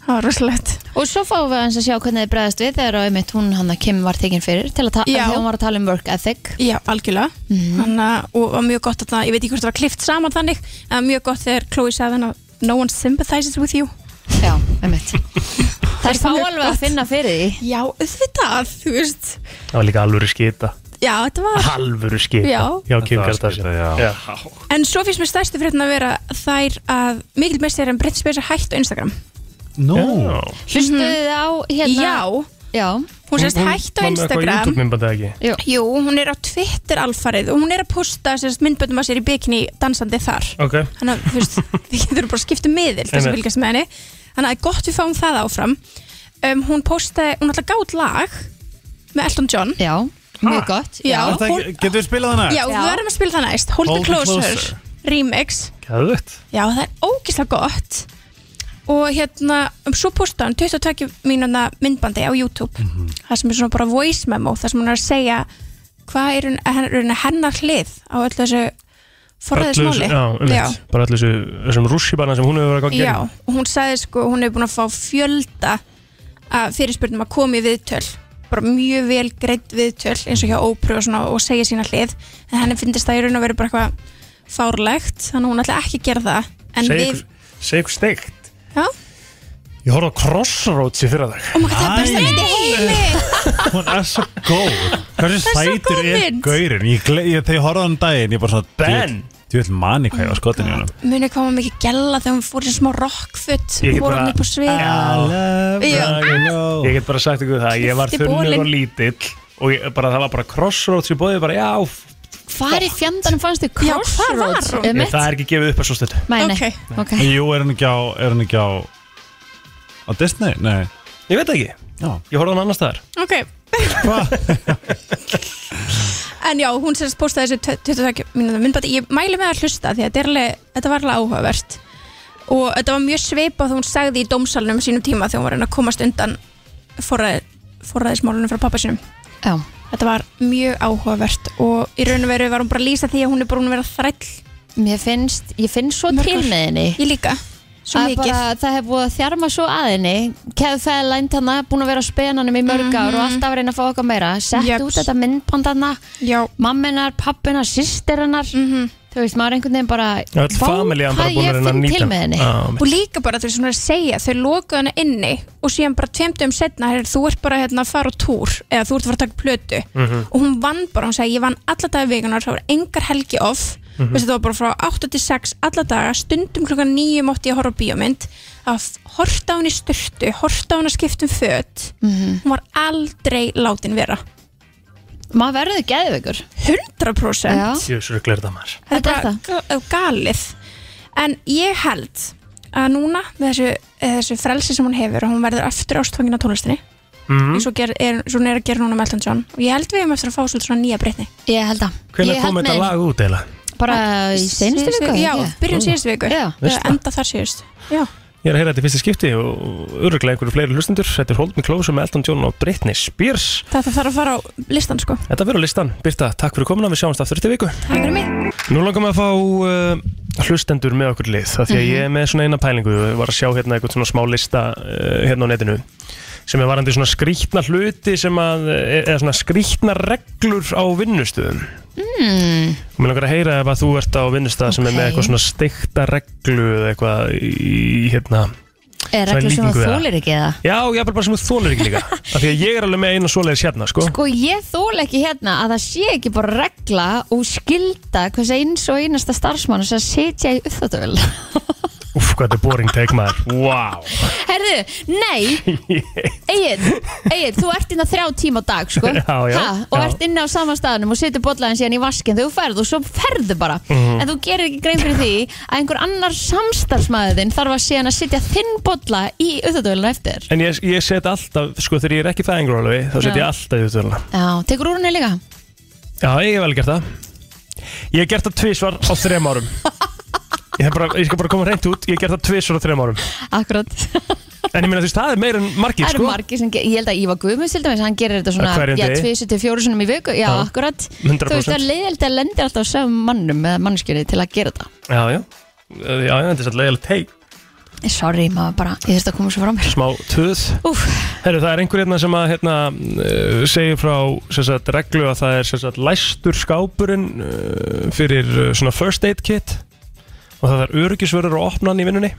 [SPEAKER 6] Það var rosalegt
[SPEAKER 3] Og svo fáum við hans að sjá hvernig þið bregðast við þegar að einmitt hún hann að Kim var tekin fyrir til að ta-
[SPEAKER 6] Já.
[SPEAKER 3] þegar hún var að tala um work ethic.
[SPEAKER 6] Já, algjörlega mm að, Og var mjög gott að það, ég veit ekki hvort það var klift saman þannig En mjög gott þegar Chloe sagði hann No one sympathizes with you
[SPEAKER 3] Já, einmitt. Það er
[SPEAKER 6] er
[SPEAKER 3] fá
[SPEAKER 6] mjög
[SPEAKER 3] alveg að
[SPEAKER 6] gott.
[SPEAKER 3] finna fyrir því.
[SPEAKER 6] Já, auðvitað, þú veist
[SPEAKER 1] Það var líka alvöru skita
[SPEAKER 6] Já, þetta var
[SPEAKER 1] Alvöru skita
[SPEAKER 6] Já.
[SPEAKER 1] Já, Kim
[SPEAKER 4] Þetta var
[SPEAKER 1] Kardashian
[SPEAKER 4] skita, já.
[SPEAKER 6] En svo finnst mér stærstu fréttin að vera þær að Mikil mest er en Britt Spears er hægt á Instagram
[SPEAKER 4] Nú,
[SPEAKER 1] Já.
[SPEAKER 3] Hlustuðu þið á hérna?
[SPEAKER 6] Já,
[SPEAKER 3] Já,
[SPEAKER 6] hún sérst hægt á
[SPEAKER 1] var með eitthvað
[SPEAKER 6] Instagram
[SPEAKER 1] YouTube-myndbandið ekki
[SPEAKER 3] jú.
[SPEAKER 6] Jú, hún er á Twitter alfarið og hún er að posta sérst myndböndum að sér í bikini dansandi þar
[SPEAKER 1] Ok
[SPEAKER 6] þannig að þú <laughs> veist, við getum bara að skipta um miðil þess að
[SPEAKER 1] Einmitt.
[SPEAKER 6] fylgjast með henni þannig að það er gott við fáum það áfram um, hún postaði, hún alltaf gátt lag með Elton John já,
[SPEAKER 3] Já, mjög gott.
[SPEAKER 6] Já.
[SPEAKER 4] Er það ekki- getum við spilað hana?
[SPEAKER 6] við verðum að spila það næst
[SPEAKER 4] Hold
[SPEAKER 6] Hold, the
[SPEAKER 4] the
[SPEAKER 6] Closer,
[SPEAKER 4] Closer.
[SPEAKER 6] remix
[SPEAKER 1] Gæðvett
[SPEAKER 6] já, það er ógislega gott og hérna, um, svo postaði hann 22 mínuna myndbandi á YouTube
[SPEAKER 1] Mhm.
[SPEAKER 6] það sem er svona bara voice memo það sem hún er að segja hvað er raun- hennar, hennar hlið á öllu þessu forræðismáli
[SPEAKER 1] Já, um Bara öllu þessu, þessum rússibanna sem hún hefur verið að gera
[SPEAKER 6] Já, og hún sagði sko, hún hefur búin að fá fjölda að fyrirspurnum að koma í viðtöl bara mjög vel greitt viðtöl eins og hjá ópröð og svona og segja sína hlið en henni finnist það í raun að vera bara eitthvað fárlegt, þannig að hún ætla ekki að gera það en
[SPEAKER 1] Segðu
[SPEAKER 6] við,
[SPEAKER 1] ykkur- Segðu ykkur steikt
[SPEAKER 6] já,
[SPEAKER 1] Ég horfði á Crossroads í fyrra dag
[SPEAKER 6] oh my god, það er besta myndi heimi
[SPEAKER 4] Hún er svo góð Hversu
[SPEAKER 6] er svo
[SPEAKER 4] sætur
[SPEAKER 6] góð
[SPEAKER 4] er
[SPEAKER 6] mynd.
[SPEAKER 4] gaurin? Ég gle- ég- Þegar ég horfði á hann um daginn, ég bara svona
[SPEAKER 1] Ben!
[SPEAKER 4] Þú vil mani hvað ég var skotin í honum
[SPEAKER 6] muni koma mikið gælla þegar hún fór í smá rockfutt,
[SPEAKER 1] Ég get
[SPEAKER 6] fór hann
[SPEAKER 1] bara-
[SPEAKER 6] upp á svið
[SPEAKER 1] Já.
[SPEAKER 4] love
[SPEAKER 6] Já.
[SPEAKER 4] rock and roll.
[SPEAKER 1] Ég get bara sagt ykkur það Ég var
[SPEAKER 6] Skipti
[SPEAKER 1] þunnur
[SPEAKER 6] bolinn.
[SPEAKER 1] og lítill Og ég, bara, það var bara Crossroads í bóði bara, já, f-
[SPEAKER 3] Hvar í fjandanum fannst þið
[SPEAKER 6] Já, hvar var
[SPEAKER 3] crossroads?
[SPEAKER 6] hún?
[SPEAKER 3] um
[SPEAKER 1] ég,
[SPEAKER 3] mitt?
[SPEAKER 1] það er ekki gefið upp að svo stötu
[SPEAKER 3] Mæni,
[SPEAKER 6] Ok.
[SPEAKER 3] ok.
[SPEAKER 4] Jú, er hann ekki á Er hann ekki á Á Disney? Nei
[SPEAKER 1] Ég veit það ekki,
[SPEAKER 4] Já
[SPEAKER 1] ég horfði á hann annars staðar
[SPEAKER 6] ok <laughs> En já, hún sérst postaði þessu 22 mínúta myndbæti, ég mæli með að hlusta því að þetta, er alveg, þetta var alveg áhugavert og þetta var mjög svipað þegar hún sagði í dómsalunum sínum tíma þegar hún var að reyna að komast undan forræði, forræðismálunum frá pappa sínum
[SPEAKER 3] Já,
[SPEAKER 6] þetta var mjög áhugavert og í raun og veru var hún bara að lýsa því að hún er bara að vera þræll
[SPEAKER 3] mér finnst, ég finnst svo
[SPEAKER 6] Mörg
[SPEAKER 3] til
[SPEAKER 6] ár.
[SPEAKER 3] með henni.
[SPEAKER 6] ég líka, svo
[SPEAKER 3] að
[SPEAKER 6] mikið
[SPEAKER 3] bara það hefur búið að þjarma svo að henni keðfæðalænt hann búin að vera á spenanum í mörg ár og
[SPEAKER 6] Mhm.
[SPEAKER 3] alltaf að reyna að fá okkar meira sett
[SPEAKER 6] Jöps.
[SPEAKER 3] út þetta myndband hann
[SPEAKER 6] já, Mhm.
[SPEAKER 3] mamminar, pappinar, sýstirinnar mm þú veist, maður einhvern veginn bara
[SPEAKER 1] Öll familjan bara búin að
[SPEAKER 3] ég
[SPEAKER 1] reyna að
[SPEAKER 3] finn
[SPEAKER 1] nýta
[SPEAKER 3] til með henni
[SPEAKER 1] Já,
[SPEAKER 6] og líka bara þau svona að segja þau lokuðu hana inni og síðan bara tveimtum setna her, þú ert bara hérna að fara á túr eða þú ert að fara að taka plötu og hún vann bara, hún segi ég vann alla daga vikunar það var engar helgi off mm -hmm. það var bara frá 8 til 6 alla daga stundum klukkan 9 mótti ég að horfa á bíómynd að horta á hún í styrtu horta á hún að skipta um föt hún var aldrei látin vera
[SPEAKER 3] maður verður geðveikur
[SPEAKER 6] 100%
[SPEAKER 3] Já.
[SPEAKER 1] Jössur glirða maður
[SPEAKER 6] þetta
[SPEAKER 3] Þetta
[SPEAKER 6] er
[SPEAKER 3] er
[SPEAKER 6] bara ga- galið en ég held að núna með þessu, eh, þessu frelsi sem hún hefur og hún verður aftur ástfangin á tónlistinni
[SPEAKER 1] Mhm.
[SPEAKER 6] eins og ger, er, svo hún er að gera núna með Elton John og ég held við hefum eftir að fá svolítið svona nýja breytni
[SPEAKER 3] ég held að
[SPEAKER 1] Hvernig
[SPEAKER 3] Ég
[SPEAKER 1] kom
[SPEAKER 3] held
[SPEAKER 1] þetta
[SPEAKER 3] með-
[SPEAKER 1] lag út eða?
[SPEAKER 3] bara í senstu viku
[SPEAKER 6] já,
[SPEAKER 3] held ég.
[SPEAKER 6] byrjun síðustu viku
[SPEAKER 3] Já.
[SPEAKER 6] Eða enda þar síðust já.
[SPEAKER 1] Ég er að heyra þetta í fyrsta skipti og öruglega einhverju fleiri hlustendur Þetta er Hold Me Close með Elton John og Britney Spears
[SPEAKER 6] þetta þarf að fara á listan sko
[SPEAKER 1] Þetta verður á listan, Birta, takk fyrir komuna, við sjáumst aftur þetta viku
[SPEAKER 6] takk fyrir mig
[SPEAKER 1] Nú langar maður að fá uh, hlustendur með okkur lið af Því að ég er með svona eina pælingu Ég var að sjá hérna eitthvað svona smá lista uh, hérna á netinu sem er varandi svona skrýtna hluti sem að, eh, eða svona skrýtna reglur á vinnustuðum
[SPEAKER 3] Mm,
[SPEAKER 1] Mér langar að heyra ef að þú ert á vinnustað sem er með
[SPEAKER 3] Ok.
[SPEAKER 1] eitthvað svona stikta reglu eða eitthvað í hérna
[SPEAKER 3] er
[SPEAKER 1] Svo er
[SPEAKER 3] reglur sem
[SPEAKER 1] líkingu
[SPEAKER 3] þú
[SPEAKER 1] við það.
[SPEAKER 3] þólir ekki eða
[SPEAKER 1] Já, ég er bara sem þú þólir
[SPEAKER 3] <laughs>
[SPEAKER 1] ekki líka af því að ég er alveg með eina svoleiðis hérna, sko
[SPEAKER 3] Sko ég þól ekki hérna að það sé ekki bara regla og skilda hvers eins og einasta starfsmann sem setja í uppþáttuvel <laughs>
[SPEAKER 1] Úf, hvað þetta er boring take maður Wow
[SPEAKER 3] Herðu, nei
[SPEAKER 1] <laughs>
[SPEAKER 3] Egil, Egil, þú ert inn á þrjá tíma á dag sko.
[SPEAKER 1] Já, já,
[SPEAKER 3] Ha, og
[SPEAKER 1] já.
[SPEAKER 3] ert inn á sama staðnum og setur bollaðin síðan í vaskin þegar þú ferð og svo ferðu bara
[SPEAKER 1] Mhm.
[SPEAKER 3] en þú gerir ekki grein fyrir því að einhver annar samstarfsmaður þinn þarf að síðan að setja þinn bolla í uppþáttuvelinu eftir
[SPEAKER 1] En ég, ég set alltaf, sko þegar ég er ekki fæðingur alveg þá set ég
[SPEAKER 3] Já.
[SPEAKER 1] alltaf í þjóðlega
[SPEAKER 3] Já, tekur úr henni líka
[SPEAKER 1] Já, ég hef alveg gert það Ég hef gert það tvisvar á þrem
[SPEAKER 3] <laughs>
[SPEAKER 1] árum Ég, hef bara, ég skal bara koma reynt út Ég hef gert það tvisvar á þrem árum
[SPEAKER 3] Akkurat
[SPEAKER 1] En ég meina þú veist, það er meira en margir
[SPEAKER 3] Það eru
[SPEAKER 1] sko
[SPEAKER 3] margir sem, ge- ég held að Ívar Guðmunds til dæmis, hann gerir þetta
[SPEAKER 1] Á
[SPEAKER 3] svona
[SPEAKER 1] hverjum
[SPEAKER 3] já,
[SPEAKER 1] degi?
[SPEAKER 3] tvisu til fjóru sinum í viku, já,
[SPEAKER 1] Já,
[SPEAKER 3] akkurat
[SPEAKER 1] 100%.
[SPEAKER 3] Þú veist, það er leiðilegt að lendir alltaf á sögum mannum eða mannskjörni til að gera þetta
[SPEAKER 1] Já, já, já, já, þetta er svolítið leiðilegt Hei,
[SPEAKER 3] Sorry, maður bara, ég þurfti að koma svo frá mér
[SPEAKER 1] smá töð
[SPEAKER 3] Úf,
[SPEAKER 1] Herru, það er einhver hérna sem að hérna, uh, segir frá sem sagt, reglu að það er sem sagt, læstur skápurinn uh, fyrir uh, svona first aid kit og það er öryggisvörður að opna hann í vinnunni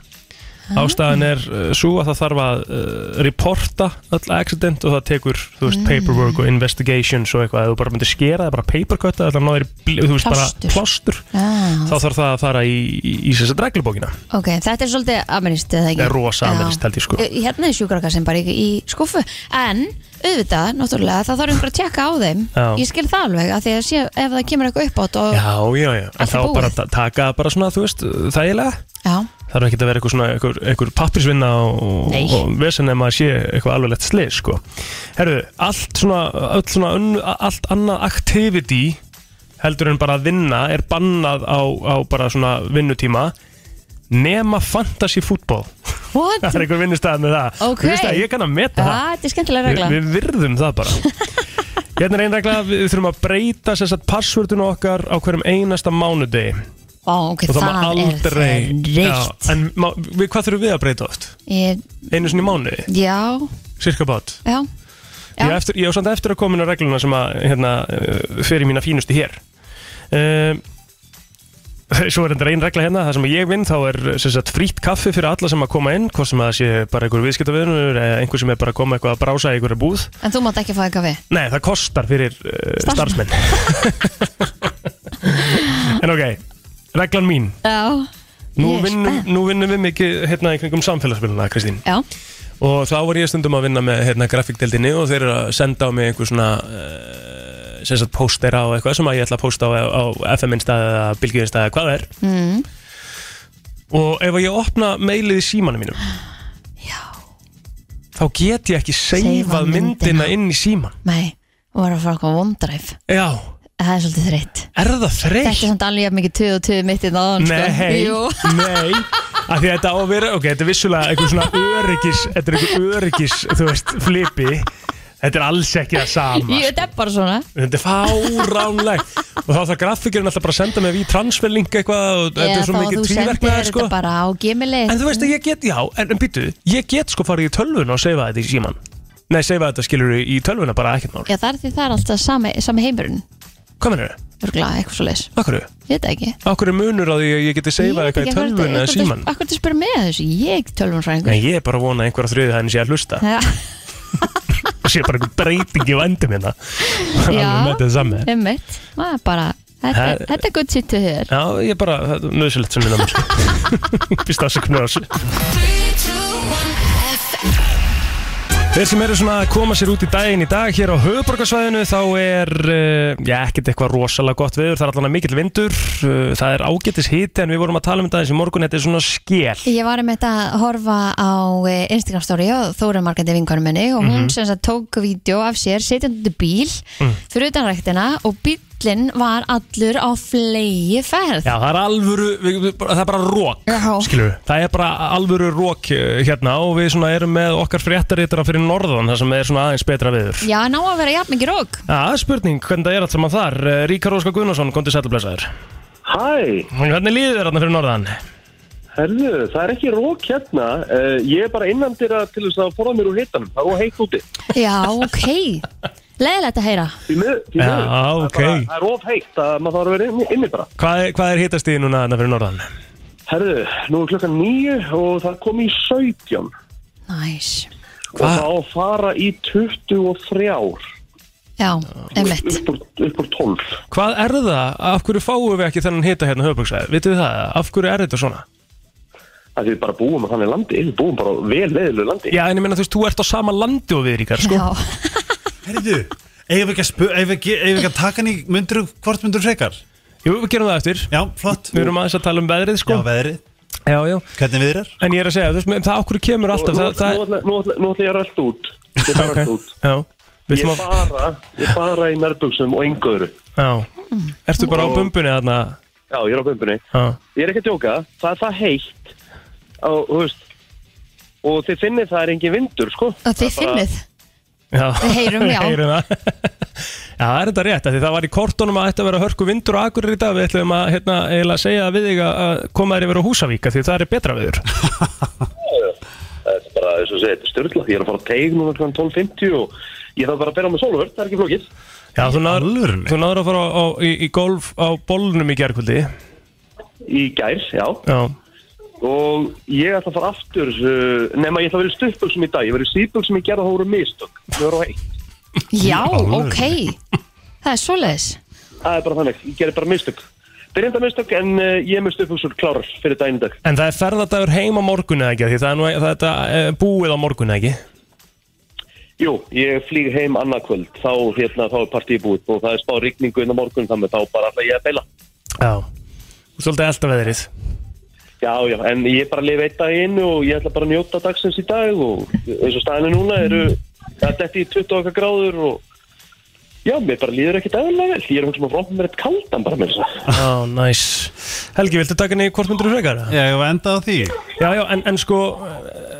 [SPEAKER 1] Ástæðan er uh, svo að það þarf að uh, reporta öll accident og það tekur, þú veist, paperwork og investigations og eitthvað, ef þú bara myndir skera það bara papercut, það er náður í, bl- þú veist,
[SPEAKER 3] Plástur.
[SPEAKER 1] bara plástur,
[SPEAKER 3] já,
[SPEAKER 1] þá þarf það að fara í, í, í sem sagt reglubókina.
[SPEAKER 3] ok, þetta er svolítið amerist, eða ekki?
[SPEAKER 1] Það er rosa
[SPEAKER 3] Já.
[SPEAKER 1] amerískt, held ég, sko.
[SPEAKER 3] Ö, Hérna er sjúkraka sem bara ekki í skúfu En, auðvitað, náttúrulega, það þarf einhver að tjekka á þeim
[SPEAKER 1] Já.
[SPEAKER 3] Ég skil það alveg, af því að sé, ef það kemur eitthvað upp átt og,
[SPEAKER 1] Já, já, já. En
[SPEAKER 3] Allt er
[SPEAKER 1] þá
[SPEAKER 3] búið.
[SPEAKER 1] bara ta- taka bara svona, þú veist, þægilega.
[SPEAKER 3] já,
[SPEAKER 1] Það er ekki að vera eitthvað svona eitthvað, eitthvað pappisvinna og,
[SPEAKER 3] Nei.
[SPEAKER 1] og vesen ef maður sé eitthvað alveglegt slið sko. Herru, allt svona, allt, svona önn, allt annað activity heldur en bara að vinna er bannað á, á bara svona vinnutíma nema fantasy fútbol
[SPEAKER 3] what?
[SPEAKER 1] <laughs> það er einhver vinnustæð með það
[SPEAKER 3] Ok. Ah.
[SPEAKER 1] Þú veist það, ég kann að
[SPEAKER 3] Já,
[SPEAKER 1] meta það
[SPEAKER 3] þetta er skemmtilega
[SPEAKER 1] við,
[SPEAKER 3] regla
[SPEAKER 1] við virðum það
[SPEAKER 3] <laughs>
[SPEAKER 1] bara hérna er ein regla, við, við þurfum að breyta sem sagt passvördun okkar á hverjum einasta mánudegi
[SPEAKER 3] Ó, ok,
[SPEAKER 1] og það,
[SPEAKER 3] það,
[SPEAKER 1] má aldrei
[SPEAKER 3] er
[SPEAKER 1] Já,
[SPEAKER 3] reykt
[SPEAKER 1] en má, við, hvað þurfum við að breyta oft?
[SPEAKER 3] Ég,
[SPEAKER 1] einu sinni í mánuði,
[SPEAKER 3] já,
[SPEAKER 1] cirka bát
[SPEAKER 3] já,
[SPEAKER 1] ég, á
[SPEAKER 3] já,
[SPEAKER 1] eftir, ég á samt eftir að koma inn á regluna sem að hérna, uh, fyrir mína fínustu hér um, svo er þetta ein regla hérna það sem ég vinn þá er sem sagt, frýtt kaffi fyrir alla sem að koma inn hvort sem að það sé bara einhver viðskiptavinnur eða einhver sem er bara að koma eitthvað að brása í einhverju búð
[SPEAKER 3] en þú mátt ekki fá eitthvað við
[SPEAKER 1] nei, það kostar fyrir uh,
[SPEAKER 3] Starfsmenn.
[SPEAKER 1] starfsmenn <laughs> en ok, reglan mín
[SPEAKER 3] Já,
[SPEAKER 1] nú,
[SPEAKER 3] Ég er
[SPEAKER 1] vinnum,
[SPEAKER 3] spennt.
[SPEAKER 1] nú vinnum við mikið hérna í kringum samfélagsmiðluna, Kristín
[SPEAKER 3] já,
[SPEAKER 1] og þá var ég stundum að vinna með hérna, grafikdeldinni og þeir eru að senda á mig einhver svona uh, sem sagt póstera og eitthvað sem að ég ætla að pósta á, á FM instað eða Bilgjur instað eða hvað það er
[SPEAKER 3] mm,
[SPEAKER 1] og ef ég opna mailið í símanum mínum
[SPEAKER 3] já,
[SPEAKER 1] þá get ég ekki
[SPEAKER 3] Seifa
[SPEAKER 1] seifað myndina
[SPEAKER 3] myndina.
[SPEAKER 1] inn í síman
[SPEAKER 3] nei, og var að fara eitthvað vondræf
[SPEAKER 1] Já,
[SPEAKER 3] Það er svolítið þreytt
[SPEAKER 1] er það
[SPEAKER 3] Þetta er
[SPEAKER 1] þreytt?
[SPEAKER 3] samt alveg jafn mikið 22 mitt í náðan
[SPEAKER 1] Nei,
[SPEAKER 3] Jú,
[SPEAKER 1] <laughs> nei Af því að þetta á að vera, ok, þetta er vissulega einhver svona öryggis, þetta er einhver öryggis, þú veist, flipi Þetta er alls ekki það sama
[SPEAKER 3] Jú, þetta er bara svona
[SPEAKER 1] Þetta er fáránlegt Og þá þarf grafikirinn alltaf bara að senda mig við transferling eitthvað og þetta
[SPEAKER 3] Eða
[SPEAKER 1] er svo
[SPEAKER 3] þá að
[SPEAKER 1] mikið
[SPEAKER 3] þú sendir
[SPEAKER 1] tvíverknaðar sko
[SPEAKER 3] þetta bara á gemili
[SPEAKER 1] En þú veist að ég get, já, en, en býtu Ég get sko farið í tölvun og seifa þetta í síman Nei, seifa þetta skilur í tölvuna bara ekkert mál
[SPEAKER 3] Já, það er því það er alltaf sami, sami heimurinn
[SPEAKER 1] Hvað mennur þau?
[SPEAKER 3] örgulega eitthvað svo leis
[SPEAKER 1] Akkur,
[SPEAKER 3] ég veit það ekki
[SPEAKER 1] akkur er munur á því að ég geti seifað eitthvað í tölvun eða síman
[SPEAKER 3] Akkur þú spyrir mig að þessu, ég er
[SPEAKER 1] En
[SPEAKER 3] tölvunfræðingur
[SPEAKER 1] ég er bara að vona að einhverja þriðið henni sé að hlusta
[SPEAKER 3] Já, <laughs>
[SPEAKER 1] og sé bara einhver breyting í vandum hérna Alveg með þetta samme
[SPEAKER 3] einmitt Maður bara, þetta
[SPEAKER 1] Ha-
[SPEAKER 3] þetta er gutt sitt til þér
[SPEAKER 1] Já, ég er bara, það er nöðsilegt sem minna mér <laughs> Býst afsökunar á þessu Þeir sem eru svona að koma sér út í daginn í dag hér á höfuborgarsvæðinu þá er, uh, já, ekkert eitthvað rosalega gott viður, það er allan að mikill vindur, uh, það er ágætis hiti en við vorum að tala um þetta eins í morgun, þetta er svona skél.
[SPEAKER 3] Ég var um þetta að horfa á eh, Instagram story á Þóra Markandi vinkonum minni og hún sem sagt tók vídeo af sér setjandi bíl fyrir utan ræktina og bílinn var allur á flegi ferð
[SPEAKER 1] Já, það er alvöru, við, við, bara- það er bara rók,
[SPEAKER 3] Já.
[SPEAKER 1] skilur við, það er bara alvöru rók hérna og við svona erum með okkar fréttarítara fyrir norðan þar sem er svona aðeins betra viður.
[SPEAKER 3] Já, ná að vera jafn mikið rók
[SPEAKER 1] Já, spurning, hvernig það er allt saman þar? Eh, Ríkar Óskar Gunnarsson, kontið sætlublessaður.
[SPEAKER 7] Hæ,
[SPEAKER 1] Hvernig líður þér hérna fyrir norðan?
[SPEAKER 7] herðu, það er ekki rók hérna. Uh, ég er bara innan dyrra til þess að forða mér úr hitanum. Það er óg heitt úti.
[SPEAKER 3] Já, ok Leðilegt að heyra
[SPEAKER 7] Því miður, því
[SPEAKER 1] Já,
[SPEAKER 7] miður. Það er
[SPEAKER 1] ok.
[SPEAKER 7] bara- Það er óg heitt að maður þarf að vera inni, inni bara.
[SPEAKER 1] Hvað er, hvað er hitast í núna hérna fyrir norðan?
[SPEAKER 7] Herðu, nú er klokkan nýju og það kom í 17
[SPEAKER 3] Næs
[SPEAKER 7] og það á að fara í 23 ár.
[SPEAKER 3] Já, emmitt
[SPEAKER 7] Upp úr, upp úr 12.
[SPEAKER 1] Hvað er það? Af hverju fáum við ekki þennan hita hérna höfböksæði? Vitið þið það? Af hverju er þetta svona?
[SPEAKER 7] Það við bara búum að þannig landi, við búum bara á vel leðilegu landi.
[SPEAKER 1] Já, en ég meina þú veist, þú ert á sama landi og við ríkar, sko.
[SPEAKER 3] Já,
[SPEAKER 4] Herðu, eigum við ekki að spu- eigum við ekki- eigum við ekki að taka hann í myndur, hvort myndur frekar?
[SPEAKER 1] Jú, við gerum það eftir.
[SPEAKER 4] Já, flott
[SPEAKER 1] Við erum aðeins að tala um veðrið,
[SPEAKER 4] Já,
[SPEAKER 1] sko.
[SPEAKER 4] veðrið,
[SPEAKER 1] Já, já.
[SPEAKER 4] hvernig við er?
[SPEAKER 1] En ég er að segja, þú veist, það af hverju kemur
[SPEAKER 7] Nú,
[SPEAKER 1] alltaf,
[SPEAKER 7] nú,
[SPEAKER 1] það, það,
[SPEAKER 7] nú, ætla- nú, ætla- nú ætla ég að rölda út. Ég ætla að
[SPEAKER 1] Ok.
[SPEAKER 7] rölda út.
[SPEAKER 1] já. Við
[SPEAKER 7] Ég
[SPEAKER 1] þum að,
[SPEAKER 7] bara, ég bara í nærbuksum og yngöðru.
[SPEAKER 1] já.
[SPEAKER 3] Mm.
[SPEAKER 1] Ertu bara á bumbunni þarna?
[SPEAKER 7] Já, ég er á bumbunni.
[SPEAKER 1] Já.
[SPEAKER 7] Ég er ekki að djóka, það er það heitt. Og, þú veist, og þið finnið það er engin vindur, sko.
[SPEAKER 3] og þið finnið
[SPEAKER 1] Já.
[SPEAKER 3] Við heyrum, já.
[SPEAKER 1] <laughs> heyrum það. Já, það er þetta rétt, af því það var í kortunum að þetta vera hörku vindur og akkurir í dag, við ætlum að hérna, eiginlega segja við þig að- að koma þér yfir á Húsavík, af því það er betra viður.
[SPEAKER 7] Það er bara, þess að segja, þetta er styrla. Ég er að fara að teig núna kl. 12.50 og ég þarf bara að bera á mig sóluvörð, það er ekki flókið.
[SPEAKER 1] Já, þú náður,
[SPEAKER 4] alvörunni?
[SPEAKER 1] þú náður að fara á, á, í, í golf á bólnum í gerkvöldi Já,
[SPEAKER 7] Í gær, já. Og ég ætla að fara aftur, uh, nema ég ætla að vera í stuttbuksum í dag. Ég verið í síðbuksum í gerð og það voru mistök. Nú er á heitt.
[SPEAKER 3] Já, ok Það er svoleiðis
[SPEAKER 7] Það er bara þannig, ég gerir bara mistök Það er enda mistök en uh, ég er með stuðfugsur klárar fyrir daginn í dag
[SPEAKER 1] En það er ferðadagur heim á morgun eða ekki Því það er nú það er þetta eh, búið á morgun eða ekki
[SPEAKER 7] Jú, ég flýg heim annað kvöld þá, hérna, þá er partíi búið og það er spá rigningu inn á morgun þannig að þá bara ætla ég að beila
[SPEAKER 1] Já Þú ert Svolítið elda veðrið
[SPEAKER 7] Já, já, en ég bara lifi eitt dag í einu og ég ætla bara að njóta dagsins í dag og eins og staðinu núna eru það er detti í 20 okkar gráður og já, mér bara líður ekki dagilega vel ég er hún sem að fróma mér eitt kaldan bara með þess
[SPEAKER 1] <laughs>
[SPEAKER 7] að
[SPEAKER 1] Já, næs Helgi, viltu taka henni hvort myndur frekar?
[SPEAKER 4] Já, ég var endað á því
[SPEAKER 1] Já, já, en, en sko eh,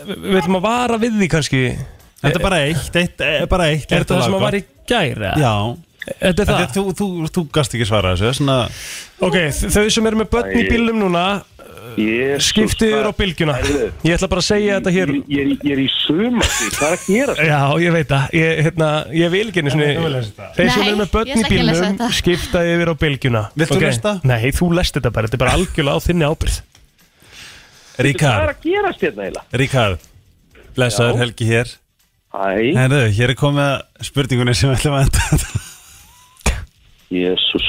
[SPEAKER 1] Við við ætlum að vara við því kannski Er
[SPEAKER 4] Þetta er bara eitt, eitt, e- bara eitt
[SPEAKER 1] þetta það sem að var í gær? eða?
[SPEAKER 4] Já
[SPEAKER 1] Þetta er
[SPEAKER 4] Þetta,
[SPEAKER 1] það
[SPEAKER 4] þú, þú, þú gast ekki svara þessu svona,
[SPEAKER 1] Ok, þau sem eru með börn í
[SPEAKER 7] Æ.
[SPEAKER 1] bílum núna
[SPEAKER 7] Jesús,
[SPEAKER 1] Skiptið yfir á
[SPEAKER 7] það-
[SPEAKER 1] bylgjuna
[SPEAKER 7] Herðu,
[SPEAKER 1] Ég ætla bara að segja þetta hér
[SPEAKER 7] Ég, ég, ég er í suma hvað er að
[SPEAKER 1] <laughs>
[SPEAKER 7] gera?
[SPEAKER 1] Já, ég veit það, ég, hérna, ég vil ekki einu sinni Þeir sem
[SPEAKER 3] Nei,
[SPEAKER 1] eru með
[SPEAKER 3] ég
[SPEAKER 1] börn í
[SPEAKER 3] ætla ekki að lesa
[SPEAKER 1] bílnum
[SPEAKER 3] þetta.
[SPEAKER 1] skipta yfir á bylgjuna
[SPEAKER 4] Vilt þú
[SPEAKER 1] Ok.
[SPEAKER 4] lesta?
[SPEAKER 1] Nei, þú lest þetta bara, þetta er bara algjörlega á þinni ábyrð
[SPEAKER 7] Hvað er
[SPEAKER 4] Ríkard,
[SPEAKER 7] að gerast hérna eiginlega?
[SPEAKER 4] Ríkard Blessaður Helgi hér
[SPEAKER 7] Æ,
[SPEAKER 4] Herðu, hér er komið að spurningunni sem við ætlum að enda þetta.
[SPEAKER 7] Jésús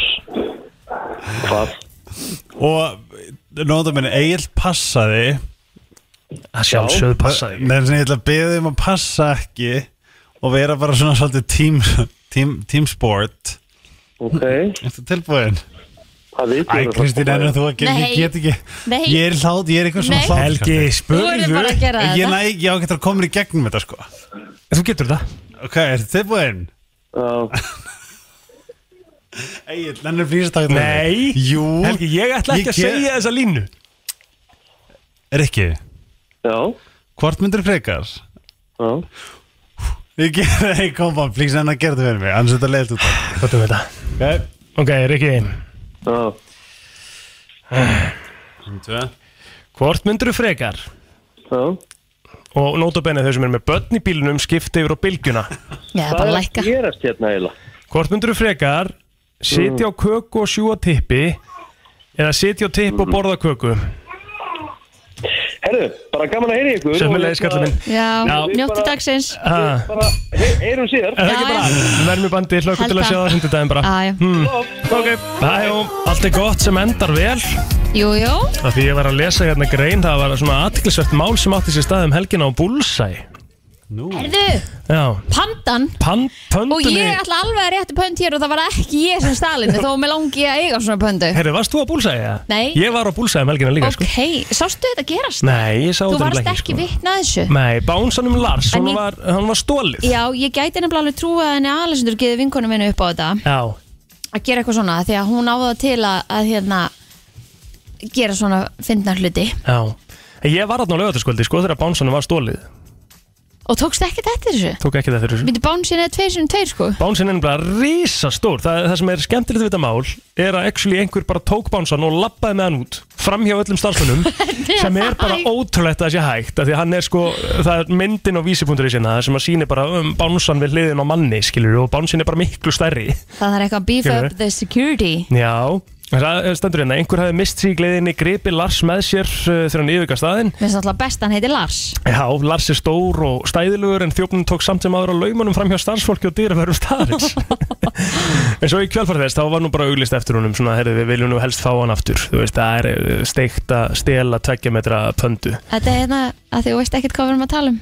[SPEAKER 7] Hvað?
[SPEAKER 4] Og nóðamenni, Egil passaði
[SPEAKER 1] Það sjálfsögðu passaði
[SPEAKER 4] Nei, sem ég ætla að beða um að passa ekki Og vera bara svona svolítið tím, tím, tímsport
[SPEAKER 7] Ok,
[SPEAKER 4] Ertu tilbúin?
[SPEAKER 7] hvað við
[SPEAKER 4] Æ, Kristín, ennur þú að gera,
[SPEAKER 3] Nei.
[SPEAKER 4] ég get ekki
[SPEAKER 3] Nei.
[SPEAKER 4] Ég er hlátt, ég er eitthvað svona
[SPEAKER 3] Nei.
[SPEAKER 4] hlátt
[SPEAKER 1] Helgi,
[SPEAKER 3] Þú verður bara að
[SPEAKER 1] spurðu
[SPEAKER 3] gera
[SPEAKER 4] Ég
[SPEAKER 3] þetta
[SPEAKER 4] næ ekki, ég á getur að koma í gegnum þetta sko
[SPEAKER 1] Þú getur það
[SPEAKER 4] Ok, er þetta tilbúin?
[SPEAKER 7] Já,
[SPEAKER 4] Egil, nennir flýsastakta
[SPEAKER 1] Nei,
[SPEAKER 4] Jú
[SPEAKER 1] Helgi, ég ætla ekki
[SPEAKER 4] Ég
[SPEAKER 1] að
[SPEAKER 4] get-
[SPEAKER 1] segja þessa línu
[SPEAKER 4] Rikki,
[SPEAKER 7] já,
[SPEAKER 4] hvort myndir frekar?
[SPEAKER 7] já
[SPEAKER 4] Ég gerði, hey, kom bara, flýs enn að gera þetta fyrir mig Annars er þetta leiðt út
[SPEAKER 1] Hvað er þetta?
[SPEAKER 4] Ok,
[SPEAKER 1] Ok, Rikki,
[SPEAKER 7] Já,
[SPEAKER 1] hvort myndur þú frekar?
[SPEAKER 7] já,
[SPEAKER 1] Og nótabenni þau sem eru með börn í bílnum skipta yfir á bylgjuna
[SPEAKER 3] Já, bara lækka
[SPEAKER 7] gerast hérna eiginlega?
[SPEAKER 1] Hvort myndur þú frekar sitja á köku og sjúa tippi eða sitja á tippi og borða köku
[SPEAKER 5] Herðu, bara gaman að heyri ykkur
[SPEAKER 1] Sömmulegis kallið minn
[SPEAKER 3] Já,
[SPEAKER 1] Já.
[SPEAKER 3] njóttu dagsins
[SPEAKER 1] Ah,
[SPEAKER 5] Bara, hey,
[SPEAKER 7] um
[SPEAKER 5] heyrum
[SPEAKER 1] Er
[SPEAKER 5] síðar
[SPEAKER 1] það ekki
[SPEAKER 3] Já,
[SPEAKER 1] bara? Vermi bandi, hlökkum til að
[SPEAKER 3] Held
[SPEAKER 1] sjá
[SPEAKER 3] það. Ah.
[SPEAKER 1] það sundudaginn bara
[SPEAKER 3] Æ,
[SPEAKER 1] Ok, hæjó, allt er gott sem endar vel
[SPEAKER 3] jú, jú
[SPEAKER 1] Af því ég var að lesa hérna grein Það var svona athyglisvert mál sem átti sér stað um helgina á Bullsæ
[SPEAKER 3] Erðu,
[SPEAKER 1] Já,
[SPEAKER 3] pandan
[SPEAKER 1] pan,
[SPEAKER 3] Og
[SPEAKER 1] pöndunni
[SPEAKER 3] ég ætla alveg að rétti pönd hér og það var ekki ég sem stalinu Þó með langi ég að eiga svona pöndu
[SPEAKER 1] Herri, varst þú á Bullsæ? eða?
[SPEAKER 3] Nei.
[SPEAKER 1] Ég var á Bullsæ um helgina líka,
[SPEAKER 3] Ok, sástu þetta gerast?
[SPEAKER 1] sko Nei, ég sá
[SPEAKER 3] Þú
[SPEAKER 1] þetta
[SPEAKER 3] varst
[SPEAKER 1] nefnilega
[SPEAKER 3] ekki
[SPEAKER 1] sko.
[SPEAKER 3] vitna að þessu?
[SPEAKER 1] Nei, bánsanum Lars,
[SPEAKER 3] En
[SPEAKER 1] hann,
[SPEAKER 3] ég-
[SPEAKER 1] var, hann var stólið
[SPEAKER 3] Já, ég gæti nefnilega alveg trúið að henni Alessandur geði vinkonu minni upp á þetta
[SPEAKER 1] Já,
[SPEAKER 3] að gera eitthvað svona því að hún áða til að, að hérna gera svona fyndnar hluti
[SPEAKER 1] já En Ég var þarna á lögataskvöldi sko þegar bánsanum var stólið
[SPEAKER 3] og tókst ekki þetta þessu
[SPEAKER 1] Tók ekki það fyrir þessu
[SPEAKER 3] myndi bánsin eða tveir sem tveir sko
[SPEAKER 1] Bánsin er nefnilega risastór það, það sem er skemmtilegt við þetta mál er að actually einhver bara tók bánsan og lappaði með hann út framhjá öllum
[SPEAKER 3] <laughs>
[SPEAKER 1] starfsmunum sem er bara ótrúlegt að það sé hægt af því að hann er sko, það er myndin á vísipunktur í sinna sem að síni bara um bánsan við hliðin á manni skilur og bánsin er bara miklu stærri
[SPEAKER 3] það er eitthvað að beef
[SPEAKER 1] Skilurðu?
[SPEAKER 3] up the security
[SPEAKER 1] Já, það stendur hérna einhver hafi mist sig í gleðinni, gripi Lars með sér uh, þegar hann yfirgast staðinn
[SPEAKER 3] mér finnst alltaf best að hann heiti Lars
[SPEAKER 1] Já, Lars er stór og stæðilugur en þjófnum tók samt sem aður á laumanum fram hjá starfsfólki og dýraverðum staðarins.
[SPEAKER 3] <laughs>
[SPEAKER 1] en svo í kjálfar þess, þá var nú bara auglist eftir húnum, svona, herðu, við viljum nú helst fá hann aftur. Þú veist, það er eh, steikt að stela tveggja metra pöndu.
[SPEAKER 3] þetta er hérna að þú veist ekkert hvað við erum að tala um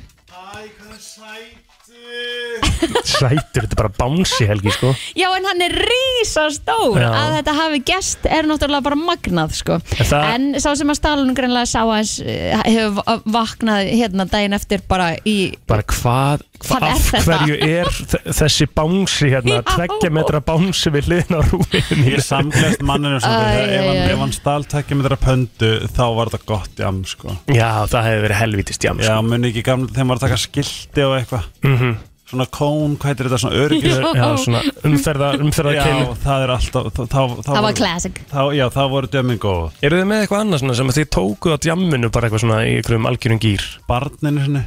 [SPEAKER 1] Sætur, þetta er bara bánsi helgi, sko.
[SPEAKER 3] já en hann er rísastór
[SPEAKER 1] Já.
[SPEAKER 3] að þetta hafi gest er náttúrulega bara magnað sko
[SPEAKER 1] En það-
[SPEAKER 3] en sá sem að Stalin greinlega sá aðeins eh, hefur vaknað hérna daginn eftir bara í
[SPEAKER 1] Bara hvað,
[SPEAKER 3] Hvað er
[SPEAKER 1] af
[SPEAKER 3] þetta?
[SPEAKER 1] hverju er þ- þessi bánsi hérna,
[SPEAKER 3] Já.
[SPEAKER 1] tveggja metra bánsi við hliðin á rúminu?
[SPEAKER 4] Ég er samglæst manninu sem
[SPEAKER 3] Æ,
[SPEAKER 4] þetta ef
[SPEAKER 3] æ,
[SPEAKER 4] hann-
[SPEAKER 3] æ.
[SPEAKER 4] Ef hann stál tekja með þeirra pöndu Þá var þetta gott jam sko
[SPEAKER 1] Já, það hefur verið helvítist jam,
[SPEAKER 4] Já,
[SPEAKER 1] sko.
[SPEAKER 4] muni ekki gamla Þeim var að taka skilti og eitthvað
[SPEAKER 1] Mhm.
[SPEAKER 4] Svona kón, hvað heitir þetta, svona öryggis
[SPEAKER 3] <laughs>
[SPEAKER 1] Já, svona umferða, umferða
[SPEAKER 4] Já, það er alltaf þá, þá, þá,
[SPEAKER 3] það
[SPEAKER 4] voru-
[SPEAKER 3] var classic
[SPEAKER 4] þá, Já, það voru dömmin góð
[SPEAKER 1] Eru þið með eitthvað annað svona sem að þið tókuð á djamminu bara eitthvað svona í einhverjum algjörum gýr?
[SPEAKER 4] Barninu sinni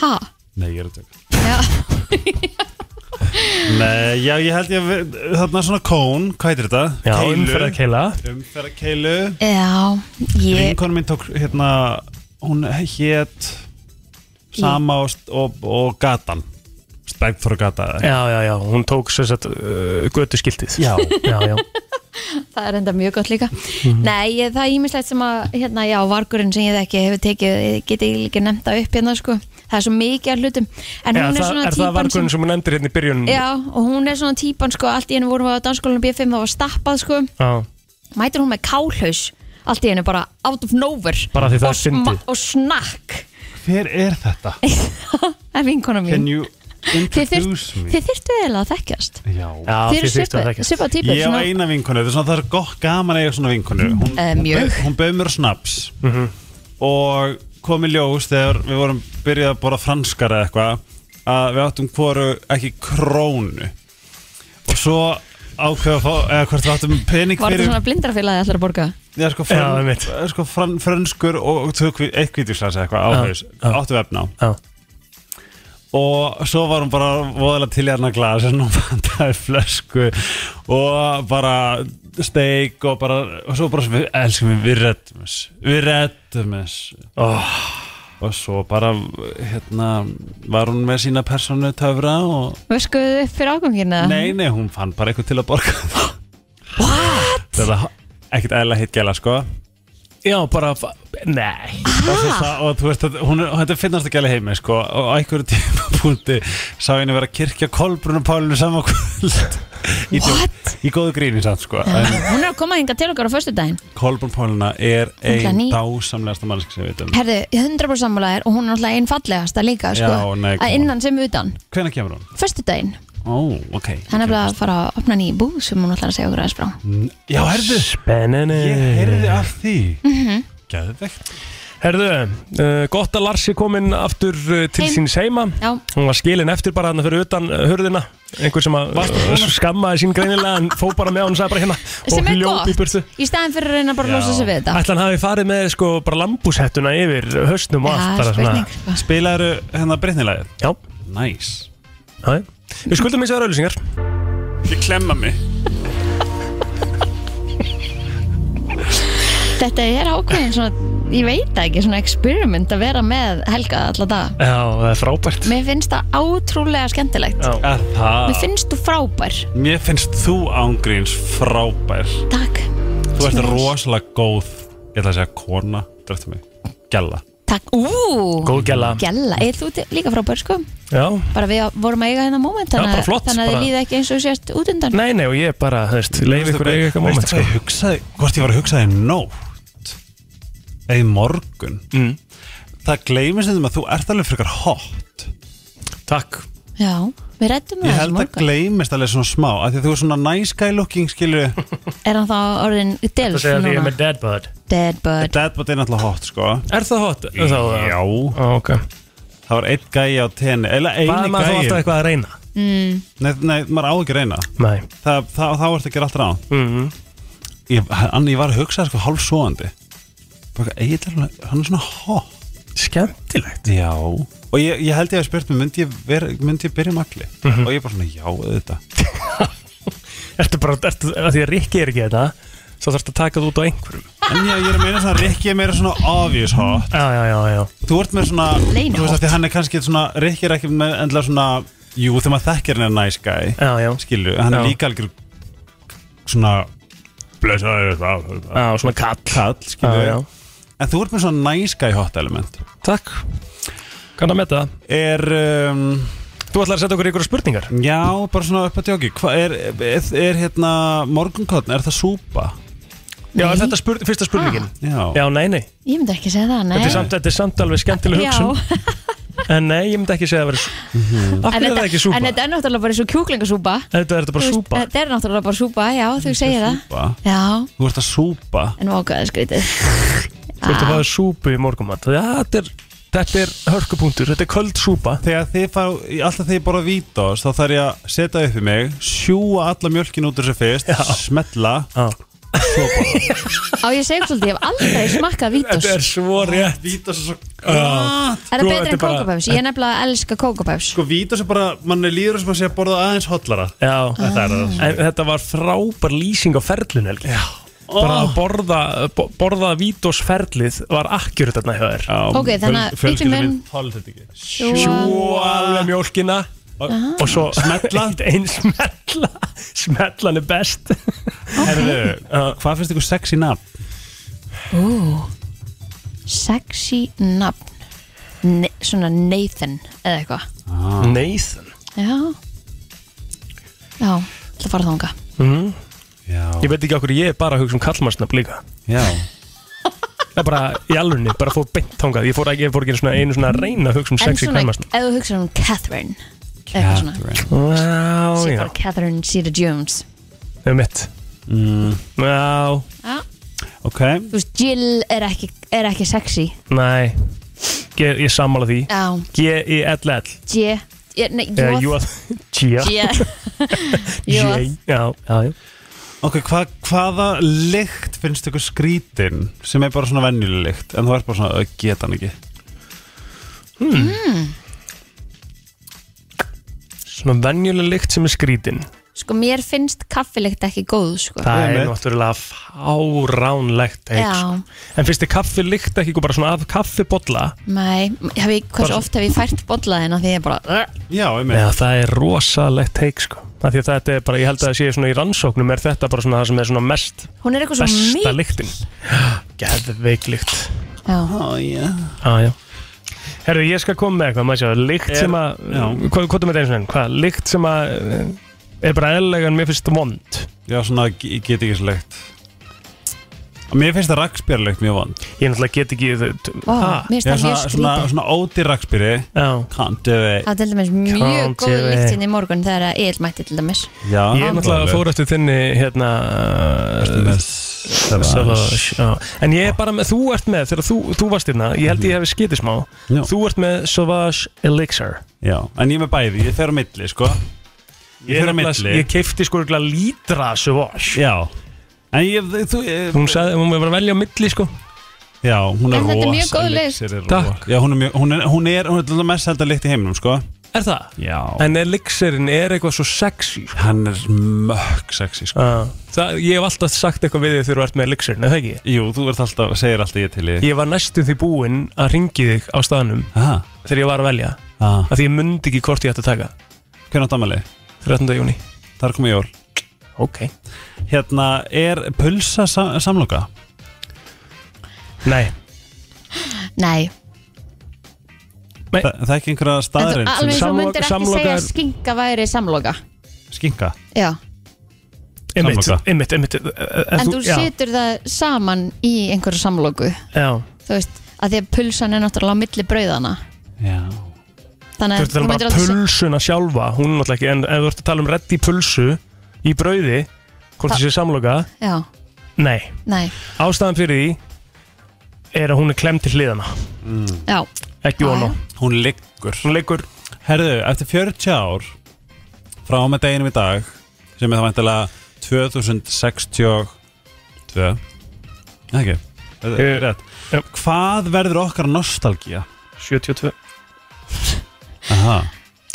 [SPEAKER 3] ha
[SPEAKER 4] Nei, ég er að tjóka
[SPEAKER 3] já
[SPEAKER 4] <laughs> Nei, já, ég held ég að Þarna svona kón, hvað heitir þetta?
[SPEAKER 1] Já,
[SPEAKER 4] Keilu.
[SPEAKER 1] umferða keila
[SPEAKER 4] Umferða keilu
[SPEAKER 3] Já, ég,
[SPEAKER 4] Vinkonu mín tók hérna Hún hét Sama og, og, og gatan Spengþór gata eða
[SPEAKER 1] Já, já, já, hún tók svo sett uh, götu skiltið
[SPEAKER 4] Já.
[SPEAKER 1] já, já.
[SPEAKER 3] það er enda mjög gott líka
[SPEAKER 1] Mhm.
[SPEAKER 3] Nei, ég, það er ímislegt sem að hérna, já, vargurinn sem ég ekki hefur tekið ég geti ekki nefnt það upp hérna sko. það er svo mikið af hlutum <laughs> en
[SPEAKER 1] Já,
[SPEAKER 3] hún er
[SPEAKER 1] það,
[SPEAKER 3] svona
[SPEAKER 1] er það
[SPEAKER 3] típan
[SPEAKER 1] vargurinn
[SPEAKER 3] sem,
[SPEAKER 1] sem hún endur hérna í byrjunum?
[SPEAKER 3] já, og hún er svona típan sko, allt í hennu vorum við á danskólanum B5 það var stappað sko.
[SPEAKER 1] Já,
[SPEAKER 3] mætir hún með kálhaus allt í hennu bara out of nowhere
[SPEAKER 1] Bara því það
[SPEAKER 3] og,
[SPEAKER 1] er fyndið.
[SPEAKER 3] sma- og snakk
[SPEAKER 4] Hver er þetta?
[SPEAKER 3] það er vinkona
[SPEAKER 4] Can
[SPEAKER 3] mín
[SPEAKER 4] you
[SPEAKER 3] þið, þyrt,
[SPEAKER 4] introduce me?
[SPEAKER 3] þið þyrftu eða að þekkjast
[SPEAKER 4] Já
[SPEAKER 1] já
[SPEAKER 3] þið
[SPEAKER 1] þið
[SPEAKER 3] eru
[SPEAKER 1] þyrftu að
[SPEAKER 3] svipa-
[SPEAKER 1] þekkjast.
[SPEAKER 3] svipa típur
[SPEAKER 4] Ég
[SPEAKER 3] svona-
[SPEAKER 4] var eina vinkonu, þetta er svona, það er gott gaman að eiga svona vinkonu Hún,
[SPEAKER 3] Eh,
[SPEAKER 4] hún,
[SPEAKER 3] mjög.
[SPEAKER 4] bau- hún bauð mér snaps og kom í ljós þegar við vorum byrjað að bora franskar eða eitthvað að við áttum hvoru ekki krónu og svo ákveða að fá, eða hvort við áttum pening
[SPEAKER 3] var þetta
[SPEAKER 4] fyrir
[SPEAKER 3] svona blindrafélagi allar að borga
[SPEAKER 4] Já, sko,
[SPEAKER 1] Já,
[SPEAKER 4] fran,
[SPEAKER 1] einmitt.
[SPEAKER 4] já, sko fran, franskur og, og tök við eitt kvítislas eða eitthvað
[SPEAKER 1] Já,
[SPEAKER 4] áhauðis,
[SPEAKER 1] já.
[SPEAKER 4] áttum við efna á
[SPEAKER 1] Já,
[SPEAKER 4] og svo var hún bara voðalega til hérna glas en hún <laughs> vantaði flösku og bara steik og bara og svo bara við elskum við, við reddum þess við reddum þess
[SPEAKER 1] oh,
[SPEAKER 4] og svo bara hérna var hún með sína persónu töfra og
[SPEAKER 3] vöskuðu upp fyrir ágangina
[SPEAKER 4] nei nei hún fann bara eitthvað til að borga What? þetta er ekkert eðla hitt gæla sko
[SPEAKER 1] já bara, fa- nei
[SPEAKER 4] og, svo sa, og þú veist, þetta- hún er, þetta er finnast að gæla heimi sko, og á einhverju tímapunkti sá henni vera að kirkja kolbrunum pálinu saman kvöld í, djó-
[SPEAKER 3] What?
[SPEAKER 4] í góðu gríni samt sko en
[SPEAKER 3] Hún er að koma hinga til okkar á föstudaginn
[SPEAKER 4] kolbrun pálina er
[SPEAKER 3] Hún
[SPEAKER 4] ein
[SPEAKER 3] ný-
[SPEAKER 4] dásamlegasta mannsk sem við veitum
[SPEAKER 3] Herðu, 100% sammálaðir og hún er náttúrulega einn fallegasta líka sko,
[SPEAKER 4] Já, nei,
[SPEAKER 3] að
[SPEAKER 4] koma.
[SPEAKER 3] innan sem utan
[SPEAKER 4] hvenær kemur hún?
[SPEAKER 3] Föstudaginn,
[SPEAKER 4] ó, ok
[SPEAKER 3] hann er bara að fara að opna nýju búð sem hún ætlar að segja okkur aðeins frá
[SPEAKER 4] já, herðu,
[SPEAKER 1] Spenninu
[SPEAKER 4] ég herði af því
[SPEAKER 3] Mhm.
[SPEAKER 4] geðvegt
[SPEAKER 1] Herðu, uh, gott að Lars er komin aftur uh, til
[SPEAKER 3] Heim.
[SPEAKER 1] síns heima
[SPEAKER 3] Já.
[SPEAKER 1] Hún var skilin eftir bara hann fyrir utan uh, hurðina Einhver sem að uh, skammaði sín greinilega en fó bara með hann sagði bara hérna
[SPEAKER 3] sem
[SPEAKER 1] og
[SPEAKER 3] er
[SPEAKER 1] hljóp í burtu
[SPEAKER 3] gott, í staðin fyrir að reyna bara að losa sig við þetta
[SPEAKER 1] Ætla hann hafi farið með sko bara lambúshettuna yfir höstnum og allt
[SPEAKER 3] Það
[SPEAKER 1] bara
[SPEAKER 3] er
[SPEAKER 1] svona
[SPEAKER 3] spurning sko.
[SPEAKER 4] spilaðu hérna breytnilæðið
[SPEAKER 1] Já,
[SPEAKER 4] næs nice.
[SPEAKER 1] já, já. Við skuldum eins og öðru auðlýsingar
[SPEAKER 4] ég klemma mig
[SPEAKER 3] þetta er ákveðin svona, ég veit það ekki, svona experiment að vera með Helga alla daga.
[SPEAKER 1] Já, það er frábært
[SPEAKER 3] Mér finnst það átrúlega skemmtilegt.
[SPEAKER 1] Já.
[SPEAKER 4] Er það?
[SPEAKER 3] Mér finnst þú frábær.
[SPEAKER 4] Mér finnst þú ángríns frábær
[SPEAKER 3] Takk.
[SPEAKER 4] Þú ert
[SPEAKER 3] Smash.
[SPEAKER 4] rosalega góð Ég ætla að segja kona Dreftu mig Gjalla
[SPEAKER 3] Takk. Ú,
[SPEAKER 1] Góð gæla
[SPEAKER 3] gælla. Er þú til- líka frábær, sko?
[SPEAKER 1] Já
[SPEAKER 3] Bara við vorum að eiga hérna moment,
[SPEAKER 1] Já,
[SPEAKER 3] þannig,
[SPEAKER 1] bara flott,
[SPEAKER 3] þannig að
[SPEAKER 1] bara-
[SPEAKER 3] þið líða ekki eins og þú sést út undan.
[SPEAKER 1] Nei, nei, og ég bara, þú veist, leif ykkur eiga eitthvað moment,
[SPEAKER 4] Veistu
[SPEAKER 1] sko
[SPEAKER 4] hvað ég hugsaði Hvort ég var að hugsaði nótt Eða í morgun
[SPEAKER 1] Mm.
[SPEAKER 4] Það gleymir sem að þú ert alveg frekar hot
[SPEAKER 1] Takk
[SPEAKER 3] Já, við reddum
[SPEAKER 4] Ég
[SPEAKER 3] það
[SPEAKER 4] held að gleymist alveg svona smá af Því að þú er svona nice guy looking skilur
[SPEAKER 3] Er hann þá orðin delf núna?
[SPEAKER 1] dead bud
[SPEAKER 3] Dead bird.
[SPEAKER 4] Dead body er náttúrulega hot sko
[SPEAKER 1] Er það hot? Er það,
[SPEAKER 4] Já
[SPEAKER 1] Ó, ok
[SPEAKER 4] Það var einn gæi á tenni Eða
[SPEAKER 1] Hvað er
[SPEAKER 4] eini
[SPEAKER 1] maður þá alltaf
[SPEAKER 4] gæi
[SPEAKER 1] eitthvað að reyna?
[SPEAKER 4] Nei, nei, maður á ekki að reyna
[SPEAKER 1] Nei
[SPEAKER 4] það, það, það var þetta að gera alltaf ráðan
[SPEAKER 1] Mhm.
[SPEAKER 4] ég, Anni, ég var að hugsa sko hálfsóandi Bara, Egill er alveg- hann er svona hot
[SPEAKER 1] Skemmtilegt
[SPEAKER 4] Já Og ég, ég held ég að spurt mig, myndi ég, ver, myndi ég byrja magli
[SPEAKER 1] Mhm.
[SPEAKER 4] Og ég bara svona, já, auðvitað
[SPEAKER 1] Ertu bara, ertu, að því að Rikki er ekki þetta Svo þarfst að taka þú út á einhverjum
[SPEAKER 4] En ég, ég er að meina svona, Rikki er meira svona obvious hot
[SPEAKER 1] Já, já, já, já
[SPEAKER 4] Þú ert meira svona,
[SPEAKER 3] Leyni
[SPEAKER 4] þú veist
[SPEAKER 3] hot.
[SPEAKER 4] að því hann er kannski svona Rikki er ekki með endilega svona Jú, þegar maður þekkir hann er nice guy
[SPEAKER 1] Já, já
[SPEAKER 4] Skilju, hann er
[SPEAKER 1] Já.
[SPEAKER 4] líka algjör Svona Blesaður það
[SPEAKER 1] Já, svona kall
[SPEAKER 4] Kall,
[SPEAKER 1] Já, já
[SPEAKER 4] skilju En þú ert með svona nice guy hot element
[SPEAKER 1] Takk Kann að metta það
[SPEAKER 4] er um,
[SPEAKER 1] Þú ætlar að setja okkur ykkur spurningar
[SPEAKER 4] já, bara svona upp að djóki hvað er, er, er hérna morgunkotn, er það súpa?
[SPEAKER 1] Já,
[SPEAKER 3] Nei. Ah.
[SPEAKER 1] er þetta spur, fyrsta spurningin?
[SPEAKER 4] Já,
[SPEAKER 1] Já, nei, nei
[SPEAKER 3] Ég myndi ekki segja það, nei.
[SPEAKER 1] Þetta er samt, þetta er samt alveg skemmtileg hugsun
[SPEAKER 3] Eh? Já, Mhm.
[SPEAKER 1] En nei, ég myndi ekki segja að vera Mhm. Af
[SPEAKER 3] en
[SPEAKER 1] hverju er það ekki
[SPEAKER 3] þetta,
[SPEAKER 1] súpa?
[SPEAKER 3] en þetta er náttúrulega bara eins og kjúklingasúpa.
[SPEAKER 1] Þetta er þetta bara
[SPEAKER 3] Þú veist,
[SPEAKER 1] súpa
[SPEAKER 3] Þetta er náttúrulega bara súpa, já, þú segir það.
[SPEAKER 4] súpa
[SPEAKER 3] Já,
[SPEAKER 4] Þú ert að súpa
[SPEAKER 3] en ágæða skrítið.
[SPEAKER 1] Þú
[SPEAKER 3] Ah.
[SPEAKER 1] ert að fáið súpu í morgumat Þetta er, þetta er hörkupunktur Þetta er köld súpa
[SPEAKER 4] Þegar þið fá, alltaf þegar ég borða vítós þá þarf ég að setja upp í mig sjúa alla mjölkin út úr þessu fyrst
[SPEAKER 1] Já.
[SPEAKER 4] smetla
[SPEAKER 1] Já.
[SPEAKER 3] Ah. Á, ég segi svolítið, ég hef aldrei smakkað vítos.
[SPEAKER 1] Þetta er
[SPEAKER 3] Ah.
[SPEAKER 1] svo rétt
[SPEAKER 4] Vítós er svo
[SPEAKER 3] Er það
[SPEAKER 1] sko,
[SPEAKER 3] betur
[SPEAKER 1] þetta
[SPEAKER 3] en
[SPEAKER 1] er bara-
[SPEAKER 3] kókabæfs? Ég er nefnilega að elska kókabæfs.
[SPEAKER 4] Sko vítós er bara, manni líður sem að sé að borða aðeins hotlara
[SPEAKER 1] Já,
[SPEAKER 4] Þetta er það
[SPEAKER 1] Ah. En þetta var frábær lýsing á ferlun Helgi Já Bara
[SPEAKER 3] Ah.
[SPEAKER 1] að borða, bo- borða vítosferlið var akkurat þarna hjá þér
[SPEAKER 3] Ok, þannig að bíddu
[SPEAKER 4] Fjölskyldur
[SPEAKER 3] minn-
[SPEAKER 4] minn Hálf þetta ekki
[SPEAKER 1] Sjúa alveg mjólkina
[SPEAKER 3] Ah.
[SPEAKER 1] Og svo <laughs>
[SPEAKER 4] Smella.
[SPEAKER 1] Einn smetla Smetlan er best
[SPEAKER 4] Herðu, uh, hvað finnst ykkur sexy nafn?
[SPEAKER 3] Ú, sexy nafn. Ne svona Nathan eða eitthvað.
[SPEAKER 4] Ah.
[SPEAKER 1] Nathan
[SPEAKER 3] Já. Já, ætla að fara þánga.
[SPEAKER 4] Já,
[SPEAKER 1] Ég veit ekki okkur ég er bara að hugsa um kallmannsnafn líka
[SPEAKER 4] já
[SPEAKER 1] Það er bara í alvörni Bara fór beint þangað Ég fór ekki, ég fór ekki einu svona, einu svona að reyna að hugsa um
[SPEAKER 3] En
[SPEAKER 1] sexy
[SPEAKER 3] svona,
[SPEAKER 1] kallmannsnafn
[SPEAKER 3] ef þú hugsa um Catherine. Eitthvað svona.
[SPEAKER 4] Catherine
[SPEAKER 1] Vá,
[SPEAKER 3] Sér
[SPEAKER 1] já
[SPEAKER 3] bara Catherine Zeta Jones.
[SPEAKER 1] Það er mitt
[SPEAKER 4] Mm.
[SPEAKER 1] Já,
[SPEAKER 3] Já.
[SPEAKER 4] Ok,
[SPEAKER 3] Þú veist, Jill er ekki, er ekki sexy.
[SPEAKER 1] næ Ég, ég sammála því E,
[SPEAKER 3] Já,
[SPEAKER 1] G-I-L-L
[SPEAKER 3] J. Ég- Nei,
[SPEAKER 1] Eh,
[SPEAKER 3] <laughs> J.
[SPEAKER 1] Jóð Tjá
[SPEAKER 3] J.
[SPEAKER 1] <laughs> J
[SPEAKER 3] J.
[SPEAKER 1] Já, já, já
[SPEAKER 4] ok, hva, hvaða lykt finnst ykkur skrítin sem er bara svona venjuleg lykt en þú ert bara svona, "Ö, geta hann ekki
[SPEAKER 1] Svona venjuleg lykt sem er skrítin
[SPEAKER 3] Sko, mér finnst kaffilegt ekki góð, sko.
[SPEAKER 1] Það
[SPEAKER 4] Einmitt.
[SPEAKER 1] er náttúrulega fáránlegt teik,
[SPEAKER 3] Já.
[SPEAKER 1] sko. En finnst þið kaffi lykt ekki bara svona af kaffibolla
[SPEAKER 3] Nei, hef ég, hversu
[SPEAKER 1] Bara-
[SPEAKER 3] oft hef ég fært bollaðina því ég bara,
[SPEAKER 4] Já, einmitt
[SPEAKER 1] Já, það er rosalegt teik sko Það því að þetta er bara, ég held að það sé svona í rannsóknum er þetta bara svona það sem er svona mest
[SPEAKER 3] hún er eitthvað svo
[SPEAKER 1] besta
[SPEAKER 3] mjög.
[SPEAKER 1] lyktin <gasps> Geðveik lykt
[SPEAKER 3] Já,
[SPEAKER 4] Ó, já.
[SPEAKER 1] Já, já Herru, ég skal koma með eitthvað, maður sjá, lykt sem að
[SPEAKER 4] já.
[SPEAKER 1] Hvað, hvað er með þetta eins og enn? Hvað, lykt sem að eh, er bara eðlega en mér finnst vond
[SPEAKER 4] já, svona, ég get ekki þessu lykt Og Mér finnst það rakspjörlykt mjög vond
[SPEAKER 1] Ég náttúrulega get ekki þau-
[SPEAKER 3] ó,
[SPEAKER 1] Ha?
[SPEAKER 3] mér finnst
[SPEAKER 4] Já,
[SPEAKER 3] það
[SPEAKER 4] svona,
[SPEAKER 3] mjög
[SPEAKER 4] svona,
[SPEAKER 3] skrítið.
[SPEAKER 4] svona óti rakspjöri
[SPEAKER 1] Já
[SPEAKER 4] Can't do it
[SPEAKER 3] Það er til dæmis mjög
[SPEAKER 1] Can't
[SPEAKER 3] góð
[SPEAKER 1] do it.
[SPEAKER 3] lyktinn í morgun þegar að Egil mætti til dæmis.
[SPEAKER 4] Já,
[SPEAKER 1] Ég náttúrulega fór eftir þinni hérna
[SPEAKER 4] Það
[SPEAKER 1] Savage já. En ég er bara með, þú ert með þegar þú, þú varst hérna, ég held ég hefði skitið smá
[SPEAKER 4] Já.
[SPEAKER 1] Þú ert með Savage Elixir
[SPEAKER 4] Já, en ég er með bæði, ég fer á milli, sko Ég fer á milli
[SPEAKER 1] Ég keifti sko ykkur lítra Savage
[SPEAKER 4] Já En ég, þú ég,
[SPEAKER 1] Hún sagði, hún var að velja á milli sko
[SPEAKER 4] Já, hún er
[SPEAKER 3] En þetta er mjög
[SPEAKER 4] rosa
[SPEAKER 3] góð
[SPEAKER 4] lykt,
[SPEAKER 3] lykt.
[SPEAKER 4] sér er
[SPEAKER 1] Takk.
[SPEAKER 4] rosa. Já, hún er mjög, hún er, hún er, hún er alltaf mest held að lykt í heiminum, sko
[SPEAKER 1] Er það?
[SPEAKER 4] Já,
[SPEAKER 1] En elixirinn er eitthvað svo sexy sko.
[SPEAKER 4] hann er mökk sexy sko.
[SPEAKER 1] Ah. það, Ég hef alltaf sagt eitthvað við þig þegar þú ert með elixirinn, eða ekki?
[SPEAKER 4] Jú, þú ert alltaf, segir alltaf ég til í
[SPEAKER 1] Ég var næstum því búinn að ringi þig á staðnum
[SPEAKER 4] Aha, Ah.
[SPEAKER 1] þegar ég var að velja
[SPEAKER 4] aha.
[SPEAKER 1] af því ég mundi ekki hvort ég ætti að taka
[SPEAKER 4] Hvernig átt ammali?
[SPEAKER 1] 13. júni
[SPEAKER 4] Þar komið jól
[SPEAKER 1] Ok
[SPEAKER 4] Hérna, er pulsa sam samloka?
[SPEAKER 1] Nei,
[SPEAKER 3] Nei,
[SPEAKER 1] Nei.
[SPEAKER 4] Þa, það er ekki einhverja
[SPEAKER 3] en þú,
[SPEAKER 4] staðrind
[SPEAKER 3] alveg
[SPEAKER 4] sem
[SPEAKER 3] þú
[SPEAKER 1] Samloka-
[SPEAKER 3] myndir ekki
[SPEAKER 1] samloka
[SPEAKER 3] segja
[SPEAKER 1] er-
[SPEAKER 3] að skinka væri samloka
[SPEAKER 4] skinka
[SPEAKER 3] Já,
[SPEAKER 1] einmitt,
[SPEAKER 4] Samloka.
[SPEAKER 1] einmitt, einmitt eh, eh,
[SPEAKER 3] en þú
[SPEAKER 1] já,
[SPEAKER 3] setur það saman í einhverju samloku
[SPEAKER 1] Já,
[SPEAKER 3] Þú veist, að því að pulsan er náttúrulega á milli brauðana
[SPEAKER 4] Já
[SPEAKER 1] þú
[SPEAKER 3] Þannig
[SPEAKER 1] ert að tala um bara
[SPEAKER 3] se-
[SPEAKER 1] pulsuna sjálfa hún er náttúrulega ekki, en ef þú ert að tala um reddi pulsu í brauði, hvort
[SPEAKER 3] Það-
[SPEAKER 1] þessi samloka
[SPEAKER 3] Já,
[SPEAKER 1] Nei,
[SPEAKER 3] nei,
[SPEAKER 1] ástæðan fyrir því er að hún er klemm til hliðana
[SPEAKER 3] já
[SPEAKER 1] ekki
[SPEAKER 3] Já,
[SPEAKER 1] von á
[SPEAKER 3] já.
[SPEAKER 4] Hún liggur
[SPEAKER 1] hún leikur
[SPEAKER 4] Herðu, eftir 40 ár frá með deginum í dag sem er það væntalega 2062 Nei, ekki, þetta er
[SPEAKER 1] Eh,
[SPEAKER 4] rétt
[SPEAKER 1] já.
[SPEAKER 4] Hvað verður okkar nostalgía?
[SPEAKER 1] 72,
[SPEAKER 4] Aha,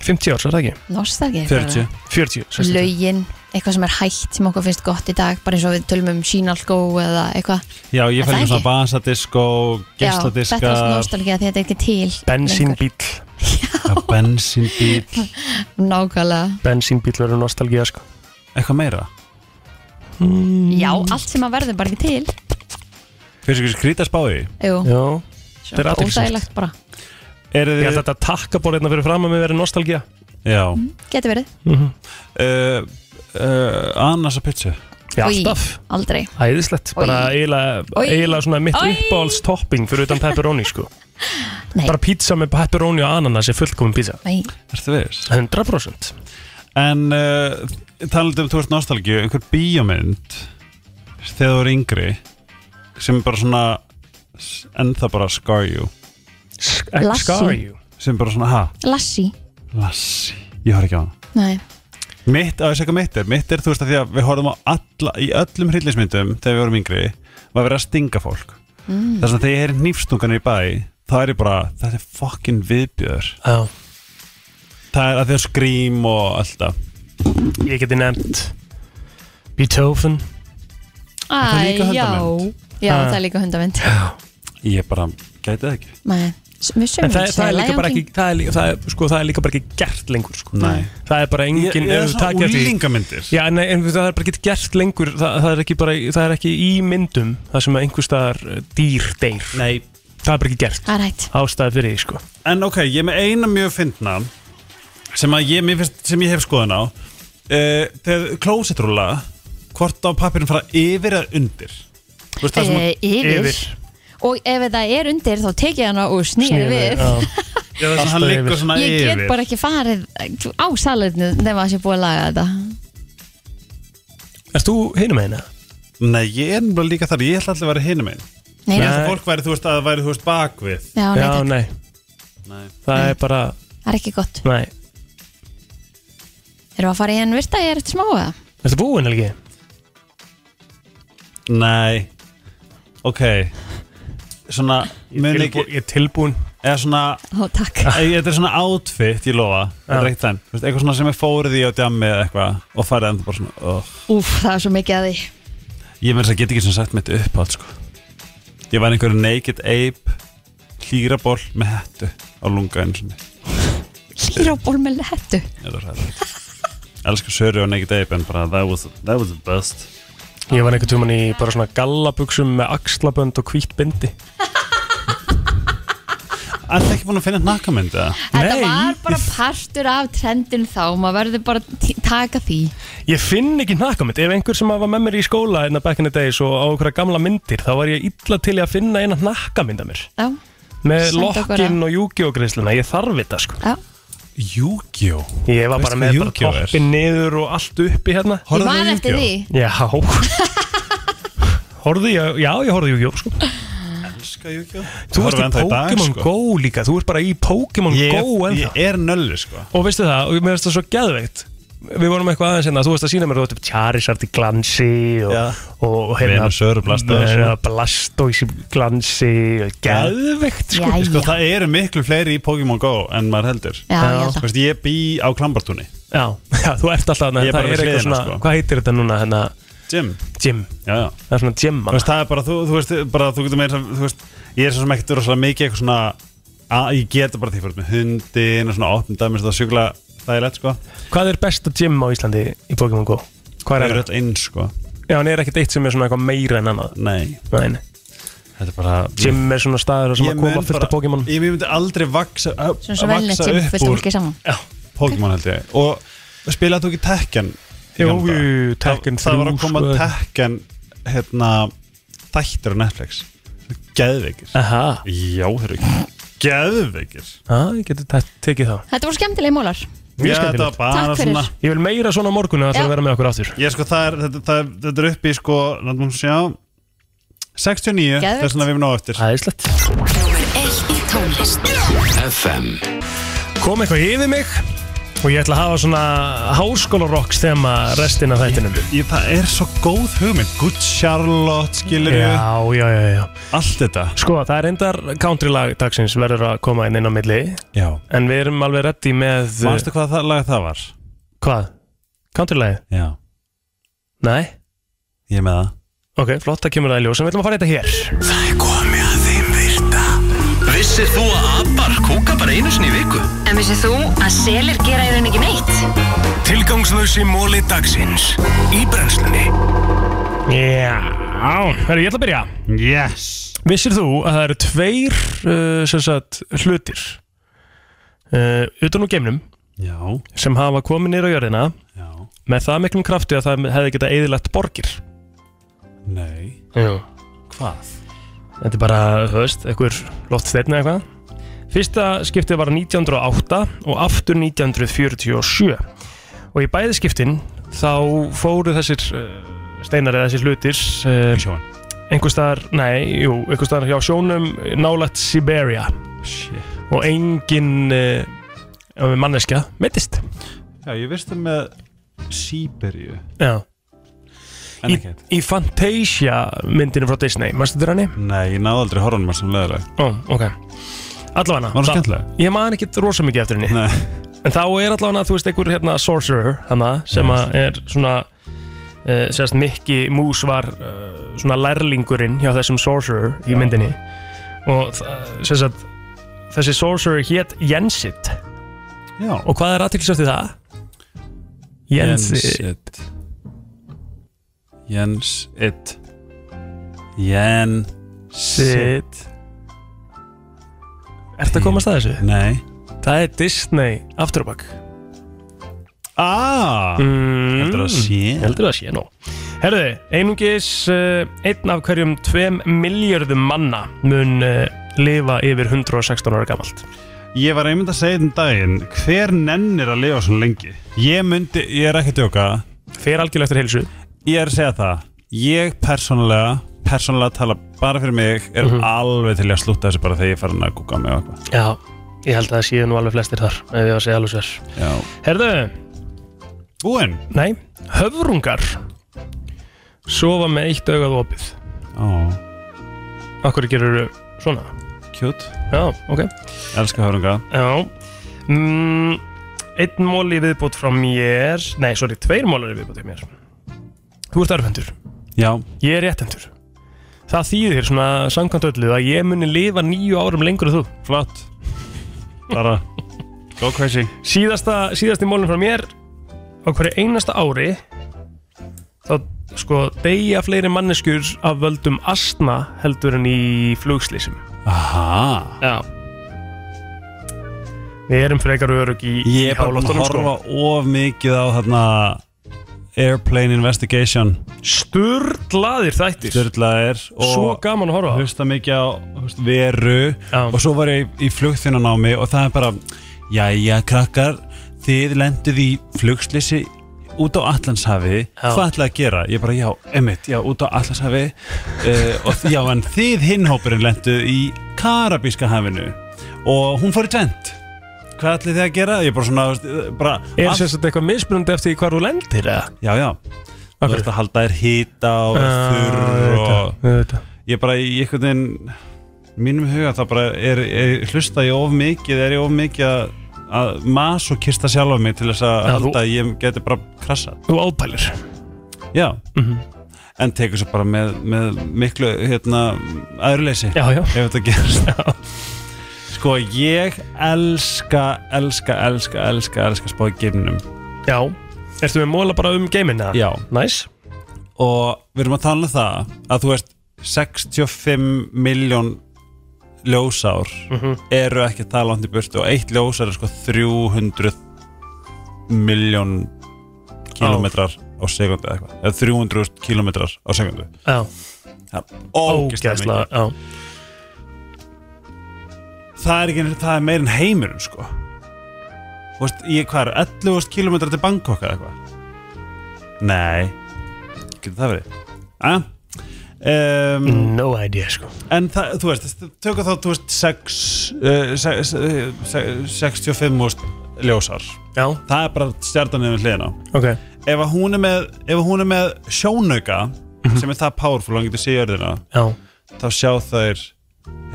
[SPEAKER 1] 50 árs, er það ekki?
[SPEAKER 3] Nostalgi
[SPEAKER 4] 40
[SPEAKER 1] 40, sem sagt.
[SPEAKER 3] Lögin, eitthvað sem er hægt sem okkur finnst gott í dag bara eins og við tölum um sínalgó eða eitthvað
[SPEAKER 4] Já, ég
[SPEAKER 3] Er það
[SPEAKER 4] fæl í svona
[SPEAKER 3] ekki?
[SPEAKER 4] vasadisko,
[SPEAKER 3] Já, þetta er
[SPEAKER 4] geisladiskar
[SPEAKER 3] nostalgi að þetta er ekki til lengur.
[SPEAKER 1] bensínbíl
[SPEAKER 4] bensínbíl
[SPEAKER 3] Nákvæmlega
[SPEAKER 1] bensínbíl verður nostalgía sko
[SPEAKER 4] Eitthvað meira
[SPEAKER 3] Já, allt sem að verður bara ekki til
[SPEAKER 4] Fyrir sig skrýta spáði
[SPEAKER 3] Jú,
[SPEAKER 1] Já.
[SPEAKER 3] þetta
[SPEAKER 1] er athyglisvert.
[SPEAKER 3] óþægilegt bara
[SPEAKER 4] Er
[SPEAKER 1] ég held
[SPEAKER 4] þið
[SPEAKER 1] að þetta takkaborðina fyrir fram að mig verður nostalgía
[SPEAKER 4] Já
[SPEAKER 3] Getur verið,
[SPEAKER 4] uh, uh, Annars að pizza
[SPEAKER 1] Já,
[SPEAKER 3] Oj.
[SPEAKER 1] alltaf
[SPEAKER 3] aldrei
[SPEAKER 1] Æðislegt, bara
[SPEAKER 3] Oj.
[SPEAKER 1] eiginlega
[SPEAKER 3] Oj.
[SPEAKER 1] eiginlega svona mitt
[SPEAKER 3] Oj.
[SPEAKER 1] uppáhalds topping fyrir utan pepperoni sko
[SPEAKER 3] <laughs> Nei.
[SPEAKER 1] Bara pizza með pepperoni og ananas er fullkomin pizza
[SPEAKER 3] Nei,
[SPEAKER 4] Ertu viss?
[SPEAKER 1] 100%
[SPEAKER 4] En uh, talandi um þú ert nostalgíu, einhver bíómynd þegar þú er yngri sem bara svona s- ennþá bara scar you
[SPEAKER 1] Sk-
[SPEAKER 3] Lassi.
[SPEAKER 1] Scar you
[SPEAKER 4] sem bara svona, ha,
[SPEAKER 3] Lassi
[SPEAKER 4] lassi ég horf ekki á hana
[SPEAKER 3] Nei,
[SPEAKER 4] mitt, á þess eitthvað mitt er, mitt er þú veist að því að við horfum á alla, í öllum hryllismyndum þegar við vorum yngri, var verið að stinga fólk mm. þess að þegar ég er nýfstungan í bæ þá er ég bara, þetta er fucking viðbjör
[SPEAKER 1] Já.
[SPEAKER 4] það er að því að skrím og alltaf
[SPEAKER 1] Ég geti nefnt Beethoven
[SPEAKER 4] það er
[SPEAKER 3] Æ,
[SPEAKER 4] líka
[SPEAKER 3] já
[SPEAKER 4] hundamynd.
[SPEAKER 3] Já,
[SPEAKER 1] Ha.
[SPEAKER 3] það er líka
[SPEAKER 1] <laughs>
[SPEAKER 3] hundamönd
[SPEAKER 4] ég bara, gæti það ekki
[SPEAKER 1] En
[SPEAKER 3] En
[SPEAKER 1] það, það, er líka bara ekki, það, er líka, það, er, sko, það er líka bara ekki gert lengur sko.
[SPEAKER 4] Nei.
[SPEAKER 1] Það er bara engin
[SPEAKER 4] ég, ég er
[SPEAKER 1] ef þú takir
[SPEAKER 4] svona
[SPEAKER 1] eftir því-
[SPEAKER 4] úlingamyndir
[SPEAKER 1] Já, nei, en það er bara ekki gert lengur það, það, er ekki bara, það er ekki í myndum það sem að einhver staðar eh, dýr deyr
[SPEAKER 4] Nei,
[SPEAKER 1] Það er bara ekki gert
[SPEAKER 3] Það er hægt
[SPEAKER 1] Ástæði fyrir því sko
[SPEAKER 4] En ok, ég er með eina mjög fyndna sem, að ég, mér finnst, sem ég hef skoðan á uh, Þegar klósetrúla hvort á pappirinn fara yfir eða undir Þú veist, það sem að,
[SPEAKER 3] e, yfir.
[SPEAKER 1] Yfir.
[SPEAKER 3] Og ef það er undir þá tek ég hana og snýr við
[SPEAKER 1] Já.
[SPEAKER 4] Já, það sem hann
[SPEAKER 1] alltaf
[SPEAKER 4] liggur
[SPEAKER 1] yfir.
[SPEAKER 4] svona
[SPEAKER 3] Ég
[SPEAKER 4] yfir
[SPEAKER 3] get bara ekki farið eh, á salernu nema að sé búið að laga þetta
[SPEAKER 1] Erst þú hinum eina?
[SPEAKER 4] Nei, ég er bara líka þar, ég ætla alltaf að vera hinum einn
[SPEAKER 3] Nei,
[SPEAKER 1] Nei.
[SPEAKER 3] nei,
[SPEAKER 4] Þetta fólk væri, þú veist, að það væri, þú veist, bakvið
[SPEAKER 3] já, nei,
[SPEAKER 1] Já,
[SPEAKER 3] takk.
[SPEAKER 1] nei,
[SPEAKER 4] Nei
[SPEAKER 1] það er bara
[SPEAKER 3] það er ekki gott
[SPEAKER 1] Nei,
[SPEAKER 3] Erum við að fara í enn virta, ég er eftir smá eða?
[SPEAKER 1] ertu búinn Helgi?
[SPEAKER 4] Nei, ok Svona, mun
[SPEAKER 1] Tilbú-
[SPEAKER 4] ekki
[SPEAKER 1] Ég er tilbúinn
[SPEAKER 4] Eða svona,
[SPEAKER 1] <laughs>
[SPEAKER 3] Ó, takk <laughs>
[SPEAKER 4] Æ, þetta er svona outfit, ég lofa Þetta er ekkert enn, Þú veist, eitthvað svona sem er fórið í á djammi eða eitthvað og farið endur bara svona, oh
[SPEAKER 3] Úf, það er svo mikið að því
[SPEAKER 4] Ég verðist að geta ekki sem sagt mitt uppátt sko. Ég var einhver naked ape hlýraból með hættu á lunga einu sinni
[SPEAKER 3] Hlýra á ból með lettu
[SPEAKER 4] Þetta var hræðilegt. Elskar Söru og naked ape en bara that was, that was the best
[SPEAKER 1] Ég var einhvern tímann í bara svona gallabuxum með axlabönd og hvítt bindi
[SPEAKER 4] Er það ekki búin að finna nakkamynd eða?
[SPEAKER 3] Þetta
[SPEAKER 1] Nei.
[SPEAKER 3] var bara partur af trendin þá Maður verður bara að tí- taka því
[SPEAKER 1] Ég finn ekki nakka mitt Ef einhver sem var með mér í skóla einna back in the days og á okkur gamla myndir þá var ég illa til í að finna eina nakka mynda mér
[SPEAKER 3] Já,
[SPEAKER 1] með
[SPEAKER 3] Senda okkur að-
[SPEAKER 1] lokkinn og júkiógreisluna Ég þarf þetta sko
[SPEAKER 3] já
[SPEAKER 4] Yu-Gi-Oh!
[SPEAKER 1] Ég var
[SPEAKER 4] Veistu
[SPEAKER 1] bara
[SPEAKER 4] hvað
[SPEAKER 1] með bara
[SPEAKER 4] Yu-Gi-Oh er?
[SPEAKER 1] toppin niður og allt uppi hérna
[SPEAKER 3] Ég
[SPEAKER 4] Horfðu á
[SPEAKER 3] man eftir því
[SPEAKER 4] Yu-Gi-Oh!
[SPEAKER 1] Já <laughs> Horfðu ég, já ég horfði Jú-Gi-Oh sko
[SPEAKER 4] Elskar Yu-Gi-Oh!
[SPEAKER 1] Þú
[SPEAKER 4] Horfðu
[SPEAKER 1] ert í
[SPEAKER 4] ennþá í dag,
[SPEAKER 1] Pokémon
[SPEAKER 4] sko.
[SPEAKER 1] Go líka Þú ert bara í Pokémon Go
[SPEAKER 4] Ég,
[SPEAKER 1] ennþá
[SPEAKER 4] ég er nöllu sko
[SPEAKER 1] Og veistu það, og mér finnst það svo geðveikt við vorum eitthvað aðeins hérna, þú varst að sína mér þú varst upp Charizard í glansi og,
[SPEAKER 4] Já.
[SPEAKER 1] og, og hérna
[SPEAKER 4] Venusaur, Blastoise.
[SPEAKER 1] Venusaur, Blastoise í glansi og geðveikt sko.
[SPEAKER 3] Já,
[SPEAKER 4] Sko,
[SPEAKER 3] já,
[SPEAKER 4] það eru miklu fleiri í Pokémon GO en maður heldur
[SPEAKER 3] já, ég held
[SPEAKER 4] Vist, Ég bý á Klambartúni
[SPEAKER 1] Já, já, þú ert alltaf þarna,
[SPEAKER 4] Ég er
[SPEAKER 1] það
[SPEAKER 4] bara við
[SPEAKER 1] er eitthvað
[SPEAKER 4] hliðina,
[SPEAKER 1] svona,
[SPEAKER 4] sko.
[SPEAKER 1] hvað heitir þetta núna hérna,
[SPEAKER 4] Jim
[SPEAKER 1] gym,
[SPEAKER 4] já, já.
[SPEAKER 1] það er svona gym
[SPEAKER 4] Þú Veist, Það er bara, þú, þú veist, bara þú getur meira þú veist, Ég er svo sem ekkert rosalega mikið eitthvað svona að, Ég geta bara því fyrir með hundin og svona opnum dæmis það sjúkla það er lett sko
[SPEAKER 1] Hvað er besta gym á Íslandi í Pokémon GO?
[SPEAKER 4] Það
[SPEAKER 1] Hvað er
[SPEAKER 4] er
[SPEAKER 1] það?
[SPEAKER 4] öll eins sko
[SPEAKER 1] Já, en er ekkert eitt sem er svona eitthvað meira en annað
[SPEAKER 4] Nei,
[SPEAKER 1] Nei, nei.
[SPEAKER 4] þetta er bara
[SPEAKER 1] gym er svona staður sem að koma fullt af Pokémon
[SPEAKER 4] Ég myndi aldrei vaksa, að,
[SPEAKER 3] Svona svo velnett
[SPEAKER 4] vaksa
[SPEAKER 3] sem
[SPEAKER 4] upp
[SPEAKER 3] fullt af
[SPEAKER 4] úr
[SPEAKER 3] fólki saman
[SPEAKER 4] Pokémon held ég Og spilaði þú ekki Tekken? í
[SPEAKER 1] Jú,
[SPEAKER 4] gamla daga?
[SPEAKER 1] jú, Tekken
[SPEAKER 4] Það, það var
[SPEAKER 1] 3,
[SPEAKER 4] að koma
[SPEAKER 1] sko.
[SPEAKER 4] Tekken hérna, Þættir á Netflix Geðveikir
[SPEAKER 1] Aha,
[SPEAKER 4] Já, þeir eru geðveikir
[SPEAKER 1] ha, ég geti te- tekið þá
[SPEAKER 3] Þetta voru skemmtilegi mólar
[SPEAKER 1] Mjög
[SPEAKER 4] Já,
[SPEAKER 1] skemmtilegt.
[SPEAKER 4] þetta var bara
[SPEAKER 3] Takk fyrir.
[SPEAKER 4] svona-
[SPEAKER 1] Ég vil meira svona á morgun en það
[SPEAKER 3] Já.
[SPEAKER 1] að vera með okkur aftur
[SPEAKER 4] Ég sko, það er, þetta, það er, þetta er upp í sko, náttúrulega sjá 69,
[SPEAKER 3] Geðveikt.
[SPEAKER 4] þess vegna við erum ná eftir
[SPEAKER 1] Æðislegt
[SPEAKER 2] FM
[SPEAKER 1] Kom eitthvað yfir mig og ég ætla að hafa svona háskólarokks þema restin af þættinum
[SPEAKER 4] ég, Það er svo góð hugmynd Good Charlotte, skilur við
[SPEAKER 1] Já, já, já, já
[SPEAKER 4] Allt þetta
[SPEAKER 1] Sko, það er endar country lag dagsins verður að koma inn inn á milli
[SPEAKER 4] Já
[SPEAKER 1] en við erum alveg reddi með
[SPEAKER 4] Manstu hvað það lag það var?
[SPEAKER 1] Hvað? Country lagið?
[SPEAKER 4] Já,
[SPEAKER 1] Nei?
[SPEAKER 4] ég er með það
[SPEAKER 1] Ok, flott, það kemur það í ljós en við ætlum að fara í þetta hér
[SPEAKER 2] Það er komið að þeim virta Vissir þú að abar kúka bara einu sinni í viku?
[SPEAKER 8] En vissið þú að selir gera í raun ekki neitt?
[SPEAKER 2] Tilgangslösi móli dagsins Í brennslunni
[SPEAKER 1] Já, herru, ég ætla að byrja
[SPEAKER 4] Yes
[SPEAKER 1] Vissir þú að það eru tveir uh, sem sagt, hlutir uh, utan úr geimnum
[SPEAKER 4] Já,
[SPEAKER 1] sem hafa komið nýra á jörðina
[SPEAKER 4] já,
[SPEAKER 1] með það miklum krafti að það hefði getað eðilegt borgir
[SPEAKER 4] nei
[SPEAKER 1] Já
[SPEAKER 4] Hvað?
[SPEAKER 1] Þetta er bara, þú veist, einhver loftsteinn eða eitthvað. Fyrsta skiptið var 1908 og aftur 1947. Og í bæði skiptin þá fóru þessir uh, steinar eða þessir hlutir
[SPEAKER 4] Í
[SPEAKER 1] uh,
[SPEAKER 4] sjóan
[SPEAKER 1] einhver staðar, nei, jú, einhver staðar hjá sjónum nálægt Siberia
[SPEAKER 4] Shit
[SPEAKER 1] og engin uh, manneskja meittist.
[SPEAKER 4] Já, ég vist það með Sýberíu
[SPEAKER 1] Já.
[SPEAKER 4] En
[SPEAKER 1] Í,
[SPEAKER 4] ekkert
[SPEAKER 1] í Fantasia myndinu frá Disney, mannstu þetta henni?
[SPEAKER 4] Nei, ég náði aldrei horfanum að sem leðileg
[SPEAKER 1] Ó, ok.
[SPEAKER 4] Var
[SPEAKER 1] Allavega.
[SPEAKER 4] það
[SPEAKER 1] það-
[SPEAKER 4] skemmtilega?
[SPEAKER 1] Ég man ekkert rosa mikið eftir henni.
[SPEAKER 4] Nei
[SPEAKER 1] En þá er allavega, þú veist, einhver hérna sorcerer hana, sem að er svona uh, sérst Mickey Mouse var uh, svona lærlingurinn hjá þessum sorcerer í myndinni og þa- sem sagt þessi sorcerer hétt Jensit
[SPEAKER 4] Já
[SPEAKER 1] og hvað er aðtilsvæft í það? Jensit
[SPEAKER 4] Jensit Jens it Jen
[SPEAKER 1] Jensit Ertu að komast að þessu?
[SPEAKER 4] Nei
[SPEAKER 1] Það er Disney Afterback
[SPEAKER 4] Ah
[SPEAKER 1] mm.
[SPEAKER 4] Þetta er að sé
[SPEAKER 1] heldur það sé nú Herðu, einungis uh, einn af hverjum 2 miljörðum manna mun uh, lifa yfir 116 ára gamalt
[SPEAKER 4] Ég var einmitt að segja þetta um daginn Hver nennir að lifa svo lengi? Ég myndi, ég er ekki að djóka
[SPEAKER 1] Fer algjörlega eftir heilsu
[SPEAKER 4] Ég er að segja það Ég persónulega, persónulega tala bara fyrir mig Er alveg til í að slúta þessu bara þegar ég farin að gúka mig og eitthvað
[SPEAKER 1] Já, ég held að það séu nú alveg flestir þar ef ég var að segja alveg sér
[SPEAKER 4] Já
[SPEAKER 1] Herðu,
[SPEAKER 4] Búinn
[SPEAKER 1] nei, höfrungar sofa með eitt augað opið
[SPEAKER 4] Ó,
[SPEAKER 1] Akkur gerur svona
[SPEAKER 4] kjút
[SPEAKER 1] Já, ok
[SPEAKER 4] Elskar hörunga
[SPEAKER 1] Já mm, Einn mól í viðbútt frá mér Nei, sorry, tveir mólar í viðbútt frá mér Þú ert arfendur
[SPEAKER 4] Já
[SPEAKER 1] Ég er réttendur Það þýðir svona samkvæmt öllu að ég muni lifa nýju árum lengur en þú
[SPEAKER 4] Flott Bara Go crazy
[SPEAKER 1] Síðasta, síðasti mólinn frá mér á hverju einasta ári þá sko deyja fleiri manneskjur af völdum astna heldur en í flugslísum
[SPEAKER 4] Aha
[SPEAKER 1] Já Við erum frekar örug í,
[SPEAKER 4] Ég
[SPEAKER 1] í
[SPEAKER 4] er bara búin að
[SPEAKER 1] háloftunum, sko.
[SPEAKER 4] sko. horfa of mikið á þarna Airplane Investigation
[SPEAKER 1] Sturlaðir þættir
[SPEAKER 4] Styrlaðir
[SPEAKER 1] Svo
[SPEAKER 4] og
[SPEAKER 1] gaman að horfa á.
[SPEAKER 4] hlusta mikið á hlusta, veru
[SPEAKER 1] Já.
[SPEAKER 4] og svo var ég í flugþjónanámi og það er bara Jæja krakkar, þið lenduð í flugslissi út á Allandshafi
[SPEAKER 1] Já.
[SPEAKER 4] hvað ætlaði að gera? Ég bara já, emitt, já, út á Allandshafi uh, og já, en þið hinhópurinn lenduð í Karabíska hafinu og hún fór í tvent hvað ætli þið að gera? Ég er bara svona, þú veist, bara
[SPEAKER 1] Er
[SPEAKER 4] allt-
[SPEAKER 1] sem sagt eitthvað mismunandi eftir því hvar þú lendir eða?
[SPEAKER 4] Já, já Þú
[SPEAKER 1] Akkur.
[SPEAKER 4] ert að halda þér hýta og vera
[SPEAKER 1] Ah,
[SPEAKER 4] þurr og
[SPEAKER 1] Þetta
[SPEAKER 4] ég bara í einhvern veginn mínum huga það bara er, er hlusta ég of mikið, er ég of mikið að, að mas og kista sjálf á mig til þess að
[SPEAKER 1] Já, þú-
[SPEAKER 4] halda að ég geti bara krassað
[SPEAKER 1] Þú ápælir
[SPEAKER 4] Já
[SPEAKER 1] Mhm.
[SPEAKER 4] En tekur svo bara með, með miklu hérna, aðurleysi
[SPEAKER 1] Já, já
[SPEAKER 4] ef þetta gerst Sko ég elska, elska, elska, elska, elska spá í geimnum
[SPEAKER 1] Já Ertu með móla bara um geiminna?
[SPEAKER 4] Já
[SPEAKER 1] Næs
[SPEAKER 4] og við erum að tala um það að þú veist 65 miljón ljósár eru ekki að tala langt í burtu og eitt ljósár er sko 300 miljón kilometrar á sekundu eða eitthvað, eða 300 kilometrar á sekundu
[SPEAKER 1] Já
[SPEAKER 4] það er ógeðslega mikið.
[SPEAKER 1] Já
[SPEAKER 4] það er, ekki, það er meir en heimurum sko Þú veist, ég hvað er 11.000 kilometrar til Bangkok eða eitthvað nei getur það verið að um,
[SPEAKER 1] No idea sko
[SPEAKER 4] En það, þú veist, tökum þá, þú veist, 6, uh, 6, uh, 65 úst ljósar.
[SPEAKER 1] Já
[SPEAKER 4] Það er bara stjarnan yfir hliðina.
[SPEAKER 1] Ok
[SPEAKER 4] Ef að hún er með, ef að hún er með sjónauka,
[SPEAKER 1] Mhm.
[SPEAKER 4] sem er það powerful, hann getur séð jörðina,
[SPEAKER 1] Já
[SPEAKER 4] þá sjá þær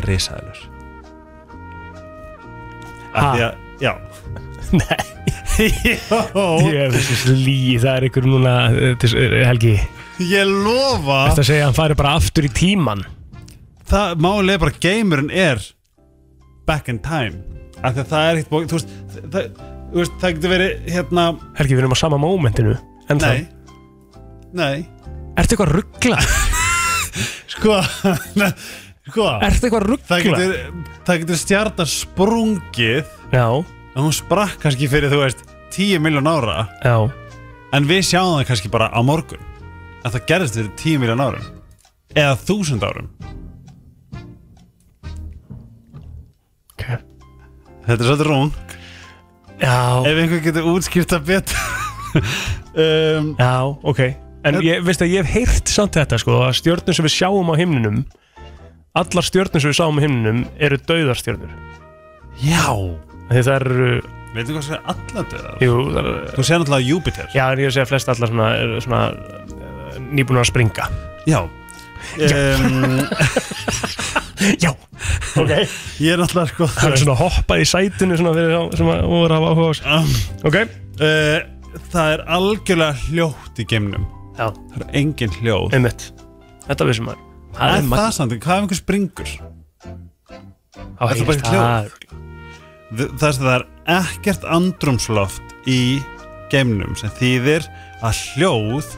[SPEAKER 4] risaðilur.
[SPEAKER 1] Ha?
[SPEAKER 4] Því að, já.
[SPEAKER 1] Nei <laughs>
[SPEAKER 4] Jó,
[SPEAKER 1] Ég er þessi slí Það er ykkur núna eh, til- eh, Helgi
[SPEAKER 4] ég lofa,
[SPEAKER 1] Þetta segja að hann fari bara aftur í tíman
[SPEAKER 4] það málið er bara, gamerinn er back in time. Af því að það er ekkert bókið, þú veist, það, þú veist, það getur verið, hérna,
[SPEAKER 1] Helgi, við erum á sama mómentinu En
[SPEAKER 4] Nei Nei
[SPEAKER 1] Ertu eitthvað
[SPEAKER 4] <laughs>
[SPEAKER 1] ruggla?
[SPEAKER 4] Sko <laughs> ne- Sko
[SPEAKER 1] Ertu eitthvað ruggla?
[SPEAKER 4] Það getur, það getur stjarta sprungið
[SPEAKER 1] Já
[SPEAKER 4] En hún sprakk kannski fyrir þú veist 10 miljón ára
[SPEAKER 1] Já
[SPEAKER 4] En við sjáum það kannski bara á morgun En það gerðist fyrir 10 miljón árum Eða 1000 árum
[SPEAKER 1] Ok
[SPEAKER 4] Þetta er svolítið rún
[SPEAKER 1] Já
[SPEAKER 4] Ef einhver getur útskýrt það betur <laughs> um,
[SPEAKER 1] Já, ok En ég veist að ég hef heyrt samt þetta sko að stjörnum sem við sjáum á himninum allar stjörnum sem við sjáum á himninum eru dauðarstjörnur
[SPEAKER 4] Já
[SPEAKER 1] Því það eru,
[SPEAKER 4] Veitum hvað sem er alladöðar
[SPEAKER 1] jú, það eru
[SPEAKER 4] Þú sér náttúrulega Júpiter
[SPEAKER 1] Já, en ég er að segja að flest allar svona, eru svona eh, nýbúnar að
[SPEAKER 4] <laughs>
[SPEAKER 1] springa
[SPEAKER 4] Já Um,
[SPEAKER 1] Já, ok
[SPEAKER 4] ég er náttúrulega sko
[SPEAKER 1] Það er svona hoppað í sætinu svona fyrir þá sem að voru að hafa áhuga á sig
[SPEAKER 4] um,
[SPEAKER 1] Ok
[SPEAKER 4] Uh, það er algjörlega hljótt í geimnum
[SPEAKER 1] Já,
[SPEAKER 4] Það er engin hljóð
[SPEAKER 1] einmitt Þetta vissum maður
[SPEAKER 4] Það er
[SPEAKER 1] magnað.
[SPEAKER 4] það samt, hvað ef einhver springur?
[SPEAKER 1] Á,
[SPEAKER 4] er það bara
[SPEAKER 1] heyrist
[SPEAKER 4] ekki Þ- Það er, það er ekkert andrumsloft í geimnum sem þýðir að hljóð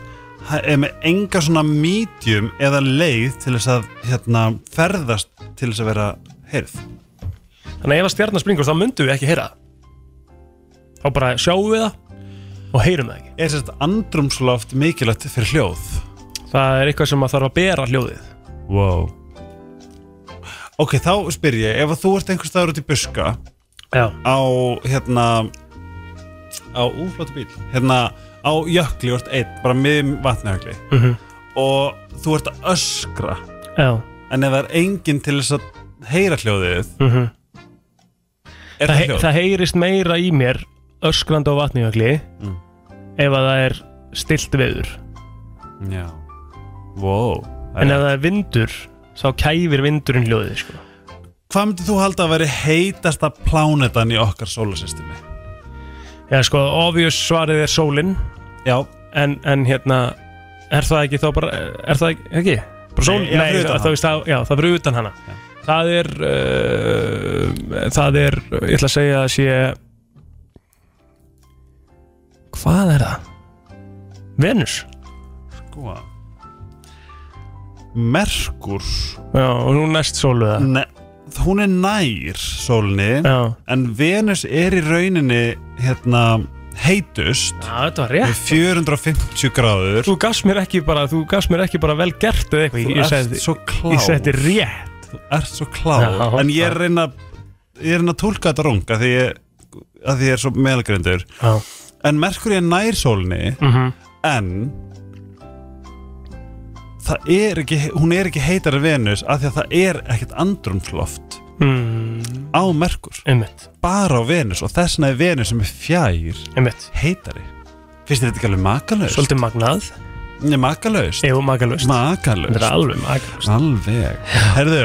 [SPEAKER 4] ha- er með enga svona medium eða leið til þess að hérna, ferðast til þess að vera heyrð
[SPEAKER 1] Þannig að ef að stjarnar springur þá myndum við ekki heyra það Þá bara sjáum við það og heyrum það ekki
[SPEAKER 4] Er þetta andrumsloft mikilvægt fyrir hljóð?
[SPEAKER 1] Það er eitthvað sem að þarf að bera hljóðið
[SPEAKER 4] Wow Ok, þá spyr ég, ef að þú ert einhvers staðar út í buska
[SPEAKER 1] Já,
[SPEAKER 4] á hérna á úflóttu bíl hérna á jökli og ert einn bara miðum vatnahögli
[SPEAKER 1] Mhm.
[SPEAKER 4] og þú ert að öskra
[SPEAKER 1] já,
[SPEAKER 4] en ef það er enginn til þess að heyra hljóðið
[SPEAKER 1] mhm
[SPEAKER 4] er
[SPEAKER 1] það,
[SPEAKER 4] það,
[SPEAKER 1] he
[SPEAKER 4] hljóð
[SPEAKER 1] það heyrist meira í mér öskrandi á vatnijökli ef að það er stilt veður
[SPEAKER 4] já wow
[SPEAKER 1] en ef það er vindur þá kæfir vindurinn hljóðið sko.
[SPEAKER 4] hvað myndir þú halda að veri heitasta plánetan í okkar sólasystemi
[SPEAKER 1] Já, sko, obvious svarið er sólin
[SPEAKER 4] já
[SPEAKER 1] en, en hérna er það ekki þá bara er það ekki, ekki? Bara sól,
[SPEAKER 4] Nei, já, fyrir utan
[SPEAKER 1] það, það, það, já, það fyrir utan hana það er uh, það er, ég ætla að segja að sé hvað er það? Venus
[SPEAKER 4] sko Merkur
[SPEAKER 1] já, og nú næst sólu það
[SPEAKER 4] ne, hún er nær sólni
[SPEAKER 1] já
[SPEAKER 4] en Venus er í rauninni hérna heitust
[SPEAKER 1] Já, þetta var rétt
[SPEAKER 4] með 450 gráður
[SPEAKER 1] Þú gafst mér ekki bara, þú gafst mér ekki bara vel gert eða eitthvað
[SPEAKER 4] þú
[SPEAKER 1] Ég
[SPEAKER 4] ert
[SPEAKER 1] sagði,
[SPEAKER 4] svo klá
[SPEAKER 1] ég sagði rétt
[SPEAKER 4] þú ert svo klá
[SPEAKER 1] Já,
[SPEAKER 4] en ég er að reyna ég er að reyna að tólka þetta rung að því ég, að því ég er svo meðalgrindur
[SPEAKER 1] Já,
[SPEAKER 4] en Merkur er nær sólni
[SPEAKER 1] mm
[SPEAKER 4] en það er ekki hún er ekki heitar Venus af því að það er ekkert andrumsloft
[SPEAKER 1] mm,
[SPEAKER 4] á Merkur
[SPEAKER 1] einmitt,
[SPEAKER 4] bara á Venus og þess vegna er Venus sem er fjær
[SPEAKER 1] einmitt
[SPEAKER 4] heitari finnst þér þetta ekki alveg makalaust?
[SPEAKER 1] Svolítið magnað,
[SPEAKER 4] Nei, makalaust
[SPEAKER 1] eða magalust Þetta er
[SPEAKER 4] makalaust
[SPEAKER 1] alveg magalust
[SPEAKER 4] alveg herðu,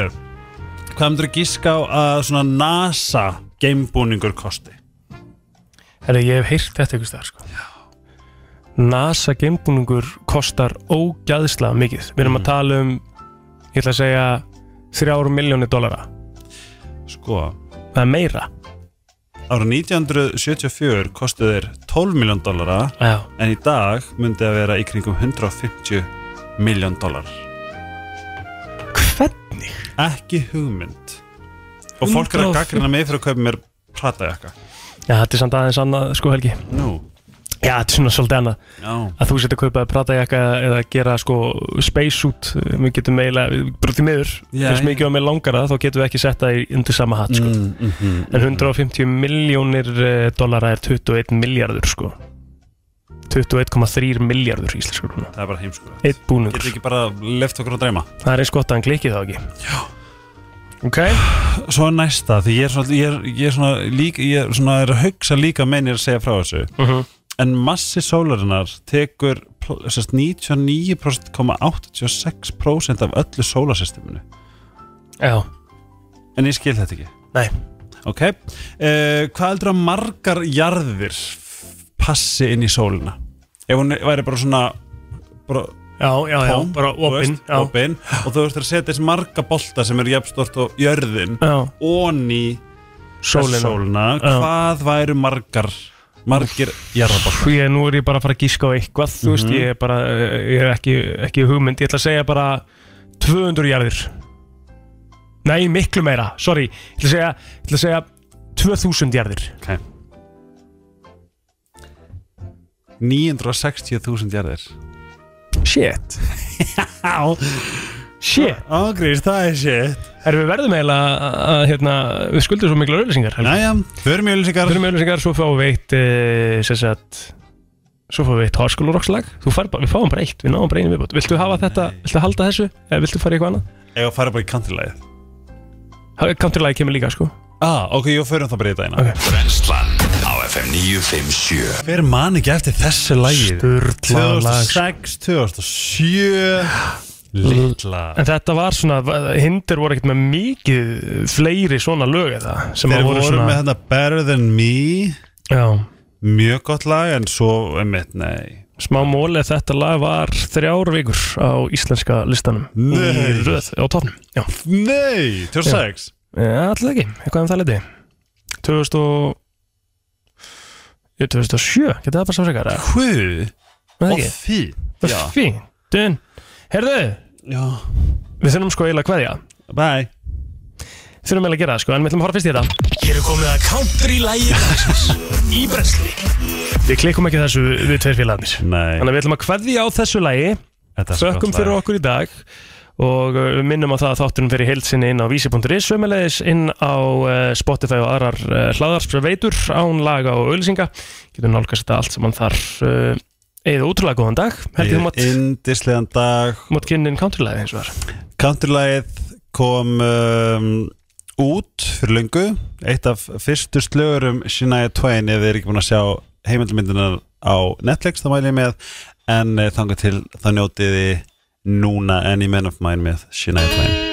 [SPEAKER 4] hvað myndir að gíska á að svona NASA gamebúningur kosti?
[SPEAKER 1] Herra, ég hef heyrt þetta ykkur staðar sko. NASA geimbúningur kostar ógæðslega mikið Við erum að tala um, ég ætla að segja, þrjár miljónir dollara
[SPEAKER 4] sko,
[SPEAKER 1] Það er meira
[SPEAKER 4] ára 1974 kostu þeir 12 miljón dollara
[SPEAKER 1] Já,
[SPEAKER 4] en í dag myndi að vera í kringum 150 miljón dollar
[SPEAKER 1] hvernig?
[SPEAKER 4] ekki hugmynd og fólk er að
[SPEAKER 1] 150.
[SPEAKER 4] gaggrina mig fyrir að kaupa mér pratajakka
[SPEAKER 1] Já, þetta er samt aðeins annað, sko Helgi
[SPEAKER 4] nú,
[SPEAKER 1] Já, þetta er svona svolítið annað
[SPEAKER 4] já
[SPEAKER 1] að þú setja að kaupa að prata jakka eða gera sko spacesuit eh, við getum eiginlega, brútið miður
[SPEAKER 4] Já,
[SPEAKER 1] eins
[SPEAKER 4] já.
[SPEAKER 1] mikið á með langara þá getum við ekki sett það í undir sama hatt sko.
[SPEAKER 4] Mm, mm -hmm.
[SPEAKER 1] en 150 miljónir eh, dollara er 21 miljardur sko 21,3 miljardur íslenskur krona
[SPEAKER 4] það er bara heimskur
[SPEAKER 1] eitt búningur,
[SPEAKER 4] getur ekki bara left okkur að dreyma
[SPEAKER 1] það er eins gott að hann klikki þá ekki já ok,
[SPEAKER 4] svo er næsta, því ég er svona, ég er, ég er svona líka, ég er svona er að hugsa líka menn ég er að segja frá þessu
[SPEAKER 1] Mhm.
[SPEAKER 4] en massi sólarinnar tekur pl- sest, 99,86% af öllu sólasysteminu
[SPEAKER 1] já,
[SPEAKER 4] en ég skil þetta ekki
[SPEAKER 1] nei
[SPEAKER 4] ok, uh, hvað heldur að margar jarðir passi inn í sólina ef hún væri bara svona bara
[SPEAKER 1] já, já, já,
[SPEAKER 4] tóm,
[SPEAKER 1] bara
[SPEAKER 4] þú
[SPEAKER 1] opinn
[SPEAKER 4] veist,
[SPEAKER 1] já.
[SPEAKER 4] opin og þú veist að setja þessi marga bolta sem er jafnstort og jörðin
[SPEAKER 1] já,
[SPEAKER 4] onni
[SPEAKER 1] sólina
[SPEAKER 4] sólina
[SPEAKER 1] Já.
[SPEAKER 4] hvað væru margar margir jarðabolt
[SPEAKER 1] Pff, Ég, nú er ég bara að fara að gíska á eitthvað Þú veist, ég er bara, eh, ég hef ekki, ekki hugmynd Ég ætla að segja bara 200 jarðir Nei, miklu meira, sorry Ég ætla að segja, ég ætla að segja 2000 jarðir
[SPEAKER 4] okay. 960.000 jarðir
[SPEAKER 1] <laughs> Shit Shit
[SPEAKER 4] ágrís, það er shit
[SPEAKER 1] Erum við verðum eiginlega að, að, hérna, við skuldum svo mikla auðlýsingar
[SPEAKER 4] næja, förum í öllisingar
[SPEAKER 1] Verðum auðlýsingar, svo fáum við eitt eh, sem sagt Svo fáum við eitt háskólarokslag Þú fær bara, við fáum bara eitt, við náum bara einu viðbót Viltu hafa þetta, viltu halda þessu, eða viltu fara í eitthvað annað
[SPEAKER 4] eða fara bara í kantilæði
[SPEAKER 1] Counterlægi kemur líka, sko
[SPEAKER 4] ah, ok, jú, förum það bara í dagina
[SPEAKER 1] Ok.
[SPEAKER 2] Brennslan á FM 957
[SPEAKER 4] hver man ekki eftir þessu lagið
[SPEAKER 1] Sturla lag
[SPEAKER 4] 2006, 2007 litla
[SPEAKER 1] En þetta var svona, hindir voru ekkert með mikið fleiri svona lög eða sem
[SPEAKER 4] þeir
[SPEAKER 1] að
[SPEAKER 4] voru
[SPEAKER 1] svona,
[SPEAKER 4] með þetta Better Than Me
[SPEAKER 1] Já,
[SPEAKER 4] mjög gott lag en svo emitt, nei
[SPEAKER 1] smá móli að þetta lag var þrjár vikur á íslenska listanum
[SPEAKER 4] Nei.
[SPEAKER 1] í röð á topnum Já,
[SPEAKER 4] nei, 2006
[SPEAKER 1] ja, allir ekki, eitthvað um það liti 2000 og Ég, 2007, getur það bara svo frekar eða?
[SPEAKER 4] hvað
[SPEAKER 1] Var það
[SPEAKER 4] og
[SPEAKER 1] ekki?
[SPEAKER 4] fí
[SPEAKER 1] Það
[SPEAKER 4] já.
[SPEAKER 1] er Fínt, en herðu,
[SPEAKER 4] já,
[SPEAKER 1] við þurfum sko eiginlega hverja
[SPEAKER 4] bye
[SPEAKER 1] Þurfum eiginlega að gera það sko, en við ætlum að horfa fyrst í þetta
[SPEAKER 2] Hér er komið að country lægi í brennslunni
[SPEAKER 1] Við klikkum ekki þessu við tveir félagarnir
[SPEAKER 4] nei,
[SPEAKER 1] Þannig að við ætlum að kveðja á þessu lagi
[SPEAKER 4] þetta er svo
[SPEAKER 1] Þökkum
[SPEAKER 4] gott
[SPEAKER 1] fyrir
[SPEAKER 4] lag.
[SPEAKER 1] okkur í dag og uh, við minnum á það að þátturinn fyrir heilsinni inn á vísi.is sömulegis inn á uh, Spotify og aðrar uh, hlaðarspreveitur án laga og auðlýsinga getur nálgast þetta allt saman þar uh, eða útrúlega góðan dag heldur þú mátt,
[SPEAKER 4] Yndislegan dag
[SPEAKER 1] mátt kynni inn countrylagi eins og þar
[SPEAKER 4] Countrylagið kom um, út fyrir löngu eitt af fyrstu slögurum Shania Twain ef þið er ekki búin að sjá heimildmyndina á Netflix þá mæli ég með en eh, þangað til þá njótið þið núna Any Man of Mine með Shania Twain